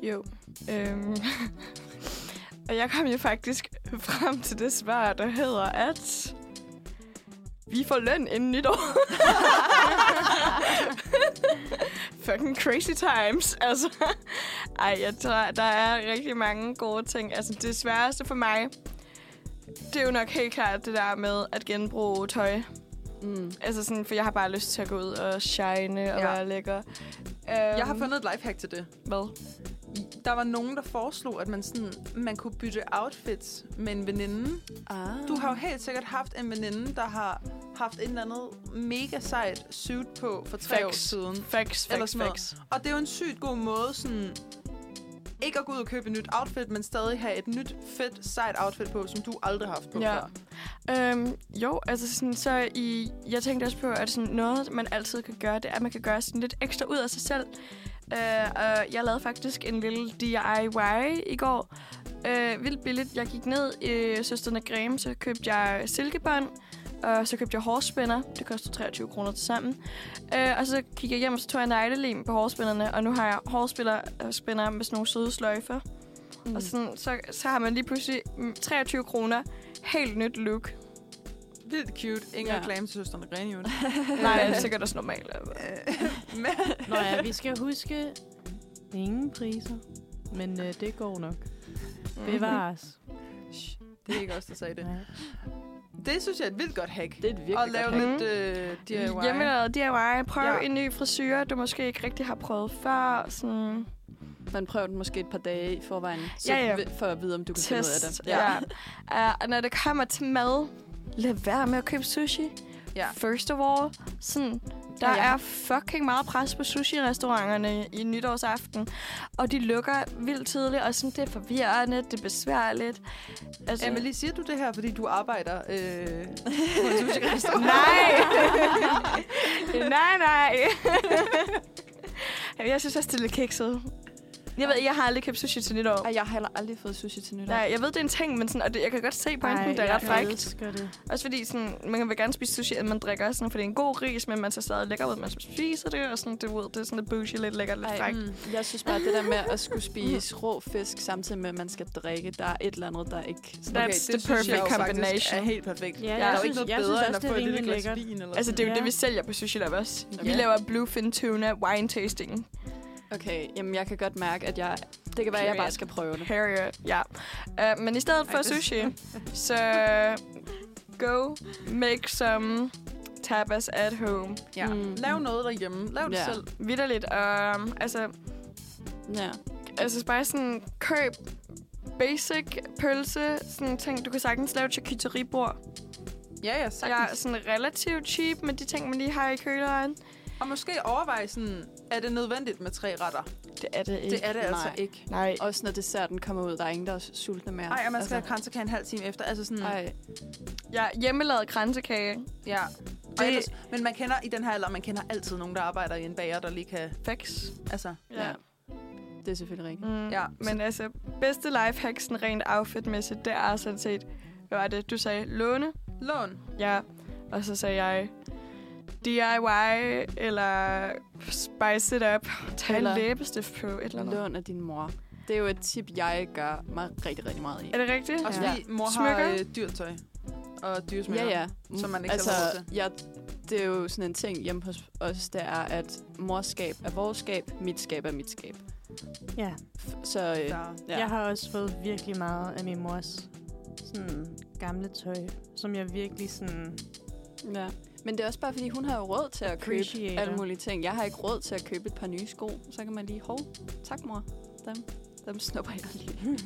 C: Jo. Øhm. [laughs] og jeg kom jo faktisk frem til det svar, der hedder, at vi får løn inden nytår. [laughs] Fucking crazy times, altså. Ej, jeg tror, der er rigtig mange gode ting. Altså, det sværeste for mig, det er jo nok helt klart det der med at genbruge tøj.
D: Mm.
C: Altså sådan, for jeg har bare lyst til at gå ud og shine og
B: Ja.
C: ja. være lækker. Um,
B: Jeg har fundet et lifehack til det.
C: Hvad?
B: Der var nogen, der foreslog, at man, sådan, man kunne bytte outfits med en veninde.
D: Ah.
B: Du har jo helt sikkert haft en veninde, der har haft et eller andet mega sejt suit på for tre
C: Facts.
B: år siden.
C: Facts,
B: Eller
C: facts,
B: sådan noget.
C: facts.
B: Og det er jo en sygt god måde sådan, ikke at gå ud og købe et nyt outfit, men stadig have et nyt, fedt, sejt outfit på, som du aldrig har haft på
C: Ja.
B: før.
C: Øhm, jo, altså sådan, så i, jeg tænkte også på, at sådan noget, man altid kan gøre, det er, at man kan gøre sådan lidt ekstra ud af sig selv. Øh, og jeg lavede faktisk en lille DIY i går. Øh, vildt billigt. Jeg gik ned i Søsterne Greme, så købte jeg silkebånd, og så købte jeg hårspænder. Det kostede 23 kroner til sammen. Øh, og så gik jeg hjem, og så tog jeg neglelim på hårspænderne, og nu har jeg hårspænder spænder med sådan nogle søde sløjfer. Mm. Og [laughs] sådan, så, så har man lige pludselig mm, 23 kroner helt nyt look.
B: Vildt cute. Ingen
D: Ja.
B: ja. reklame til søsterne Grenion.
D: [laughs]
C: Nej, det er sikkert også normalt. altså. eller
B: Øh,
C: hvad?
B: men
E: Nå ja, vi skal huske ingen priser. Men øh, det går nok.
D: Mm.
E: Bevares.
B: [laughs] Shh, det er ikke os, der sagde det.
E: Nej.
B: Det synes jeg er et vildt godt hack.
D: Det er et virkelig
B: At lave
D: godt hack. Mm.
B: lidt øh, DIY.
C: Hjemmelavet DIY. Prøv
B: Ja.
C: ja. en ny frisyr, du måske ikke rigtig har prøvet før. Sådan
D: Man prøver den måske et par dage i forvejen, så
C: Ja, ja.
D: vi- for at vide, om du kan finde ud af
C: test.
D: det.
C: Ja. ja. Uh, og når det kommer til mad, lad være med at købe sushi.
B: Ja.
C: First of all, sådan, der
D: Ja,
C: ja,
D: ja.
C: ja. er fucking meget pres på sushi-restauranterne i nytårsaften. Og de lukker vildt tidligt, og sådan, det er forvirrende, det er besværligt. Altså,
B: Emily, siger du det her, fordi du arbejder øh, på en
C: Mm.
B: sushi-restaurant?
C: Nej! nej, nej. Jamen, jeg synes også, det er lidt kikset. Jeg ved, jeg har aldrig købt sushi til nytår.
D: Ej, jeg har heller aldrig fået sushi til nytår.
C: Nej, jeg ved, det er en ting, men sådan, og det, jeg kan godt se pointen, det er ret
E: jeg
C: frækt.
E: elsker det.
C: Også fordi sådan, man vil gerne spise sushi, at man drikker sådan, for det er en god ris, men man ser stadig lækker ud, man spiser det, og sådan, det, ved, det er sådan lidt bougie, lidt lækkert, lidt
D: Ej,
C: frækt.
B: Mm.
D: Jeg synes bare, at det der med at skulle spise rå fisk, samtidig med, at man skal drikke, der er et eller andet, der ikke...
C: That's
B: det
C: the
B: synes jeg
C: perfect
B: jo faktisk
C: combination.
B: er helt perfekt.
E: Ja,
B: Der er
E: jeg
B: jo ikke
E: synes-
B: noget
E: jeg
B: bedre,
E: synes
B: end
E: også,
B: at
E: det
B: få
E: er
B: et lille
E: rimelig
B: glas
E: lækkert.
B: vin. Eller
C: Altså, det er jo
E: Ja.
C: ja. det, vi sælger på Sushi Lab også. Vi
D: Ja.
C: laver bluefin tuna wine tasting.
D: Okay, jamen jeg kan godt mærke, at jeg... Det kan være, at jeg bare skal prøve det.
C: Harrier, ja. Uh, men i stedet for
B: det-
C: sushi, så go make some tapas at home.
B: Ja.
D: Mm.
B: Lav noget derhjemme. Lav det
D: Ja.
B: selv.
C: Vitterligt. Og, altså,
D: Ja.
C: altså bare sådan, køb basic pølse, sådan ting. Du kan sagtens lave et charcuteriebord.
B: Ja, ja,
C: Jeg er
B: sagtens.
C: sådan relativt cheap med de ting, man lige har i køleren.
B: Og måske overveje sådan, er det nødvendigt med tre retter?
C: Det er det ikke.
B: Det er det altså
D: Nej.
B: ikke.
C: Nej.
D: Også når desserten kommer ud, der er ingen, der er sultne mere. Altså.
B: Ej, og man skal have kransekage en halv time efter. Altså sådan,
D: Ej,
C: Ja, hjemmelavet kransekage.
B: ja.
C: Det-
B: Det... Ellers, men man kender i den her alder, man kender altid nogen, der arbejder i en bager, der lige kan...
C: Facts.
B: Altså,
C: Ja.
D: Det er selvfølgelig rigtigt.
C: Mm,
B: Ja.
C: Men altså, bedste lifehack sådan rent outfitmæssigt, det er sådan set, hvad var det, du sagde, låne?
B: Lån.
C: Ja. Og så sagde jeg, DIY eller spice it up. Tag en
D: Eller-
C: læbestift på et eller andet.
D: Lån af din mor. Det er jo et tip, jeg gør mig rigtig, rigtig meget i.
C: Er det rigtigt?
B: Og
D: Ja.
B: fordi mor
C: Smykker?
B: har øh, dyrt tøj. Og dyre smykker.
D: Ja, ja.
B: som man ikke
D: altså,
B: selv har råd til.
D: jeg, det er jo sådan en ting hjemme hos os, der er, at morskab er vores skab, mit skab er mit skab.
E: Ja.
D: F- Så øh, ja.
B: Der-
E: Jeg har også fået virkelig meget af min mors sådan, gamle tøj, som jeg virkelig sådan...
D: ja. Men det er også bare, fordi hun har jo råd til at købe
E: Appreciater.
D: alle mulige ting. Jeg har ikke råd til at købe et par nye sko. Så kan man lige, hov, tak mor, dem, dem snupper jeg lige.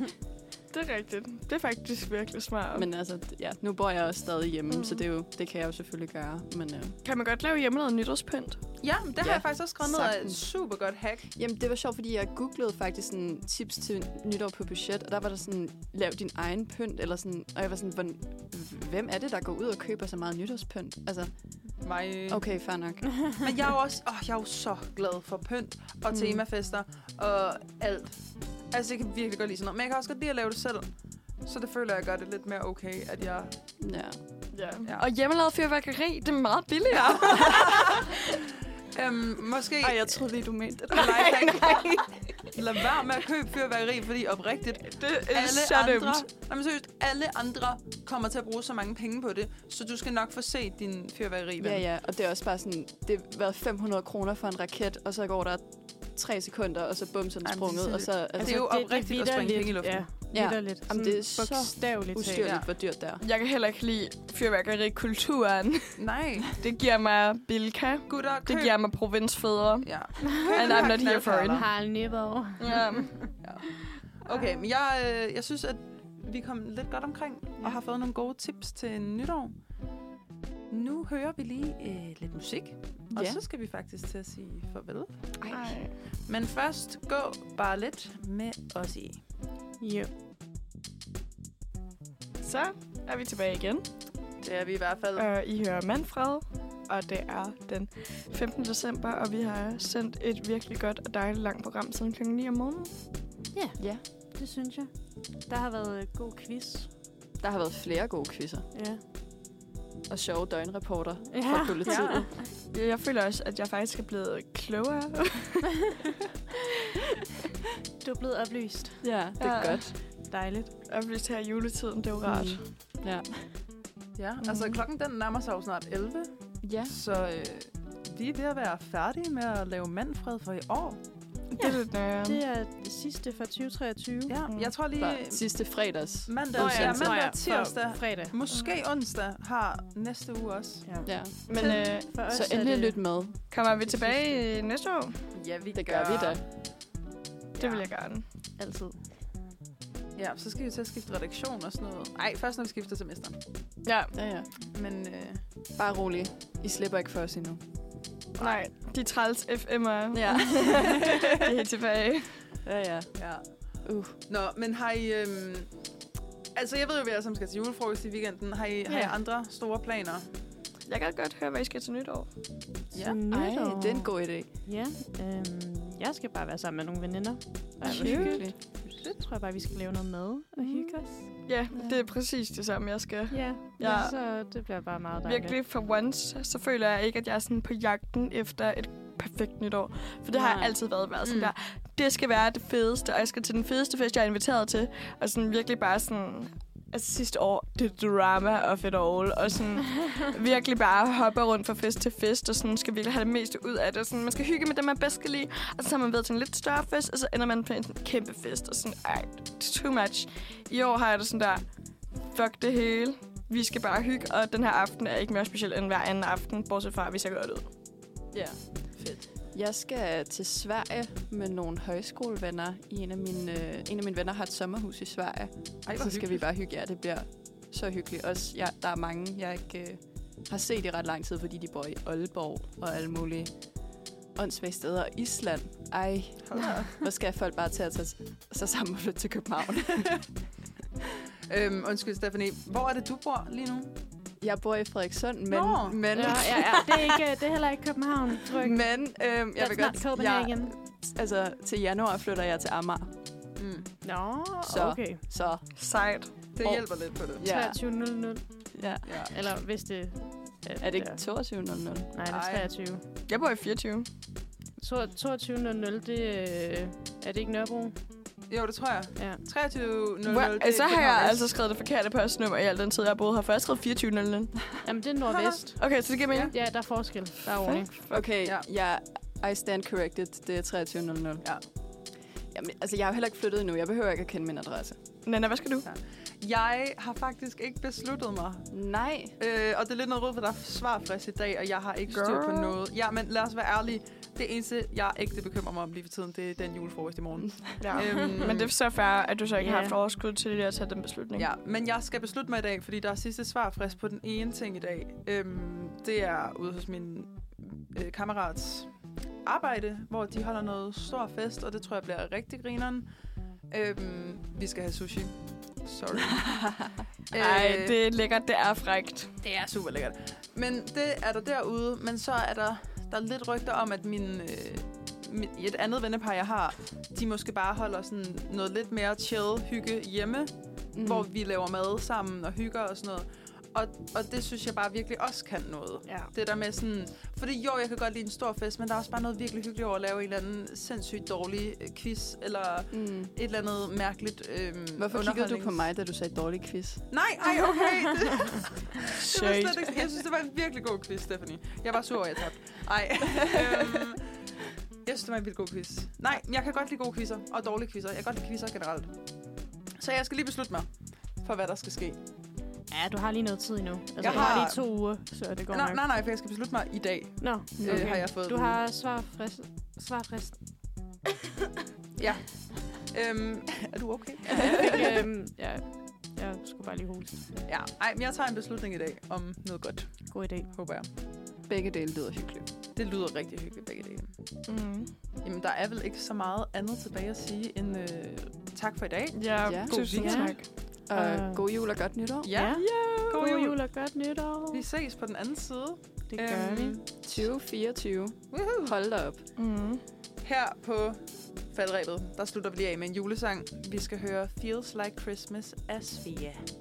C: Det er rigtigt. Det er faktisk virkelig smart. Men
D: Men altså, d- ja, nu bor jeg også stadig hjemme,
C: Mm.
D: mm. så det, er jo, det kan jeg jo selvfølgelig gøre. Men øh,
C: kan man godt lave hjemmelavet nytårspynt?
B: Ja, men det har
D: Ja,
B: jeg faktisk også skrevet ned af.
D: sagtens.
B: Super godt hack.
D: Jamen, det var sjovt, fordi jeg googlede faktisk sådan, tips til nytår på budget, og der var der sådan, lav din egen pynt, eller sådan, og jeg var sådan, "Hvordan- hvem er det, der går ud og køber så meget nytårspynt? Altså,
B: Mig.
C: øh.
D: okay, fair [laughs] nok.
B: Men jeg er jo også åh, jeg er jo så glad for pynt og
D: Mm.
B: temafester og alt. Altså, jeg kan virkelig godt lide sådan noget. Men jeg kan også godt lide at lave det selv. Så det føler jeg gør det lidt mere okay, at jeg...
D: Ja.
C: Ja.
B: Ja.
C: Og hjemmelavet fyrværkeri, det er meget [laughs] billigere.
B: Øhm, måske
D: Ej,
B: [laughs]
D: jeg troede lige, du mente det.
B: nej, nej. lad være med at købe fyrværkeri, fordi oprigtigt,
C: Det er
B: alle
C: så
B: andre,
C: dumt.
B: nej, men seriøst, alle andre kommer til at bruge så mange penge på det, så du skal nok få set din fyrværkeri.
D: Ja, ja, og det er også bare sådan, det har været 500 kroner for en raket, og så går der tre sekunder, og så bum, så er den
B: Ej, men det er
D: sprunget, og så... Altså,
B: det er jo oprigtigt at springe
E: vitterligt-
B: penge i luften.
E: Ja,
D: Ja.
E: ja. Lidt.
D: Jamen, det er så
E: bogstaveligt talt.
D: ustyrligt,
B: Ja.
D: hvor dyrt det er.
C: Jeg kan heller ikke lide fyrværkerikulturen.
B: Nej,
C: Det giver mig bilka.
B: gutter, køb.
C: Det giver mig provinsfædre.
B: Ja.
C: And I'm not here for it.
E: Harald Nyborg.
C: Ja.
B: Okay, men jeg, øh, jeg synes, at vi kom lidt godt omkring og har fået nogle gode tips til nytår. Nu hører vi lige øh, lidt musik, og
D: Ja.
B: så skal vi faktisk til at sige farvel.
D: Ej.
B: Men først gå bare lidt med os i.
E: Jo.
C: Så er vi tilbage igen.
B: Det er vi i hvert fald.
C: Og I hører Manfred, og det er den 15. december, og vi har sendt et virkelig godt og dejligt langt program siden kl. 9 om morgenen.
D: Ja,
E: Det synes jeg. Der har været øh, god quiz.
D: der har været flere gode quizzer
E: Ja.
D: og sjove døgnreporter fra
E: Ja.
D: politiet.
B: Ja.
C: Jeg føler også, at jeg faktisk er blevet klogere. [laughs]
E: Du er blevet oplyst.
D: Ja, det er
C: Ja.
D: godt.
E: Dejligt.
C: og vi tager juletiden, det er jo rart. Mm.
D: Mm. Ja.
B: Ja, altså klokken den nærmer sig jo snart 11,
D: ja.
B: så øh, vi er ved at være færdige med at lave mandfred for i år.
C: Det er lidt nøjeren.
E: Det er det sidste fra 2023.
B: Ja,
C: Mm.
B: jeg tror lige
D: Fra sidste fredags.
B: mandag,
D: Nå ja,
B: Mm-hmm. ja,
D: nå
B: mandag og tirsdag,
E: For fredag.
B: måske onsdag har næste uge også.
E: Ja.
D: Ja.
C: Men øh,
E: For os
D: Så
E: er
D: endelig
E: det-
D: lyt med.
C: kommer vi tilbage øh, næste år?
B: Ja, vi
D: Det gør vi da.
C: Det vil jeg gerne.
E: Altid.
B: Ja, så skal vi til at skifte redaktion og sådan noget. Nej, først når vi skifter semester.
C: Ja,
D: Ja, ja.
B: Men øh,
D: Bare rolig. I slipper ikke for os endnu.
C: nej, de træls FM'er,
D: [laughs]
C: [laughs]
D: Ja.
C: de er tilbage.
D: ja, ja.
B: ja.
D: Uh.
B: Nå, men har I... Øhm, altså, jeg ved jo, at vi alle sammen skal til julefrokost i weekenden. Har I, ja. har I
C: Ja.
B: andre store planer?
C: Jeg kan godt høre, hvad I skal til nytår.
B: Ja.
D: Ej, det er en god idé.
E: Ja. Øhm, jeg skal bare være sammen med nogle veninder.
D: Ej, hvor
E: hygge.
D: hyggeligt.
E: Det tror jeg bare, vi skal lave noget mad og hygge os.
C: Ja,
D: Ja.
C: det er præcis det samme, jeg skal.
E: Ja.
C: Ja.
E: ja. Så det bliver bare meget dejligt.
C: Virkelig, for once, så føler jeg ikke, at jeg er sådan på jagten efter et perfekt nytår. For det har jeg
D: Nej.
C: altid været, været sådan
B: Mm.
C: der. Det skal være det fedeste, og jeg skal til den fedeste fest, jeg er inviteret til. Og sådan virkelig bare sådan... Altså sidste år, det drama of it all. Og sådan virkelig bare hoppe rundt fra fest til fest, og sådan skal virkelig have det meste ud af det. Og sådan, man skal hygge med dem, man bedst kan lide. Og så har man været til en lidt større fest, og så ender man på en sådan kæmpe fest. Og sådan, ej, det er too much. I år har jeg det sådan der, fuck det hele. Vi skal bare hygge, og den her aften er ikke mere speciel end hver anden aften, bortset fra, hvis jeg gør det ud.
D: Ja. Fedt. Jeg skal til Sverige med nogle højskolevenner. I en, af mine, øh, en af mine venner har et sommerhus i Sverige.
B: Ej,
D: så skal vi bare hygge jer. Det bliver så hyggeligt. Også, ja, der er mange, jeg ikke øh, har set i ret lang tid, fordi de bor i Aalborg og alle mulige åndssvage steder. Og Island. Ej, hvor skal folk bare til at tage sig sammen og flytte til København.
B: øhm, undskyld, Stephanie. Hvor er det, du bor lige nu?
D: [laughs] Jeg bor i Frederikssund, men...
B: Nå.
D: men
E: Ja, ja, ja. Det er, ikke, det er heller ikke København, tror jeg.
D: [laughs] Men øhm, jeg vil
E: That's not
D: godt, jeg
E: Copenhagen.
D: altså, til januar flytter jeg til Amager.
B: Mm.
E: Nå,
D: Så.
E: okay.
D: Så
C: Sejt.
B: Det
D: Og-
B: hjælper lidt på det.
D: ja,
E: 23.00.
D: ja.
B: Ja.
E: Eller hvis det... øh,
D: Er det ikke 22.00?
E: Nej, det
B: Ej.
E: er 23.
C: Jeg bor i 24.
E: To- 22.00, det øh, er det ikke Nørrebro?
B: Jo, det tror jeg.
E: Ja.
B: 23.00.
C: Well,
B: det
C: så
B: er
C: har jeg
B: København
C: altså skrevet det forkerte postnummer i al den tid, jeg har boet her. For jeg har skrevet 24.00.
E: Jamen, det er
D: [laughs]
E: Nordvest.
C: Okay, så det giver mening.
E: Ja, der er forskel. Der er ordning.
D: Okay,
B: Ja.
D: ja. jeg, I stand corrected. Det er 23.00.
B: Ja.
D: Jamen, altså, jeg har jo heller ikke flyttet endnu. Jeg behøver ikke at kende min adresse.
C: Nana, hvad skal du?
B: Vest. Jeg har faktisk ikke besluttet mig.
D: Nej.
B: Øh, og det er lidt noget råd, for der er svarfrist i dag, og jeg har ikke styr på
D: Girl.
B: noget. Ja, men lad os være ærlige. Det eneste, jeg ægte bekymrer mig om lige for tiden, det er den julefrokost i morgen.
C: Ja.
B: Øhm.
C: [laughs] Men det er så fair, at du så ikke har
E: Ja.
C: haft overskud til at tage den beslutning.
B: Ja, men jeg skal beslutte mig i dag, fordi der er sidste svarfrist på den ene ting i dag. Øhm, det er ude hos min øh, kammerats arbejde, hvor de holder noget stor fest, og det tror jeg bliver rigtig grineren. Øhm, vi skal have sushi. Sorry.
C: [laughs] Ej,
B: Øh,
C: det er lækkert, det er frægt.
B: Det er super lækkert. Men det er der derude, men så er der, der er lidt rygter om, at min, øh, min, et andet vennepar, jeg har, de måske bare holder sådan noget lidt mere chill hygge hjemme, mm.
D: Mm.
B: hvor vi laver mad sammen og hygger og sådan noget. Og, og det synes jeg bare virkelig også kan noget.
E: Ja.
B: Det der med sådan... Fordi jo, jeg kan godt lide en stor fest, men der er også bare noget virkelig hyggeligt over at lave en eller anden sindssygt dårlig øh, quiz, eller et
D: Mm.
B: eller andet mærkeligt øhm,
D: Hvorfor kiggede du på
B: underholdnings-
D: mig, da du sagde dårlig quiz?
B: Nej, ej,
D: [laughs]
B: okay. Det, Det var
C: Shit.
B: slet ikke, jeg synes, det var en virkelig god quiz, Stephanie. Jeg var sur over, at jeg tabte. Ej. øhm, jeg synes, det var en vildt god quiz. Nej, men jeg kan godt lide gode quizzer og dårlige quizzer. Jeg kan godt lide quizzer generelt. Så jeg skal lige beslutte mig for, hvad der skal ske.
E: Ja, du har lige noget tid endnu. Altså,
B: Jeg
E: jeg har...
B: har-
E: lige to uger, så det går
B: Nej,
E: nok.
B: nej, nej, for jeg skal beslutte mig i dag,
E: Nå,
B: okay. øh, har jeg fået.
E: du
B: at
E: har svarfrist. svarfrist.
B: [laughs] vide. Øhm, [laughs] er du okay?
E: Ja, jeg, fik, øhm, ja, jeg skulle bare lige holde.
B: Ja, ej, men jeg tager en beslutning i dag om noget godt,
E: God idé.
B: håber jeg.
D: Begge dele lyder hyggeligt.
B: Det lyder rigtig hyggeligt begge dele.
C: Mm.
B: Jamen, der er vel ikke så meget andet tilbage at sige end øh, tak for i dag.
C: Ja,
D: Ja.
C: ja,
B: God
C: tusind
B: weekend.
C: tak.
D: Og
E: Øh.
D: god jul og godt nytår.
B: Ja,
E: Ja.
B: god,
E: God
B: jul.
E: jul og godt nytår.
B: Vi øhm, ses på den anden side.
E: Det gør vi.
D: 2024.
B: Woohoo.
D: Hold da op.
C: Mm.
B: Her på faldrebet, der slutter vi lige af med en julesang. Vi skal høre Feels Like Christmas af Svea.